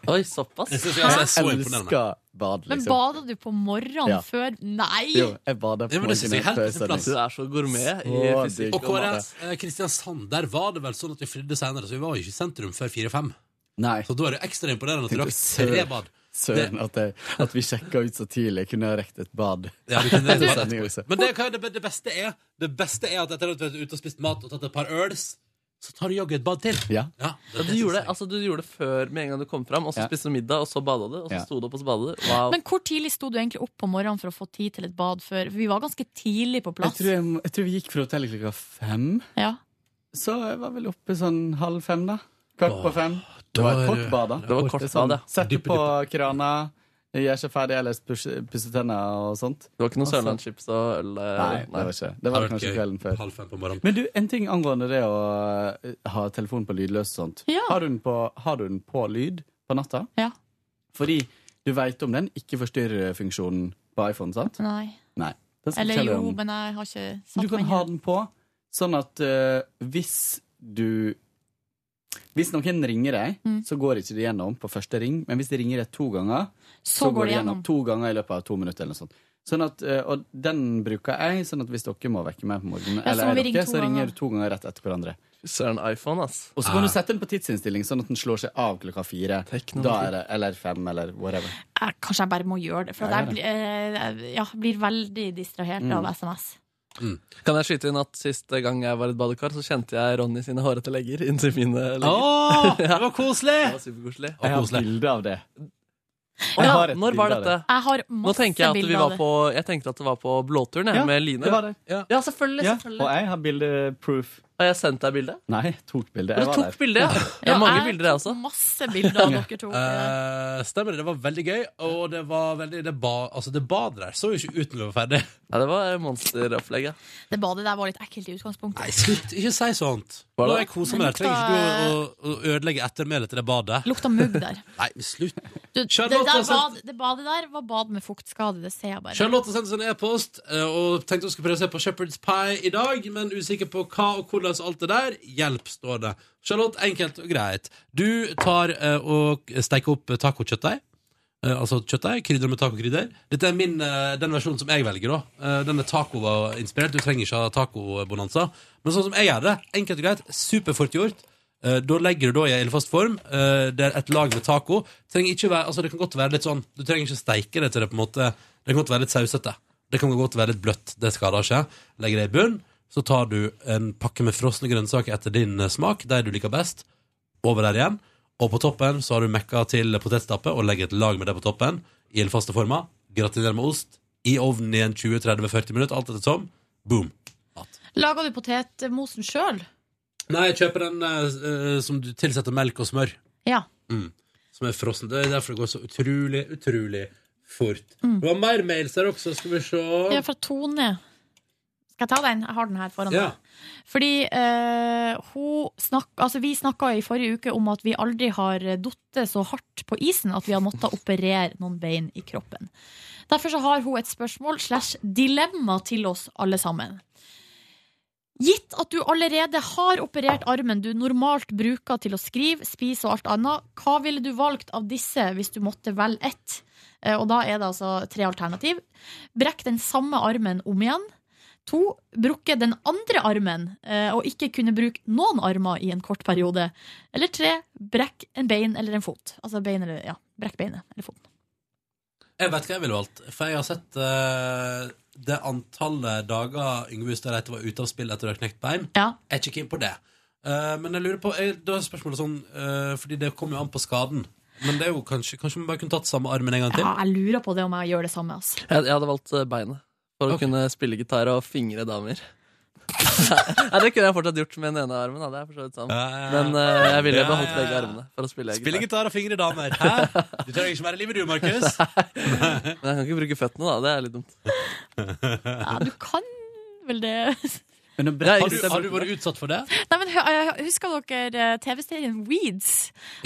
Speaker 3: Oi, såpass?
Speaker 1: Det synes jeg altså er så imponerende.
Speaker 14: elsker bad,
Speaker 2: Men
Speaker 14: liksom.
Speaker 2: bada du på morgenen
Speaker 14: Ja.
Speaker 2: før Nei!
Speaker 14: Jo, jeg bader på
Speaker 1: Ja, men det synes jeg er
Speaker 14: morgenen
Speaker 1: helt
Speaker 14: før
Speaker 1: på sin plass.
Speaker 14: sending. Så digg.
Speaker 1: Og Kåre, eh, Kristiansand, der var det vel sånn at vi flydde senere, så vi var jo ikke i sentrum før 4-5. Så da er det ekstra imponerende at du
Speaker 14: Tenkte,
Speaker 1: rakk tre
Speaker 14: søren-
Speaker 1: bad. Det-
Speaker 14: Søren, at, jeg- at vi sjekka ut så tidlig. Jeg kunne ha rekt et bad.
Speaker 1: Ja, du kunne rekt et bad
Speaker 14: Sending også.
Speaker 1: Men det, hva er det, det beste er Det beste er at etter at du har vært ute og spist mat og tatt et par øls, så tar du jaggu et bad til.
Speaker 14: Ja.
Speaker 3: Ja, du, gjorde det, altså, du gjorde det før med en gang du kom fram, og så
Speaker 14: Ja.
Speaker 3: spiste du middag, og så bada du, og så
Speaker 14: Ja.
Speaker 3: sto du opp og så bada du. Wow.
Speaker 2: Men hvor tidlig sto du egentlig opp på morgenen for å få tid til et bad før? For vi var ganske tidlig på
Speaker 14: Jeg
Speaker 2: plass.
Speaker 14: tror, jeg, må- jeg tror vi gikk fra hotellet klokka fem. Så jeg var vel oppe sånn halv fem, da. Kvart på fem. Det var et
Speaker 3: Da er
Speaker 14: kort
Speaker 3: du-
Speaker 14: bad, da.
Speaker 3: Det var et kort
Speaker 14: Borte sånn.
Speaker 3: bad, ja.
Speaker 14: Sette
Speaker 3: Dyppe,
Speaker 14: på krana, gjør seg ferdig, ellers pushe- pusse tenna og sånt.
Speaker 3: Det var ikke noe
Speaker 14: Altså-
Speaker 3: Sørlandschips og øl? eh,
Speaker 14: Nei, det var ikke. Det var
Speaker 1: Har vært
Speaker 14: kanskje
Speaker 1: gøy.
Speaker 14: kvelden før.
Speaker 1: Halv fem på morgenen.
Speaker 14: Men du, en ting angående det å eh, ha telefonen på lydløs og sånt. Har, du den på, har du den på lyd på natta?
Speaker 2: Ja.
Speaker 14: Fordi du veit om den ikke forstyrrer funksjonen på iPhone, sant?
Speaker 2: Nei.
Speaker 14: Nei. Den skal
Speaker 2: Eller
Speaker 14: fortelle
Speaker 2: jo,
Speaker 14: om-
Speaker 2: men jeg har ikke
Speaker 14: du
Speaker 2: satt
Speaker 14: kan
Speaker 2: meg
Speaker 14: ha den på, sånn at eh, hvis du Hvis noen ringer deg,
Speaker 2: Mm.
Speaker 14: så går ikke det gjennom på første ring, men hvis de ringer deg to ganger,
Speaker 2: Så går det gjennom.
Speaker 14: to ganger i løpet av to minutter. eller noe sånt. Sånn at, eh, og den bruker jeg, sånn at hvis dere må vekke meg på morgenen,
Speaker 2: Ja, så må
Speaker 14: eller
Speaker 2: vi
Speaker 14: jeg
Speaker 2: ringe
Speaker 14: dere,
Speaker 2: to
Speaker 14: så
Speaker 2: ganger.
Speaker 14: ringer du to ganger rett etter hverandre.
Speaker 3: Søren iPhone, ass.
Speaker 14: Og så kan du sette den på tidsinnstilling, sånn at den slår seg av klokka fire. Da er det, eller fem, eller whatever.
Speaker 2: Jeg, kanskje jeg bare må gjøre det, for
Speaker 14: Ja,
Speaker 2: at jeg blir, eh, ja, blir veldig distrahert
Speaker 3: Mm.
Speaker 2: av SMS.
Speaker 3: Kan jeg skyte inn at siste gang jeg var i et badekar, så kjente jeg Ronny sine hårete legger inntil mine legger.
Speaker 1: Åh, det var koselig!
Speaker 3: Det var superkoselig.
Speaker 14: Jeg har bilde av det.
Speaker 3: Å
Speaker 14: Jeg
Speaker 3: ja,
Speaker 14: har et
Speaker 3: når var
Speaker 14: bilde av
Speaker 3: dette?
Speaker 14: det.
Speaker 2: Jeg har
Speaker 3: Nå
Speaker 2: masse
Speaker 3: tenker jeg at vi
Speaker 2: bilder av
Speaker 3: var
Speaker 2: det.
Speaker 3: på Jeg tenkte at det var på Blåturen, jeg,
Speaker 14: Ja,
Speaker 3: med Line.
Speaker 14: det var det.
Speaker 3: Ja. selvfølgelig.
Speaker 14: Ja,
Speaker 3: selvfølgelig.
Speaker 14: og jeg har bildeproof.
Speaker 3: Har jeg sendt deg bilde?
Speaker 14: Nei, jeg tok
Speaker 3: Du
Speaker 14: bilde. Jeg var
Speaker 3: tok
Speaker 14: der.
Speaker 3: bilde, ja. Det er mange
Speaker 2: jeg
Speaker 3: bilder, jeg også.
Speaker 2: Masse bilder av dere to.
Speaker 1: Eh, stemmer det. Det var veldig gøy. Og det var veldig Det, ba, altså, det badet der så jo ikke ut når vi var ferdig.
Speaker 3: Ja, det var monsteropplegget.
Speaker 2: Det badet der var litt ekkelt i utgangspunktet.
Speaker 1: Nei, slutt. Ikke si sånt.
Speaker 3: Hva
Speaker 1: Nå
Speaker 3: da?
Speaker 1: har jeg kosa meg der. Trenger ikke du å, å, å ødelegge ettermælet til det badet.
Speaker 2: Lukta mugg der.
Speaker 1: Nei, men slutt.
Speaker 2: Du, det,
Speaker 1: Charlotte
Speaker 2: der
Speaker 1: har sendt-
Speaker 2: bad, det badet der var bad med fuktskade, det ser jeg bare.
Speaker 1: Charlotte sendte oss en e-post eh, og tenkte hun skulle prøve å se på Shepherd's Pie i dag, men usikker på hva og hvordan alt det der. Hjelp, står det. Charlotte, enkelt og greit. Du tar eh, og steker opp eh, tacokjøttdeig. Eh, altså kjøttdeig, krydder med tacokrydder. Dette er min, eh, den versjonen som jeg velger, da. Eh, den er taco-inspirert. Du trenger ikke ha tacobonanza. Men sånn som jeg gjør det, enkelt og greit, superfort gjort. Eh, Da legger du da i ildfast form eh, Det er et lag med taco Trenger ikke være, altså Det kan godt være litt sånn Du trenger ikke steike det til det på en måte Det kan godt være litt sausete Det kan godt være litt bløtt Det skader ikke Legger det i bunn Så tar du en pakke med frosne grønnsaker etter din eh, smak Der du liker best Over der igjen Og på toppen så har du mekka til potetstappe Og legger et lag med det på toppen I ildfaste former Gratiner med ost I ovnen i en 20-30-40 minutter Alt etter som Boom
Speaker 2: Laga du potetmosen sjøl?
Speaker 1: Nei, jeg kjøper den eh, eh, som du tilsetter melk og smør
Speaker 2: Ja.
Speaker 1: Mm. Som er frossen. Det er derfor det går så utrolig, utrolig fort. Det var mer mails her også, skal vi se.
Speaker 2: ja. Fra Tone. Skal jeg ta den? Jeg har den her foran
Speaker 1: Ja.
Speaker 2: meg. Fordi eh, hun snakk, altså vi snakka i forrige uke om at vi aldri har datt så hardt på isen at vi har måttet operere noen bein i kroppen. Derfor så har hun et spørsmål slash dilemma til oss alle sammen. Gitt at du allerede har operert armen du normalt bruker til å skrive, spise og alt annet, hva ville du valgt av disse hvis du måtte velge ett? Eh, Og da er det altså tre alternativ. Brekk den samme armen om igjen. To, bruke den andre armen eh, og ikke kunne bruke noen armer i en kort periode. Eller tre, brekk en bein eller en fot. Altså bein eller, ja, brekk beinet eller foten.
Speaker 1: Jeg vet hva jeg ville valgt, for jeg har sett eh, det antallet dager Yngve Hustad Reite var ute av spill etter å ha knekt bein. Jeg er ikke keen på det. Eh, men jeg lurer på jeg, Da er spørsmålet sånn eh, Fordi det kommer jo an på skaden. Men det er jo kanskje Kanskje man bare kunne tatt samme armen en gang til?
Speaker 2: Ja, jeg lurer på det om jeg gjør det samme. Altså.
Speaker 3: Jeg, jeg hadde valgt eh, beinet for å kunne spille gitar og fingre damer. Nei, det kunne jeg fortsatt gjort med den ene armen. Da. Det er for så vidt sant.
Speaker 1: Ja, ja, ja.
Speaker 3: Men eh, jeg ville
Speaker 1: Ja,
Speaker 3: beholdt
Speaker 1: ja,
Speaker 3: begge
Speaker 1: ja.
Speaker 3: armene for å spille
Speaker 1: Spille gitar og fingre damer. Hæ? Du trenger ikke være i livet, du, Markus.
Speaker 3: Men jeg kan ikke bruke føttene, da. Det er litt dumt.
Speaker 2: Ja, du kan vel det.
Speaker 1: Har du, har du vært utsatt for det?
Speaker 2: Nei, men hø- eh, Husker dere eh, TV-serien Weeds?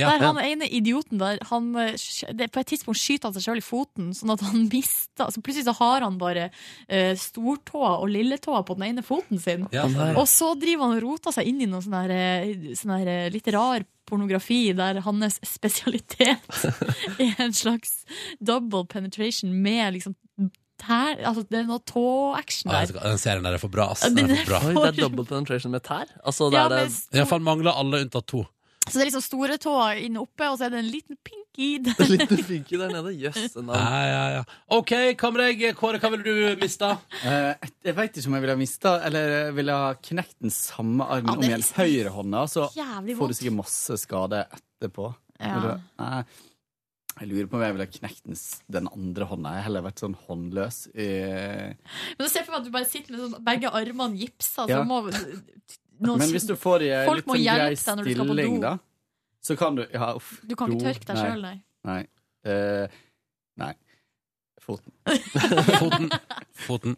Speaker 1: Ja.
Speaker 2: der han
Speaker 1: Ja.
Speaker 2: ene idioten der han, eh, sk- det, På et tidspunkt skyter han seg sjøl i foten, sånn at han mister så Plutselig så har han bare eh, stortåa og lilletåa på den ene foten sin.
Speaker 15: Ja, stemmer.
Speaker 2: og så driver han og roter seg inn i noe sånn her, eh, sånn her eh, litt rar pornografi der hans spesialitet er en slags double penetration med liksom tær Altså, det er noe tå-action
Speaker 1: Ah,
Speaker 2: der.
Speaker 1: vet du hva, den serien der er for bra. Ass.
Speaker 2: Ja,
Speaker 1: Den
Speaker 2: den
Speaker 1: er for
Speaker 2: er
Speaker 1: bra.
Speaker 2: for- Oi, det er
Speaker 3: double penetration med tær? Altså,
Speaker 2: det Ja, er det- men-
Speaker 1: Ja, for han mangler alle unntatt to.
Speaker 2: Så det er liksom store tåa inne oppe, og så er det en liten pinky der.
Speaker 3: En liten finke der nede. Jøsse navn.
Speaker 1: Ja, ja, ja. OK, hva med deg, Kåre? Hva ville du mista?
Speaker 14: Eh, et- jeg veit ikke om jeg ville ha mista eller jeg ville ha knekt den samme armen
Speaker 2: Ja,
Speaker 14: om
Speaker 2: det er
Speaker 14: igjen. Høyrehånda, så
Speaker 2: jævlig
Speaker 14: får
Speaker 2: vondt.
Speaker 14: du sikkert masse skade etterpå.
Speaker 2: Ja.
Speaker 14: Vil du- Nei. Jeg lurer på om jeg ville ha knekt den, s- den andre hånda. Jeg har heller vært sånn håndløs. I,
Speaker 2: Men se for meg at du bare sitter med sånn, begge armene gipsa, så
Speaker 14: Ja.
Speaker 2: må nå-
Speaker 14: Men hvis du får i en
Speaker 2: Folk
Speaker 14: litt
Speaker 2: må
Speaker 14: sånn
Speaker 2: hjelpe
Speaker 14: grei
Speaker 2: deg når du skal på
Speaker 14: stilling,
Speaker 2: do.
Speaker 14: da, så kan du Ja, uff.
Speaker 2: Du kan ikke
Speaker 14: do,
Speaker 2: tørke deg
Speaker 14: nei,
Speaker 2: selv, nei.
Speaker 14: Nei. Eh, nei. Foten.
Speaker 1: Foten. Foten.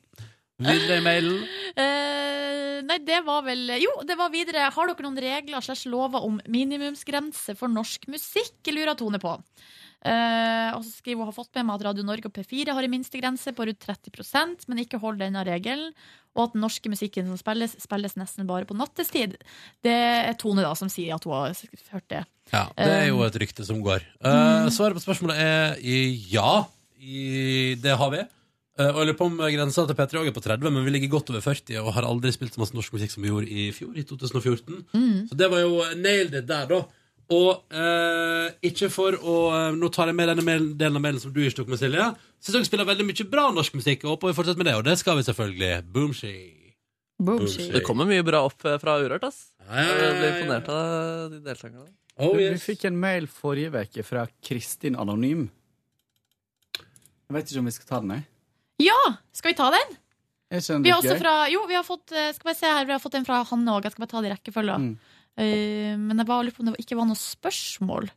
Speaker 1: Videre i mailen.
Speaker 2: Eh, nei, det var vel Jo, det var videre. Har dere noen regler slags lover om minimumsgrense for norsk musikk? lurer Tone på. Eh, og så skriver hun har fått med meg at Radio Norge og P4 har en minstegrense på rundt 30 men ikke hold denne regelen. Og at den norske musikken som spilles, spilles nesten bare på nattestid. Det er Tone da som sier at hun har s- hørt det.
Speaker 1: Ja, det er jo et rykte som går. Eh, svaret på spørsmålet er i- ja. I, det har vi. Eh, og jeg lurer på om grensa til P3 også er på 30, men vi ligger godt over 40 og har aldri spilt så masse norsk musikk som vi gjorde i fjor, i 2014. Så det var jo nailed it der, da. Og eh, ikke for å eh, Nå tar jeg med denne mailen, delen av mailen som du ikke tok med, Silje. Syns dere spiller veldig mye bra norsk musikk, og håper vi fortsetter med det. Og det skal vi selvfølgelig. Boomshy. Boomshy.
Speaker 3: Det kommer mye bra opp eh, fra Urørt, ass.
Speaker 1: Ja, ja, ja, ja.
Speaker 3: Jeg ble imponert av de deltakerne.
Speaker 1: Oh,
Speaker 14: Vi-
Speaker 1: yes.
Speaker 14: Vi fikk en mail forrige uke fra Kristin Anonym. Jeg vet ikke om vi skal ta den, jeg.
Speaker 2: Ja! Skal vi ta den?
Speaker 14: Er ikke den
Speaker 2: Vi har
Speaker 14: litt
Speaker 2: også
Speaker 14: gøy?
Speaker 2: fra Jo, vi har fått eh, Skal bare se her, vi har fått en fra Hanne òg. Jeg skal bare ta det i rekkefølge. Eh, men jeg bare lurer på om det ikke var noe spørsmål.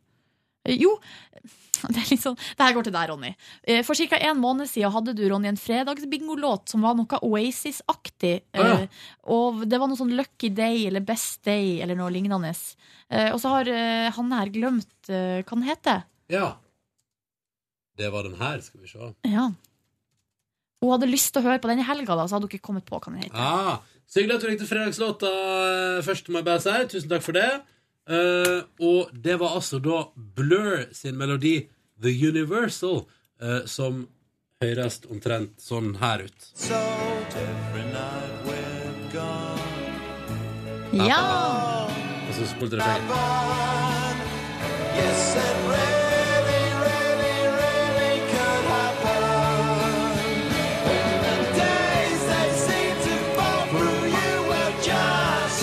Speaker 2: Eh, jo, det er litt sånn Det her går til deg, Ronny. Eh, for ca. en måned siden hadde du, Ronny, en fredagsbingolåt som var noe Oasis-aktig. Eh,
Speaker 15: Ah, ja.
Speaker 2: Og det var noe sånn Lucky Day eller Best Day eller noe lignende. Eh, og så har eh, Hanne her glemt eh, hva den heter.
Speaker 1: Ja. Det var den her, skal vi se.
Speaker 2: Ja. Hun hadde lyst til å høre på den i helga, da, så hadde hun ikke kommet på hva den het.
Speaker 1: Ah, så hyggelig at du likte fredagslåta eh, først, må jeg bare si. Tusen takk for det. Eh, og det var altså da Blur sin melodi The Universal eh, som høres omtrent sånn her ut.
Speaker 10: So every night we're gone.
Speaker 2: Ja!
Speaker 1: Og så spolte det feil.
Speaker 10: Yes, it really, really, really could happen. When the days they seem to fall through, you will just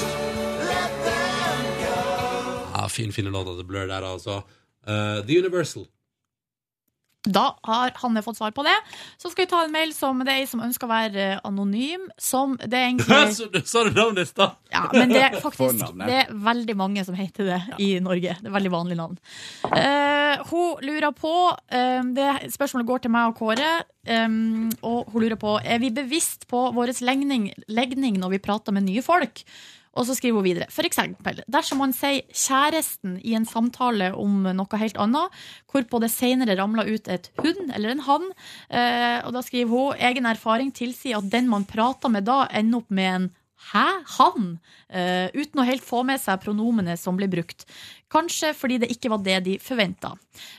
Speaker 10: let them go.
Speaker 1: Ja, "Ah, fin, fin låt av The Blur der, altså. Eh, The Universal.
Speaker 2: Da har Hanne fått svar på det. Så skal vi ta en mail som det er ei som ønsker å være eh, anonym. Som det er egentlig
Speaker 1: så du sa du navnet i stad?
Speaker 2: ja, Men det er faktisk det er veldig mange som heter det i Norge. Det er veldig vanlig navn. Eh, hun lurer på eh, det Spørsmålet går til meg og Kåre. eh, og hun lurer på Er vi bevisst på vår legning, legning når vi prater med nye folk. Og så skriver hun videre. For eksempel, dersom man sier 'kjæresten' i en samtale om noe helt annet, hvorpå det senere ramler ut et hund eller en hann, eh, og da skriver hun 'egen erfaring tilsier at den man prater med da, ender opp med en' Hæ? Han? Eh, uten å helt få med seg pronomene som ble brukt. Kanskje fordi det ikke var det de forventa.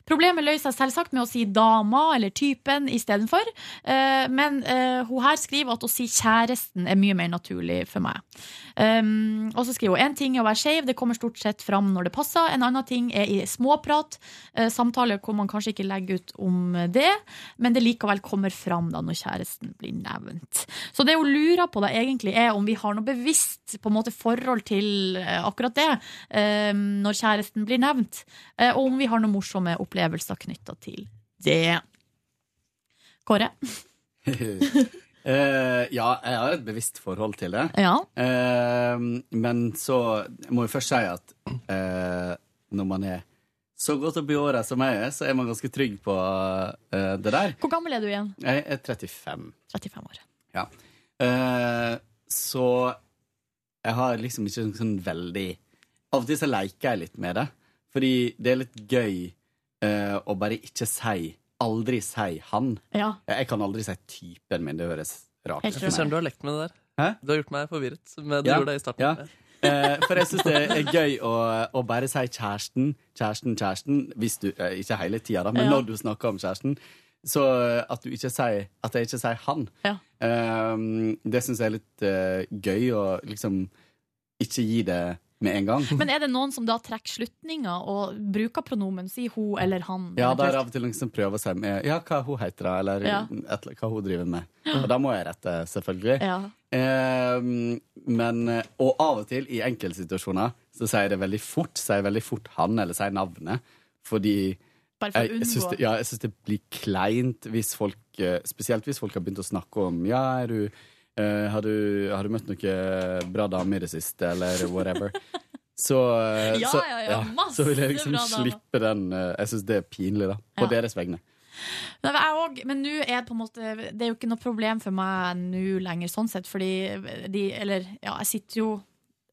Speaker 2: Problemet løser seg selvsagt med å si dama eller typen istedenfor, uh, men eh, hun her skriver at å si kjæresten er mye mer naturlig for meg. Um, og så skriver hun en ting er å være skeiv, det kommer stort sett fram når det passer. En annen ting er i småprat, eh, samtaler hvor man kanskje ikke legger ut om det, men det likevel kommer fram da når kjæresten blir nevnt. Så det hun lurer på da egentlig er om vi har noe bevisst på en måte forhold til eh, akkurat det eh, når kjæresten blir nevnt, eh, og om vi har noen morsomme opplevelser knytta til det. Kåre?
Speaker 14: Eh, ja, jeg har et bevisst forhold til det.
Speaker 2: Ja.
Speaker 14: Eh, men så må jeg først si at eh, når man er så godt oppi åra som jeg er, så er man ganske trygg på eh, det der.
Speaker 2: Hvor gammel er du igjen?
Speaker 14: Jeg er 35.
Speaker 2: 35 år.
Speaker 14: Ja. Eh, så jeg har liksom ikke sånn- sånn veldig Av og til så leker jeg litt med det. Fordi det er litt gøy eh, å bare ikke si Aldri si han.
Speaker 2: Ja.
Speaker 14: Jeg, jeg kan aldri si typen min. Det høres rart
Speaker 3: Jeg
Speaker 14: ut. for
Speaker 3: synes
Speaker 14: meg.
Speaker 3: du har lekt med det der.
Speaker 14: Hæ?
Speaker 3: Du har gjort meg forvirret. Men du
Speaker 14: Ja,
Speaker 3: gjorde det i starten.
Speaker 14: ja. Eh, for jeg syns det er gøy å, å bare si kjæresten, kjæresten, kjæresten. Hvis du, eh, ikke hele tida, da, men
Speaker 3: Ja.
Speaker 14: når du snakker om kjæresten. Så eh, at, du ikke sier, at jeg ikke sier han. Ehm, Eh, det syns jeg er litt eh, gøy å liksom ikke gi det med en gang.
Speaker 2: Men er det noen som da trekker slutninger og bruker pronomen, si hun eller han?
Speaker 14: Ja, det
Speaker 2: eventuelt?
Speaker 14: er av og til noen som prøver å si med, ja, hva hun heter da, eller
Speaker 2: Ja.
Speaker 14: et, eller hva hun driver med. Og da må jeg rette, selvfølgelig.
Speaker 2: Ja.
Speaker 14: Ehm, men, eh, og av og til, i enkeltsituasjoner, så sier jeg det veldig fort. Sier jeg veldig fort han, eller sier navnet. Fordi
Speaker 2: Bare for å
Speaker 14: jeg, jeg, syns
Speaker 2: unngå.
Speaker 14: det, ja, jeg syns det blir kleint hvis folk eh, Spesielt hvis folk har begynt å snakke om Ja, er du, eh, har, du, har du møtt noen bra damer i det siste, eller whatever. Så, eh,
Speaker 2: Ja,
Speaker 14: så,
Speaker 2: ja, ja, masse
Speaker 14: så vil jeg liksom
Speaker 2: bra damer.
Speaker 14: slippe den eh, Jeg syns det er pinlig, da. På
Speaker 2: Ja.
Speaker 14: deres vegne.
Speaker 2: Nei, men jeg òg, men nå er det på en måte Det er jo ikke noe problem for meg nå lenger, sånn sett, fordi de Eller, ja, jeg sitter jo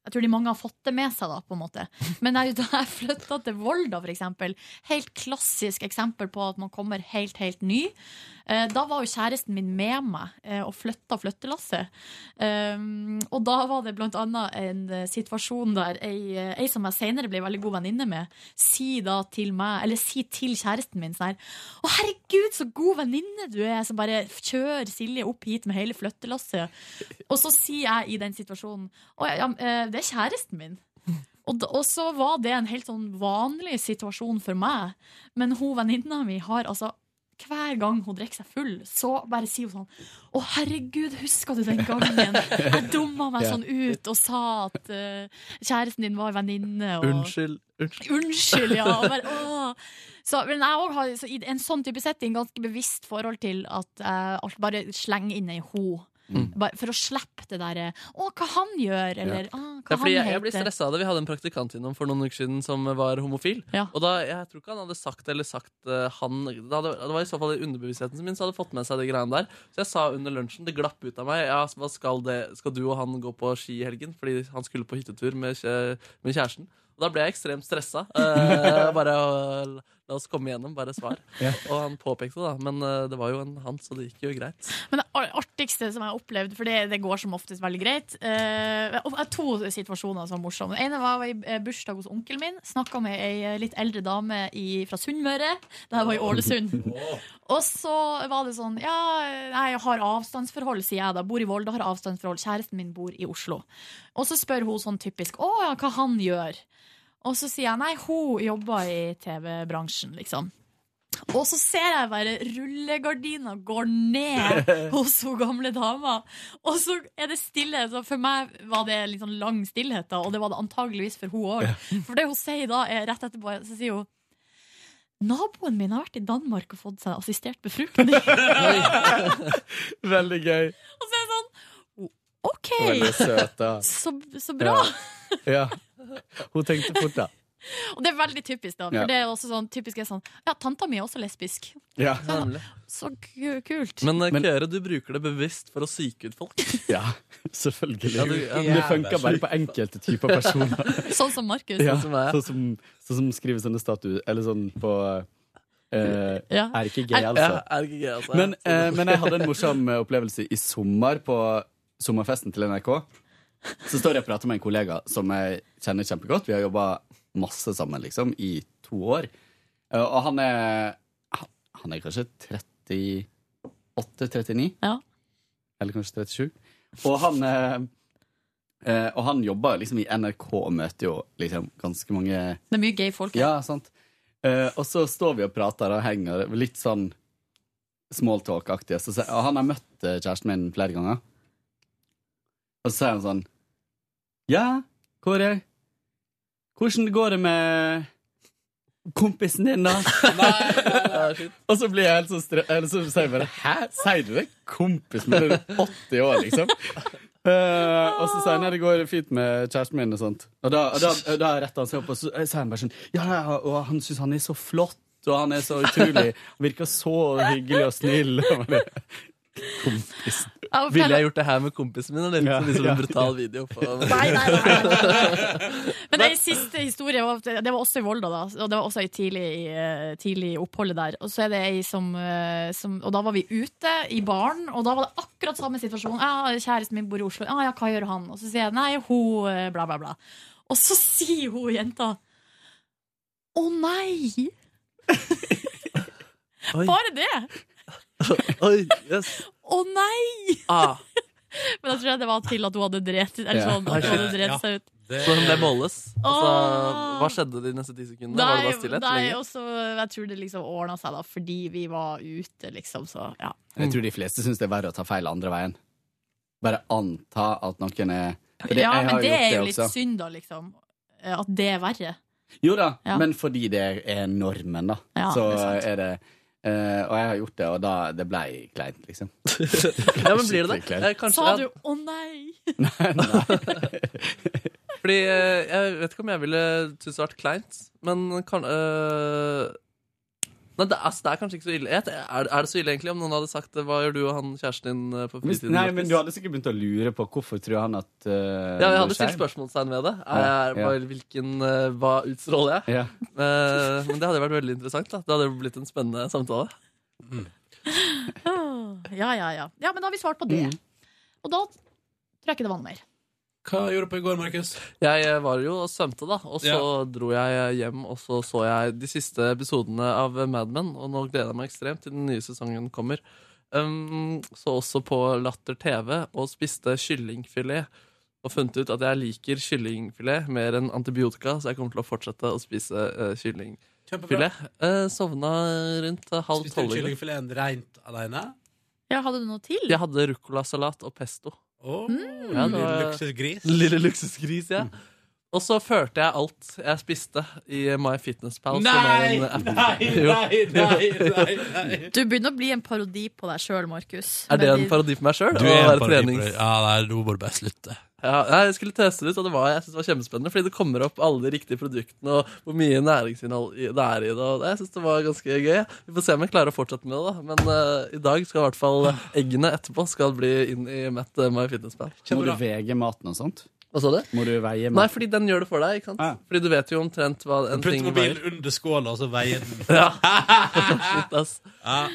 Speaker 2: jeg tror de mange har fått det med seg, da, på en måte. Men jeg, da jeg flytta til Volda, for eksempel, helt klassisk eksempel på at man kommer helt, helt ny, eh, da var jo kjæresten min med meg eh, og flytta flyttelasset. Um, og da var det blant annet en eh, situasjon der ei, eh, ei som jeg senere ble veldig god venninne med, si da til meg, eller si til kjæresten min sånn her Å, herregud, så god venninne du er, som bare kjører Silje opp hit med hele flyttelasset. Og så sier jeg i den situasjonen Å ja, ja, eh, det er kjæresten min. Og, da- og så var det en helt sånn vanlig situasjon for meg. Men hun venninna mi har altså hver gang hun drikker seg full, så bare sier hun sånn Å, herregud, husker du den gangen jeg dumma meg
Speaker 10: Ja.
Speaker 2: sånn ut og sa at eh, kjæresten din var venninne? Og...
Speaker 10: Unnskyld.
Speaker 2: Unnskyld, ja. Og Bare, åh. så, men jeg òg har så, i en sånn type setting ganske bevisst forhold til at jeg alt- bare slenger inn ei ho.
Speaker 3: Mm.
Speaker 2: Bare for å slippe det derre 'Å, hva han gjør', eller «Å,
Speaker 3: Det
Speaker 2: hva
Speaker 3: er fordi jeg,
Speaker 2: han
Speaker 3: jeg blir
Speaker 2: heter.
Speaker 3: stressa av det. Vi hadde en praktikant innom for noen uker siden som eh, var homofil. Og da, jeg tror ikke han hadde sagt eller sagt eh, han det, hadde, det var i så fall i underbevisstheten min som hadde fått med seg de greiene der. Så jeg sa under lunsjen, det glapp ut av meg, ja, hva skal, det, skal du og han gå på ski i helgen? Fordi han skulle på hyttetur med, kjæ- med kjæresten. Og da ble jeg ekstremt stressa. Eh, bare eh, la oss komme igjennom, bare svar. Og han påpekte det, da. Men eh, det var jo en han, så det gikk jo greit.
Speaker 2: Men det ar- artigste som jeg har opplevd, for det, det går som oftest veldig greit eh, og- og To situasjoner som var morsomme. Den ene var i eh, bursdag hos onkelen min. Snakka med ei eh, litt eldre dame i, fra Sunnmøre. Det her var i Ålesund. Og så var det sånn Ja, nei, jeg har avstandsforhold, sier jeg da. Bor i Volda, har avstandsforhold. Kjæresten min bor i Oslo. Og så spør hun sånn typisk Å ja, hva han gjør? Og så sier jeg nei, hun jobber i TV-bransjen, liksom. Og så ser jeg bare rullegardina går ned hos hun gamle dama. Og så er det stille. Så for meg var det litt sånn lang stillhet, da, og det var det antageligvis for hun òg. For det hun sier da, er rett etterpå Så sier hun Naboen min har vært i Danmark og fått seg assistert befruktning.
Speaker 14: Veldig gøy.
Speaker 2: Og så er jeg sånn OK!
Speaker 14: Veldig søt, da.
Speaker 2: Så, så bra!
Speaker 14: Ja. ja. Hun tenkte fort, da.
Speaker 2: Og det er veldig typisk, da. For
Speaker 14: Ja.
Speaker 2: det er også sånn typisk er sånn Ja, tanta mi er også lesbisk.
Speaker 14: Ja.
Speaker 2: Så ku- kult.
Speaker 3: Men, eh, Køre, du bruker det bevisst for å psyke ut folk.
Speaker 14: Ja, selvfølgelig.
Speaker 3: Ja, du- ja.
Speaker 14: Men Det funker bare på enkelte typer personer.
Speaker 2: Sånn som Markus.
Speaker 14: Ja, sånn, som, sånn som skriver sånne statuer Eller sånn på eh,
Speaker 2: Ja.
Speaker 14: Er ikke gay,
Speaker 2: Er-
Speaker 14: altså.
Speaker 3: Ja, er ikke gay, altså.
Speaker 14: Men, eh, men jeg hadde en morsom eh, opplevelse i sommer på sommerfesten til NRK. Så står jeg og prater med en kollega som jeg kjenner kjempegodt. Vi har jobba masse sammen liksom, i to år. Eh, Og han er han- Han er kanskje 38-39? Eller kanskje 37? Og han eh, eh, Og han jobber liksom i NRK og møter jo liksom ganske mange
Speaker 2: Det er mye gay folk.
Speaker 14: ja, sant. Eh, og så står vi og prater og henger litt sånn smalltalk-aktig. Så sier- og han har møtt eh, kjæresten min flere ganger. Og så sier han sånn Ja, Kåre, hvordan går det med kompisen din, da? og så blir jeg helt sånn strø... Eller så sier jeg bare Hæ, sier du det? Kompis min er 80 år, liksom? Eh, og så sier han at det går fint med kjæresten min og sånt. Og da, og da, og da retter han seg opp og så sier han bare sånn Ja, ja, og han syns han er så flott, og han er så utrolig Han virker så hyggelig og snill. Og bare, Kompis.
Speaker 2: Ja, for-
Speaker 3: Ville jeg gjort det her med kompisen min? Eller
Speaker 14: Ja,
Speaker 3: liksom en
Speaker 14: ja.
Speaker 3: brutal video på
Speaker 2: Nei, nei, nei. Men den siste historien var, Det var også i Volda, da. Og det var også i tidlig, i, tidlig i oppholdet der. Og så er det ei som, eh, som Og da var vi ute i baren, og da var det akkurat samme situasjon. Ja, 'Kjæresten min bor i Oslo.' Ja, ja, hva gjør han? Og så sier jeg 'nei, hun eh, bla, bla, bla'. Og så sier hun jenta 'å nei'. Bare det!
Speaker 3: Oi, yes.
Speaker 2: Å nei!
Speaker 3: Ah.
Speaker 2: Men da tror jeg det var til at hun hadde drept, eller
Speaker 3: Ja.
Speaker 2: sånn, at hun hadde
Speaker 3: Ja.
Speaker 2: drept seg ut.
Speaker 3: Så hun ble målløs. Altså, hva skjedde de neste ti sekundene? var det
Speaker 2: Nei,
Speaker 3: bare stillhet?
Speaker 2: nei
Speaker 3: lenge?
Speaker 2: og så- jeg tror det liksom ordna seg, da, fordi vi var ute, liksom, så ja.
Speaker 14: Jeg tror de fleste syns det er verre å ta feil andre veien. Bare anta at noen er for det-
Speaker 2: Ja,
Speaker 14: jeg har
Speaker 2: men det
Speaker 14: gjort
Speaker 2: er jo litt
Speaker 14: også.
Speaker 2: synd, da, liksom. eh, At det er verre.
Speaker 14: Jo da,
Speaker 2: Ja.
Speaker 14: men fordi det er normen, da.
Speaker 2: Ja,
Speaker 14: så
Speaker 2: det er sant.
Speaker 14: er, det eh, Og jeg har gjort det, og da Det blei kleint, liksom.
Speaker 3: Ja, men blir det
Speaker 14: Skikkelig
Speaker 3: det?
Speaker 14: kleint.
Speaker 3: Eh, kanskje-
Speaker 2: Sa
Speaker 3: ja.
Speaker 2: du 'å nei'?
Speaker 3: Fordi eh, jeg vet ikke om jeg ville synes det hadde vært kleint, men kan eh, Nei, det er, altså, det er kanskje ikke så ille. Jeg vet- Er, er det så ille egentlig om noen hadde sagt eh, 'hva gjør du og han kjæresten din eh, på
Speaker 14: Hvis-
Speaker 3: fritiden'?
Speaker 14: Nei,
Speaker 3: Markus?»
Speaker 14: men du hadde sikkert begynt å lure på hvorfor tror han at uh,
Speaker 3: Ja, jeg hadde stilt spørsmålstegn ved det. Er jeg,
Speaker 14: Ja, ja.
Speaker 3: bare, hvilken, eh, hva utstråler jeg?
Speaker 14: Ja.
Speaker 3: Eh, men det hadde vært veldig interessant. da Det hadde blitt en spennende samtale.
Speaker 2: Åh, Ja, ja, ja. Ja, men da har vi svart på
Speaker 14: Mm.
Speaker 2: det. Og da tror jeg ikke det var noe mer.
Speaker 1: Hva gjorde du på i går, Markus?
Speaker 3: Jeg eh, var jo og svømte, da. Og så
Speaker 1: Ja.
Speaker 3: dro jeg eh, hjem, og så så jeg de siste episodene av eh, Mad Men. Og nå gleder jeg meg ekstremt til den nye sesongen kommer. Um, så også på Latter TV, og spiste kyllingfilet. Og funnet ut at jeg liker kyllingfilet mer enn antibiotika, så jeg kommer til å fortsette å spise eh,
Speaker 1: Kjempebra.
Speaker 3: kyllingfilet. Eh, sovna rundt eh, halv
Speaker 1: Spiste du
Speaker 3: tolv. i går.
Speaker 1: kyllingfileten rent alene?
Speaker 2: Ja, hadde du noe til?
Speaker 3: Jeg hadde ruccolasalat og pesto.
Speaker 1: Oh,
Speaker 3: Mm. Ja, det
Speaker 1: Lille
Speaker 3: var-
Speaker 1: luksusgris.
Speaker 3: Lille luksusgris, ja. Mm. Og så førte jeg alt jeg spiste i My Fitness Pal. som er
Speaker 1: Nei,
Speaker 3: en app.
Speaker 1: nei,
Speaker 3: Jo.
Speaker 1: nei, nei, nei.
Speaker 2: Du begynner å bli en parodi på deg sjøl, Markus.
Speaker 3: Er det
Speaker 2: Med
Speaker 3: en
Speaker 2: de-
Speaker 3: parodi for meg sjøl?
Speaker 1: Du er en parodi for- Ja, nei, nå må du bare slutte.
Speaker 3: Ja, nei, jeg skulle teste det ut, og det var, jeg synes det var kjempespennende. Fordi det kommer opp alle de riktige produktene, og hvor mye næringsinnhold i- det er i det. Og det- jeg synes det var ganske gøy. Vi får se om jeg klarer å fortsette med det. da Men eh, i dag skal i hvert fall eggene etterpå skal bli inn i mitt eh, My Fitness Pal.
Speaker 14: Må du vege maten og sånt?
Speaker 3: Hva sa du?
Speaker 14: Må du veie
Speaker 3: Nei,
Speaker 14: maten?
Speaker 3: fordi den gjør det for deg. ikke sant? Fordi du vet jo omtrent hva en
Speaker 1: Putt
Speaker 3: ting veier.
Speaker 1: mobilen under skåla, og så veier den.
Speaker 3: Ja. Shit, ass.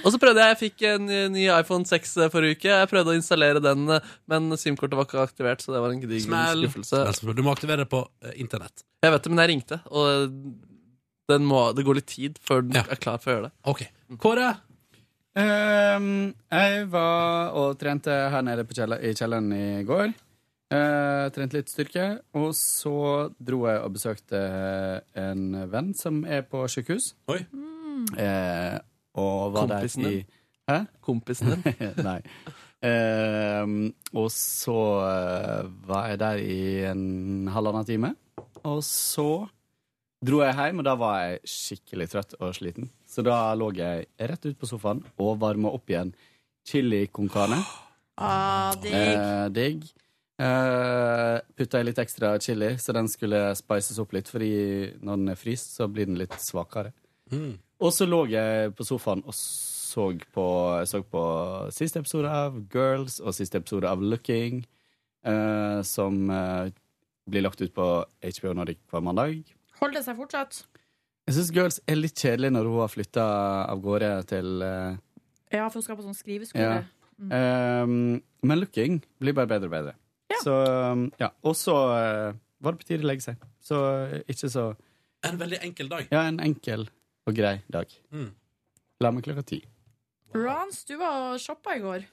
Speaker 3: Og så prøvde jeg, jeg fikk en ny- ny iPhone 6 forrige uke. Jeg prøvde å installere den, eh, men SIM-kortet var ikke aktivert. Så det var en gedigen
Speaker 1: Smell.
Speaker 3: skuffelse.
Speaker 1: Smell, smell. Du må aktivere det på eh, internett.
Speaker 3: Jeg vet det, men jeg ringte, og den må, det går litt tid før den er klar for å gjøre det.
Speaker 1: Kåre?
Speaker 14: Ehm, jeg var og trente her nede på kjeller, i kjelleren i går. Eh, trente litt styrke. Og så dro jeg og besøkte eh, en venn som er på sykehus.
Speaker 1: Oi.
Speaker 14: Eh, og var
Speaker 3: Kompisen
Speaker 14: der i
Speaker 3: din? Kompisen
Speaker 14: din? Nei. Ehm, og så eh, var jeg der i en halvannen time. Og så dro jeg hjem, og da var jeg skikkelig trøtt og sliten. Så da lå jeg rett ut på sofaen og varma opp igjen chili con carne.
Speaker 2: Ah, digg.
Speaker 14: Eh, digg. Eh, Putta i litt ekstra chili, så den skulle spices opp litt, fordi når den er fryst, så blir den litt svakere.
Speaker 1: Mm.
Speaker 14: Og så lå jeg på sofaen og så på, så på siste episode av Girls og siste episode av Looking, eh, som eh, blir lagt ut på HBO Nordic hver mandag.
Speaker 2: Holder det seg fortsatt?
Speaker 14: Jeg syns Girls er litt kjedelig når hun har flytta av gårde til eh,
Speaker 2: Ja, for hun skal på sånn skriveskole.
Speaker 14: ja.
Speaker 2: Mm.
Speaker 14: Ehm, men looking blir bare bedre og bedre. Så, um, ja. Og så eh, var det på tide å legge seg. Så eh, ikke så
Speaker 1: En veldig enkel dag.
Speaker 14: Ja, en enkel og grei dag.
Speaker 1: Mm.
Speaker 14: La meg klokka ti.
Speaker 2: Rans, du var og shoppa i går.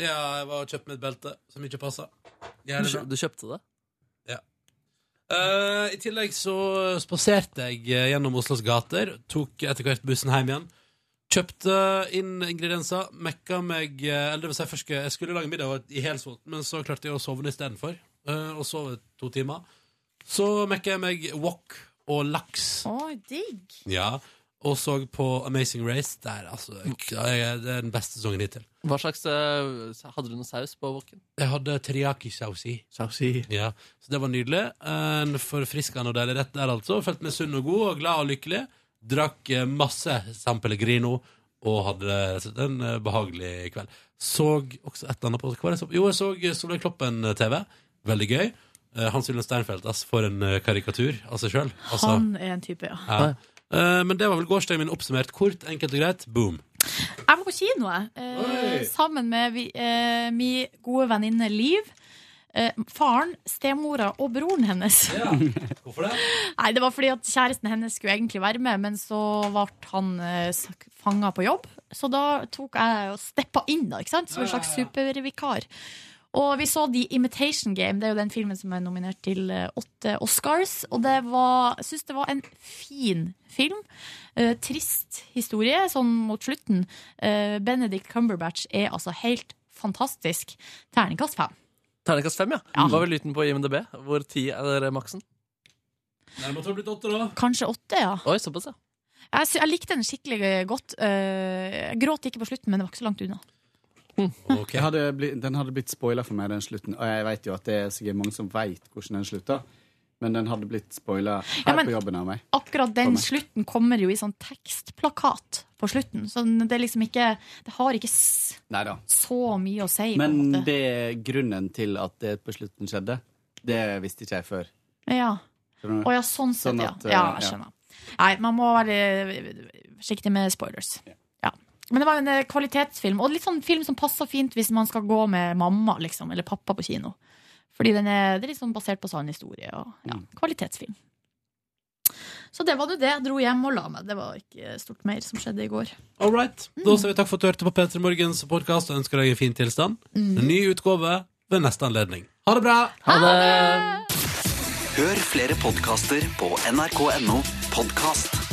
Speaker 1: Ja, jeg var og kjøpte meg et belte som ikke passa.
Speaker 3: Du kjø- du kjøpte det?
Speaker 1: Eh, I tillegg så spaserte jeg eh, gjennom Oslos gater, tok etter hvert bussen hjem igjen. Kjøpte inn ingredienser, mekka meg eh, Eller det vil si, først skulle- jeg skulle lage middag og var i helsulten, men så klarte jeg å sovne istedenfor. Uh, og sove to timer. Så mekka jeg meg wok og laks.
Speaker 2: Å, digg.
Speaker 1: Ja, Og så på Amazing Race. Der, altså, jeg- det er den beste sesongen hittil.
Speaker 3: Hva slags eh, Hadde du noe saus på woken?
Speaker 1: Jeg hadde teriyaki-saus i. Ja, så det var nydelig. En forfriskende og deilig rett der, altså. Følte meg sunn og god og glad og lykkelig. Drakk eh, masse San Pellegrino og hadde rett og slett en eh, behagelig kveld. Såg også et eller annet på hva var det jeg så- Jo, jeg så eh, Solveig Kloppen-TV. Veldig gøy. Eh, Hans Wilhelm Steinfeld, ass, for en eh, karikatur av seg sjøl. Altså,
Speaker 2: Han er en type, ja.
Speaker 1: ja. Eh, Men det var vel gårsdagen min oppsummert kort, enkelt og greit. Boom.
Speaker 2: Jeg var på kino, jeg. Eh,
Speaker 1: Oi.
Speaker 2: sammen med vi, eh, min gode venninne Liv. Eh, faren, stemora og broren hennes.
Speaker 1: Hvorfor det?
Speaker 2: Nei, Det var fordi at kjæresten hennes skulle egentlig være med, men så ble han eh, fanga på jobb. Så da tok jeg og steppa inn, da, ikke sant? som en slags supervikar. Og vi så The Imitation Game, det er jo den filmen som er nominert til eh, åtte Oscars. Og det var, jeg syns det var en fin film. Eh, trist historie, sånn mot slutten. Eh, Benedict Cumberbatch er altså helt fantastisk. Terningkast fem.
Speaker 3: Terningkast fem, ja. Hva vil lyden på IMDb? Hvor ti er maksen?
Speaker 1: Nei, måtte ha blitt åtte, da.
Speaker 2: Kanskje åtte, ja.
Speaker 3: Oi, såpass, ja.
Speaker 2: Jeg, sy- jeg likte den skikkelig godt. Eh, jeg gråt ikke på slutten, men det var ikke så langt unna.
Speaker 14: Jeg Hadde blitt, den hadde blitt spoila for meg, den slutten. Og jeg vet jo at det er sikkert mange som vet hvordan den slutter, men den hadde blitt spoila her
Speaker 2: Ja, men-
Speaker 14: på jobben av meg.
Speaker 2: Akkurat den slutten kommer jo i sånn tekstplakat på slutten. Så det er liksom ikke Det har ikke s-
Speaker 14: Neida.
Speaker 2: så mye å si. på en
Speaker 14: Men
Speaker 2: måte.
Speaker 14: det er grunnen til at det på slutten skjedde, det visste ikke jeg før.
Speaker 2: Ja.
Speaker 14: Skjønner du?
Speaker 2: Å ja, sånn sett,
Speaker 14: Sånn
Speaker 2: ja.
Speaker 14: at, eh,
Speaker 2: Ja, jeg
Speaker 14: ja.
Speaker 2: skjønner. Nei, man må være forsiktig med spoilers. Ja. Men det var en eh, kvalitetsfilm, og litt sånn film som passer fint hvis man skal gå med mamma liksom, eller pappa på kino. Fordi den er, det er litt sånn basert på sann historie. Og,
Speaker 14: Mm.
Speaker 2: ja, kvalitetsfilm. Så det var nå det. Jeg dro hjem og la meg. Det var ikke stort mer som skjedde i går.
Speaker 1: All right. Da sier vi takk for at du hørte på P3 Morgens podkast og ønsker deg en fin tilstand. En ny utgave ved neste anledning. Ha det bra!
Speaker 3: Ha det!
Speaker 4: Hør flere podkaster på nrk.no podkast.